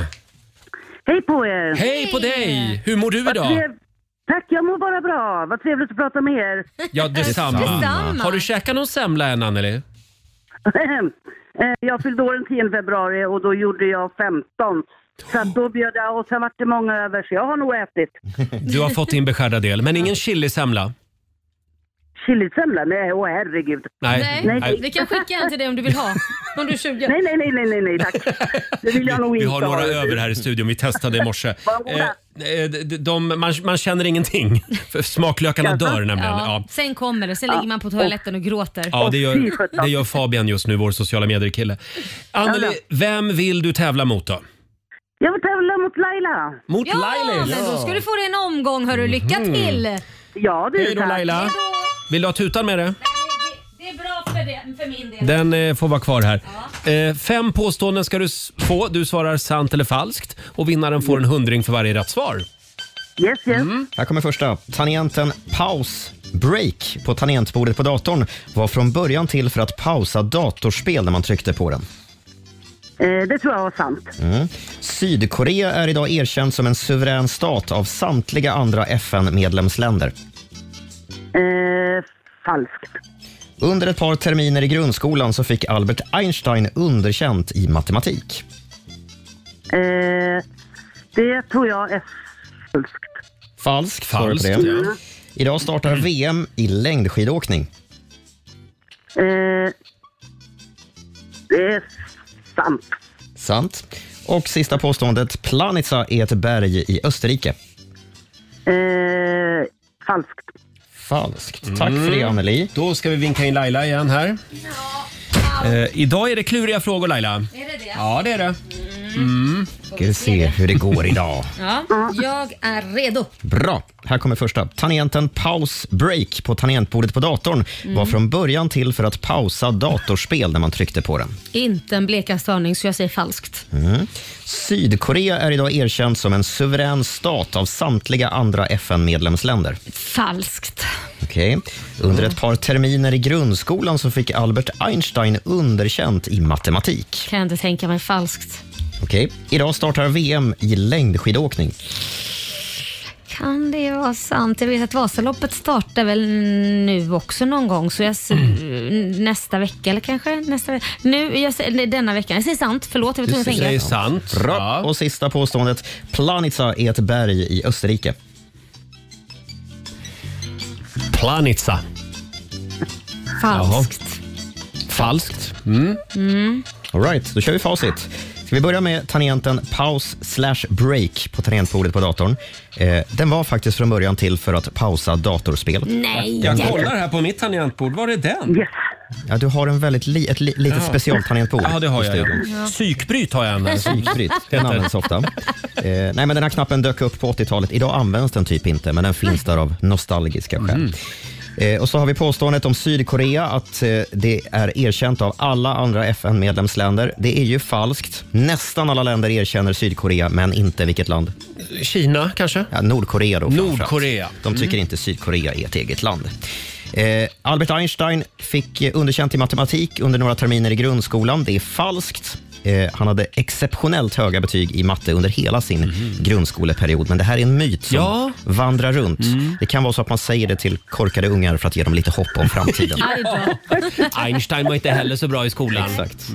Speaker 6: Hej på er!
Speaker 1: Hej på dig! Hur mår du
Speaker 6: Vad
Speaker 1: idag?
Speaker 6: trev- Tack, jag mår bara bra. Vad trevligt att prata med er.
Speaker 1: Ja, detsamma.
Speaker 6: Detsamma.
Speaker 1: Har du käkat någon semla än, Anneli?
Speaker 6: Eh, jag fyllde år den 10 februari och då gjorde jag 15. Så att då bjöd jag och sen vart det många över så jag har nog ätit.
Speaker 1: Du har fått din beskärda del, men ingen chilisemla?
Speaker 6: Chilisemla? Nej, åh herregud.
Speaker 1: Nej.
Speaker 5: Nej, vi kan skicka en till dig om du vill ha. Om du är sugen.
Speaker 6: Nej, nej, nej, nej, nej, nej tack. Det vill jag nog
Speaker 1: Vi
Speaker 6: inte
Speaker 1: har några
Speaker 6: ha.
Speaker 1: över här i studion. Vi testade i morse.
Speaker 6: Varsågoda.
Speaker 1: Eh, eh, de, de, man, man känner ingenting. För smaklökarna dör nämligen. Ja.
Speaker 5: Sen kommer det, sen ligger man på toaletten och gråter.
Speaker 1: Ja, det gör, det gör Fabian just nu, vår sociala medier-kille. Anneli, vem vill du tävla mot då?
Speaker 6: Jag vill tävla mot Laila.
Speaker 1: Mot
Speaker 5: ja,
Speaker 1: Laila?
Speaker 5: men då ska du få dig en omgång hörru. Lycka
Speaker 1: Mhm.
Speaker 5: till!
Speaker 6: Ja,
Speaker 1: det är Hej då, tack. Laila.
Speaker 5: Hej
Speaker 1: Vill du ha tutan med det?
Speaker 5: Det är bra för, det, för min del.
Speaker 1: Den eh, får vara kvar här. Eh, fem påståenden ska du s- få. Du svarar sant eller falskt. Och vinnaren får en hundring för varje rätt svar.
Speaker 6: Yes, yes.
Speaker 2: Mm. Här kommer första. Tangenten paus, break, på tangentbordet på datorn var från början till för att pausa datorspel när man tryckte på den.
Speaker 6: Eh, det tror jag var sant.
Speaker 2: Mm. Sydkorea är idag erkänd som en suverän stat av samtliga andra FN-medlemsländer.
Speaker 6: Eh, falskt.
Speaker 2: Under ett par terminer i grundskolan så fick Albert Einstein underkänt i matematik.
Speaker 6: Eh, det tror jag är...
Speaker 2: Falskt. svarar
Speaker 6: Falskt,
Speaker 2: på det.
Speaker 6: ja.
Speaker 2: Idag startar VM i längdskidåkning.
Speaker 6: Eh, det är sant.
Speaker 2: Sant. Och sista påståendet. Planica är ett berg i Österrike.
Speaker 6: Eh, falskt.
Speaker 2: Falskt. Tack för det, Anneli.
Speaker 1: Mm. Då ska vi vinka in Laila igen här. Eh, idag är det kluriga frågor Laila. Är
Speaker 5: det det?
Speaker 1: Ja, det är det. Mm.
Speaker 2: Ska vi se hur det går idag.
Speaker 5: Ja, jag är redo.
Speaker 2: Bra. Här kommer första. Tangenten paus break på tangentbordet på datorn var från början till för att pausa datorspel när man tryckte på den.
Speaker 5: Inte en blekaste aning så jag säger falskt.
Speaker 2: Mm. Sydkorea är idag erkänd som en suverän stat av samtliga andra FN-medlemsländer.
Speaker 5: Falskt.
Speaker 2: Okej. Under ett par terminer i grundskolan så fick Albert Einstein underkänt i matematik.
Speaker 5: Kan jag inte tänka mig falskt.
Speaker 2: Okej. Idag startar VM i längdskidåkning.
Speaker 5: Kan det vara sant? Jag vet att Vasaloppet startar väl nu också någon gång. Så jag s- nästa vecka eller kanske nästa vecka. Nu, jag säger, nej, denna veckan. Jag säger sant. Förlåt, jag vet inte vad jag tänker.
Speaker 1: sant.
Speaker 2: Bra. Och sista påståendet. Planica är ett berg i Österrike.
Speaker 1: Planica.
Speaker 5: Falskt.
Speaker 1: Falskt. Mm.
Speaker 5: Mm.
Speaker 2: All right, då kör vi facit. Ska vi börja med tangenten paus slash break på tangentbordet på datorn. Eh, den var faktiskt från början till för att pausa datorspel.
Speaker 1: Jag kollar här på mitt tangentbord. Var är den?
Speaker 2: Ja, du har en väldigt li, ett li, litet
Speaker 1: Ja.
Speaker 2: specialtangentbord.
Speaker 1: Ja, det har
Speaker 2: i
Speaker 1: jag. ja.
Speaker 2: studion.
Speaker 1: Psykbryt har jag en.
Speaker 2: Psykfritt. Den
Speaker 1: Heter.
Speaker 2: används ofta. Eh, nej, men den här knappen dök upp på 80-talet. Idag används den typ inte, men den finns där av nostalgiska skäl. Eh, och så har vi påståendet om Sydkorea att eh, det är erkänt av alla andra FN-medlemsländer. Det är ju falskt. Nästan alla länder erkänner Sydkorea, men inte vilket land?
Speaker 1: Kina kanske?
Speaker 2: Ja, Nordkorea då framförallt.
Speaker 1: Nordkorea.
Speaker 2: De tycker
Speaker 1: Mm.
Speaker 2: inte Sydkorea är ett eget land. Eh, Albert Einstein fick eh, underkänt i matematik under några terminer i grundskolan. Det är falskt. Eh, han hade exceptionellt höga betyg i matte under hela sin
Speaker 1: Mhm.
Speaker 2: grundskoleperiod. Men det här är en myt som vandrar runt.
Speaker 1: Mm.
Speaker 2: Det kan vara så att man säger det till korkade ungar för att ge dem lite hopp om framtiden.
Speaker 1: Einstein var inte heller så bra i skolan. Mm.
Speaker 2: Exakt.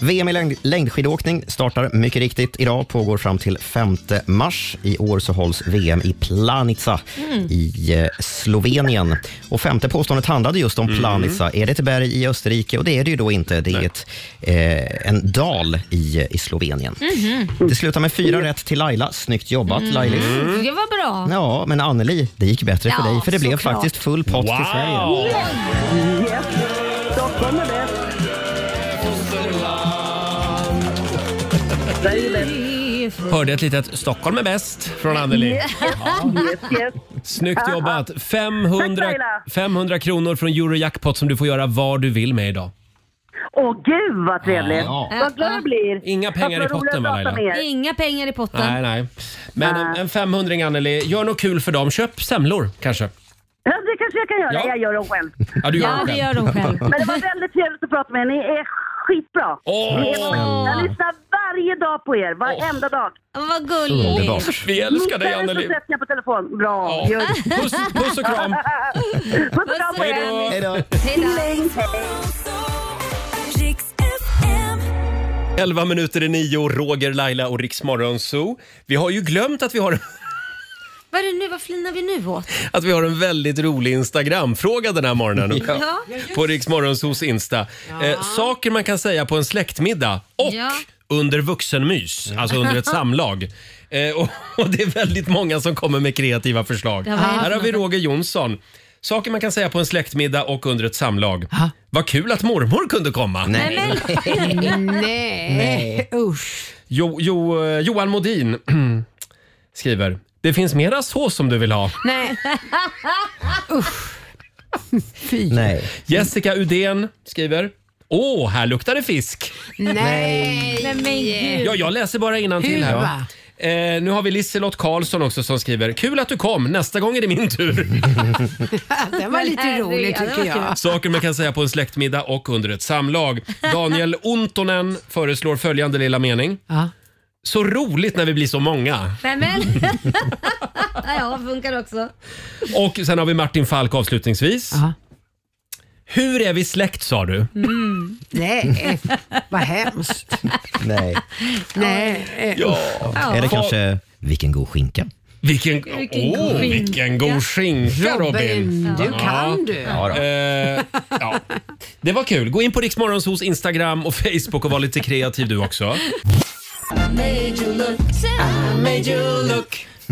Speaker 2: VM i längd, längdskidåkning startar mycket riktigt idag, pågår fram till 5 mars. I år så hålls VM i Planica
Speaker 20: Mm.
Speaker 2: i eh, Slovenien. Och femte påståendet handlade just
Speaker 1: Mm.
Speaker 2: om Planica. Är det ett berg i Österrike? Och det är det ju då inte. Det är ett, eh, en dal i, i Slovenien.
Speaker 5: Mhm.
Speaker 1: Mm.
Speaker 2: Det slutar med fyra rätt till Laila. Snyggt jobbat
Speaker 20: Mm.
Speaker 2: Lailis.
Speaker 5: Mm. Det var bra.
Speaker 2: Ja, men Anneli, det gick bättre för
Speaker 5: Ja,
Speaker 2: dig för det blev
Speaker 5: såklart.
Speaker 2: faktiskt full pott till Sverige.
Speaker 6: Yes. Stockholm är bäst. Sverige är bäst.
Speaker 1: Hörde ett litet Stockholm är bäst från Anneli.
Speaker 6: Yes, yes.
Speaker 1: Snyggt jobbat. 500,
Speaker 6: Tack, Laila.
Speaker 1: 500 kronor från Eurojackpot som du får göra vad du vill med idag.
Speaker 6: Åh gud vad trevligt!
Speaker 1: Ja.
Speaker 6: Vad glad jag blir!
Speaker 1: Inga pengar i
Speaker 6: Vad roligt
Speaker 1: potten, va,
Speaker 6: att prata
Speaker 1: Laila?
Speaker 6: med er.
Speaker 5: Inga pengar i potten.
Speaker 1: Nej, nej. Men en- en 500 Anneli, gör något kul för dem. Köp semlor kanske.
Speaker 6: Ja, det kanske jag kan göra.
Speaker 1: Ja.
Speaker 6: Jag gör dem själv.
Speaker 1: Ja, du gör Ja, dem själv. det gör de själv.
Speaker 6: Men det var väldigt trevligt att prata med er. Ni är skitbra.
Speaker 1: Åh.
Speaker 6: Ni är, jag lyssnar varje dag på er. Varenda dag.
Speaker 5: Vad
Speaker 1: gulligt. Underbart. Vi älskar dig, Anneli.
Speaker 6: så sätter jag på telefon. Bra.
Speaker 1: Ja.
Speaker 6: Gör det.
Speaker 1: Puss, puss och kram.
Speaker 6: Puss och kram på er.
Speaker 1: Hej då.
Speaker 6: Tilling.
Speaker 1: 11 minuter i nio, Roger, Laila och Rix Morgonzoo. Vi har ju glömt att vi har,
Speaker 5: Vad är det nu? Vad flinar vi nu åt?
Speaker 1: att vi har en väldigt rolig Instagram-fråga den här morgonen.
Speaker 5: Ja.
Speaker 1: På Rix Morgonzoos Insta. Eh, saker man kan säga på en släktmiddag och
Speaker 5: Ja.
Speaker 1: under
Speaker 5: Mm.
Speaker 1: vuxenmys, alltså under ett samlag. Eh, och, och det är väldigt många som kommer med kreativa förslag.
Speaker 5: Ja, vad är det för
Speaker 1: Här har vi
Speaker 5: något?
Speaker 1: Roger Jonsson. Saker man kan säga på en släktmiddag och under ett samlag. Vad kul att mormor kunde komma. Mm.
Speaker 20: Nej.
Speaker 1: Nej.
Speaker 20: Usch.
Speaker 1: Jo, jo, eh, Johan Modin skriver. Det finns mera sås som du vill ha.
Speaker 20: Nej. Usch. Fy.
Speaker 1: Nej. Jessica Udén skriver. Åh, här luktar det fisk.
Speaker 20: Nej.
Speaker 5: Men, men gud.
Speaker 1: Ja, jag läser bara innantill
Speaker 20: Hur,
Speaker 1: här.
Speaker 20: va?
Speaker 1: Eh, nu har vi Liselott Karlsson också som skriver. Kul att du kom, nästa gång är det min tur.
Speaker 20: Den var lite
Speaker 5: Herregud,
Speaker 20: rolig
Speaker 5: ja, det
Speaker 20: tycker
Speaker 5: var kul.
Speaker 20: jag.
Speaker 1: Saker man kan säga på en släktmiddag och under ett samlag. Daniel Ontonen föreslår följande lilla mening. Så roligt när vi blir så många.
Speaker 5: Men, men. ja, funkar också.
Speaker 1: Och sen har vi Martin Falk avslutningsvis. Hur är vi släkt sa du?
Speaker 20: Mm. Nej, vad hemskt.
Speaker 2: Nej.
Speaker 20: Nej.
Speaker 1: Ja.
Speaker 2: Eller kanske, vilken god skinka.
Speaker 1: Vilken,
Speaker 20: Vilken
Speaker 1: åh,
Speaker 20: god skinka.
Speaker 1: vilken god skinka
Speaker 20: Robin,
Speaker 1: Robin!
Speaker 20: du kan du. Ja då.
Speaker 1: Eh, ja. Det var kul. Gå in på Riksmorgons hos Instagram och Facebook och var lite kreativ du också.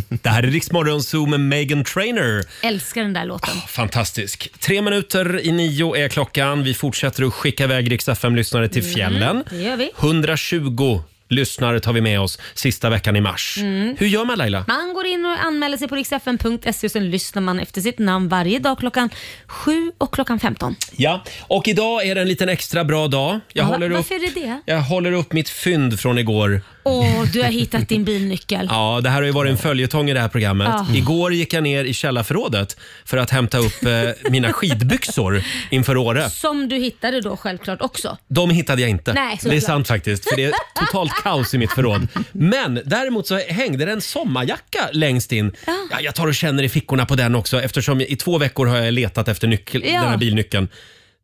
Speaker 1: Det här är Riksmorgon Zoo med Megan Trainer.
Speaker 5: Älskar den där låten.
Speaker 1: Fantastisk. Tre minuter i nio är klockan. Vi fortsätter att skicka iväg Rix lyssnare
Speaker 20: Mm,
Speaker 1: till fjällen.
Speaker 5: Det gör vi.
Speaker 1: 120 lyssnare tar vi med oss sista veckan i mars.
Speaker 5: Mm.
Speaker 1: Hur gör man Laila?
Speaker 5: Man går in och anmäler sig på riksfn.se E och sen lyssnar man efter sitt namn varje dag klockan 7 och klockan 15.
Speaker 1: Ja, och idag är det en liten extra bra dag. Jag,
Speaker 5: Va-
Speaker 1: håller, upp,
Speaker 5: Varför är det det?
Speaker 1: jag håller upp mitt fynd från igår.
Speaker 5: Åh, du har hittat din bilnyckel.
Speaker 1: Ja, det här har ju varit en följetong i det här programmet.
Speaker 5: Ja.
Speaker 1: Igår gick jag ner i källarförrådet för att hämta upp eh, mina skidbyxor inför Åre.
Speaker 5: Som du hittade då självklart också.
Speaker 1: De hittade jag inte.
Speaker 5: Nej,
Speaker 1: det är
Speaker 5: såklart.
Speaker 1: sant faktiskt, för det är totalt kaos i mitt förråd. Men däremot så hängde det en sommarjacka längst in. Ja, jag tar och känner i fickorna på den också eftersom i två veckor har jag letat efter nyckel,
Speaker 5: Ja.
Speaker 1: den här bilnyckeln.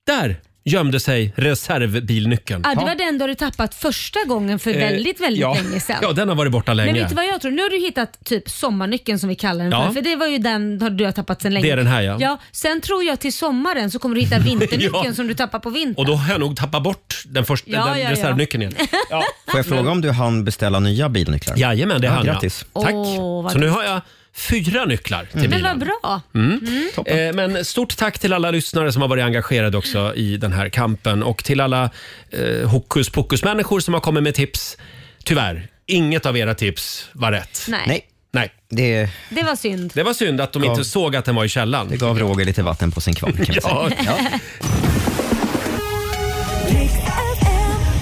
Speaker 1: Där gömde sig reservbilnyckeln.
Speaker 5: Ja, det var den du hade tappat första gången för
Speaker 1: Eh,
Speaker 5: väldigt, väldigt
Speaker 1: ja.
Speaker 5: länge sedan.
Speaker 1: Ja, den har varit borta länge.
Speaker 5: Men vet du vad jag tror? Nu har du hittat typ sommarnyckeln som vi kallar den
Speaker 1: Ja.
Speaker 5: för. För det var ju den har- du har tappat sedan länge.
Speaker 1: Det är den här, ja.
Speaker 5: ja. Sen tror jag till sommaren så kommer du hitta vinternyckeln
Speaker 1: Ja.
Speaker 5: som du tappar på vintern.
Speaker 1: Och då har jag nog tappat bort den, första,
Speaker 5: Ja,
Speaker 1: den
Speaker 5: ja, ja.
Speaker 1: reservnyckeln igen.
Speaker 2: Får jag fråga om du hann beställa nya bilnycklar?
Speaker 1: Jajamän, det hann jag.
Speaker 2: Grattis.
Speaker 5: Åh, vad
Speaker 1: Så nu
Speaker 5: roligt.
Speaker 1: har jag fyra nycklar till
Speaker 5: Men
Speaker 1: bilen.
Speaker 5: vad bra.
Speaker 1: Mm. Eh, men stort tack till alla lyssnare som har varit engagerade också i den här kampen och till alla eh, hokus pokus-människor som har kommit med tips. Tyvärr, inget av era tips var rätt.
Speaker 5: Nej. Nej.
Speaker 1: Nej.
Speaker 2: Det,
Speaker 5: Det var synd.
Speaker 1: det var synd att de
Speaker 2: Gav-
Speaker 1: inte såg att den var i källaren.
Speaker 2: det gav Roger lite vatten på sin kvarn kan vi
Speaker 1: Ja.
Speaker 2: säga.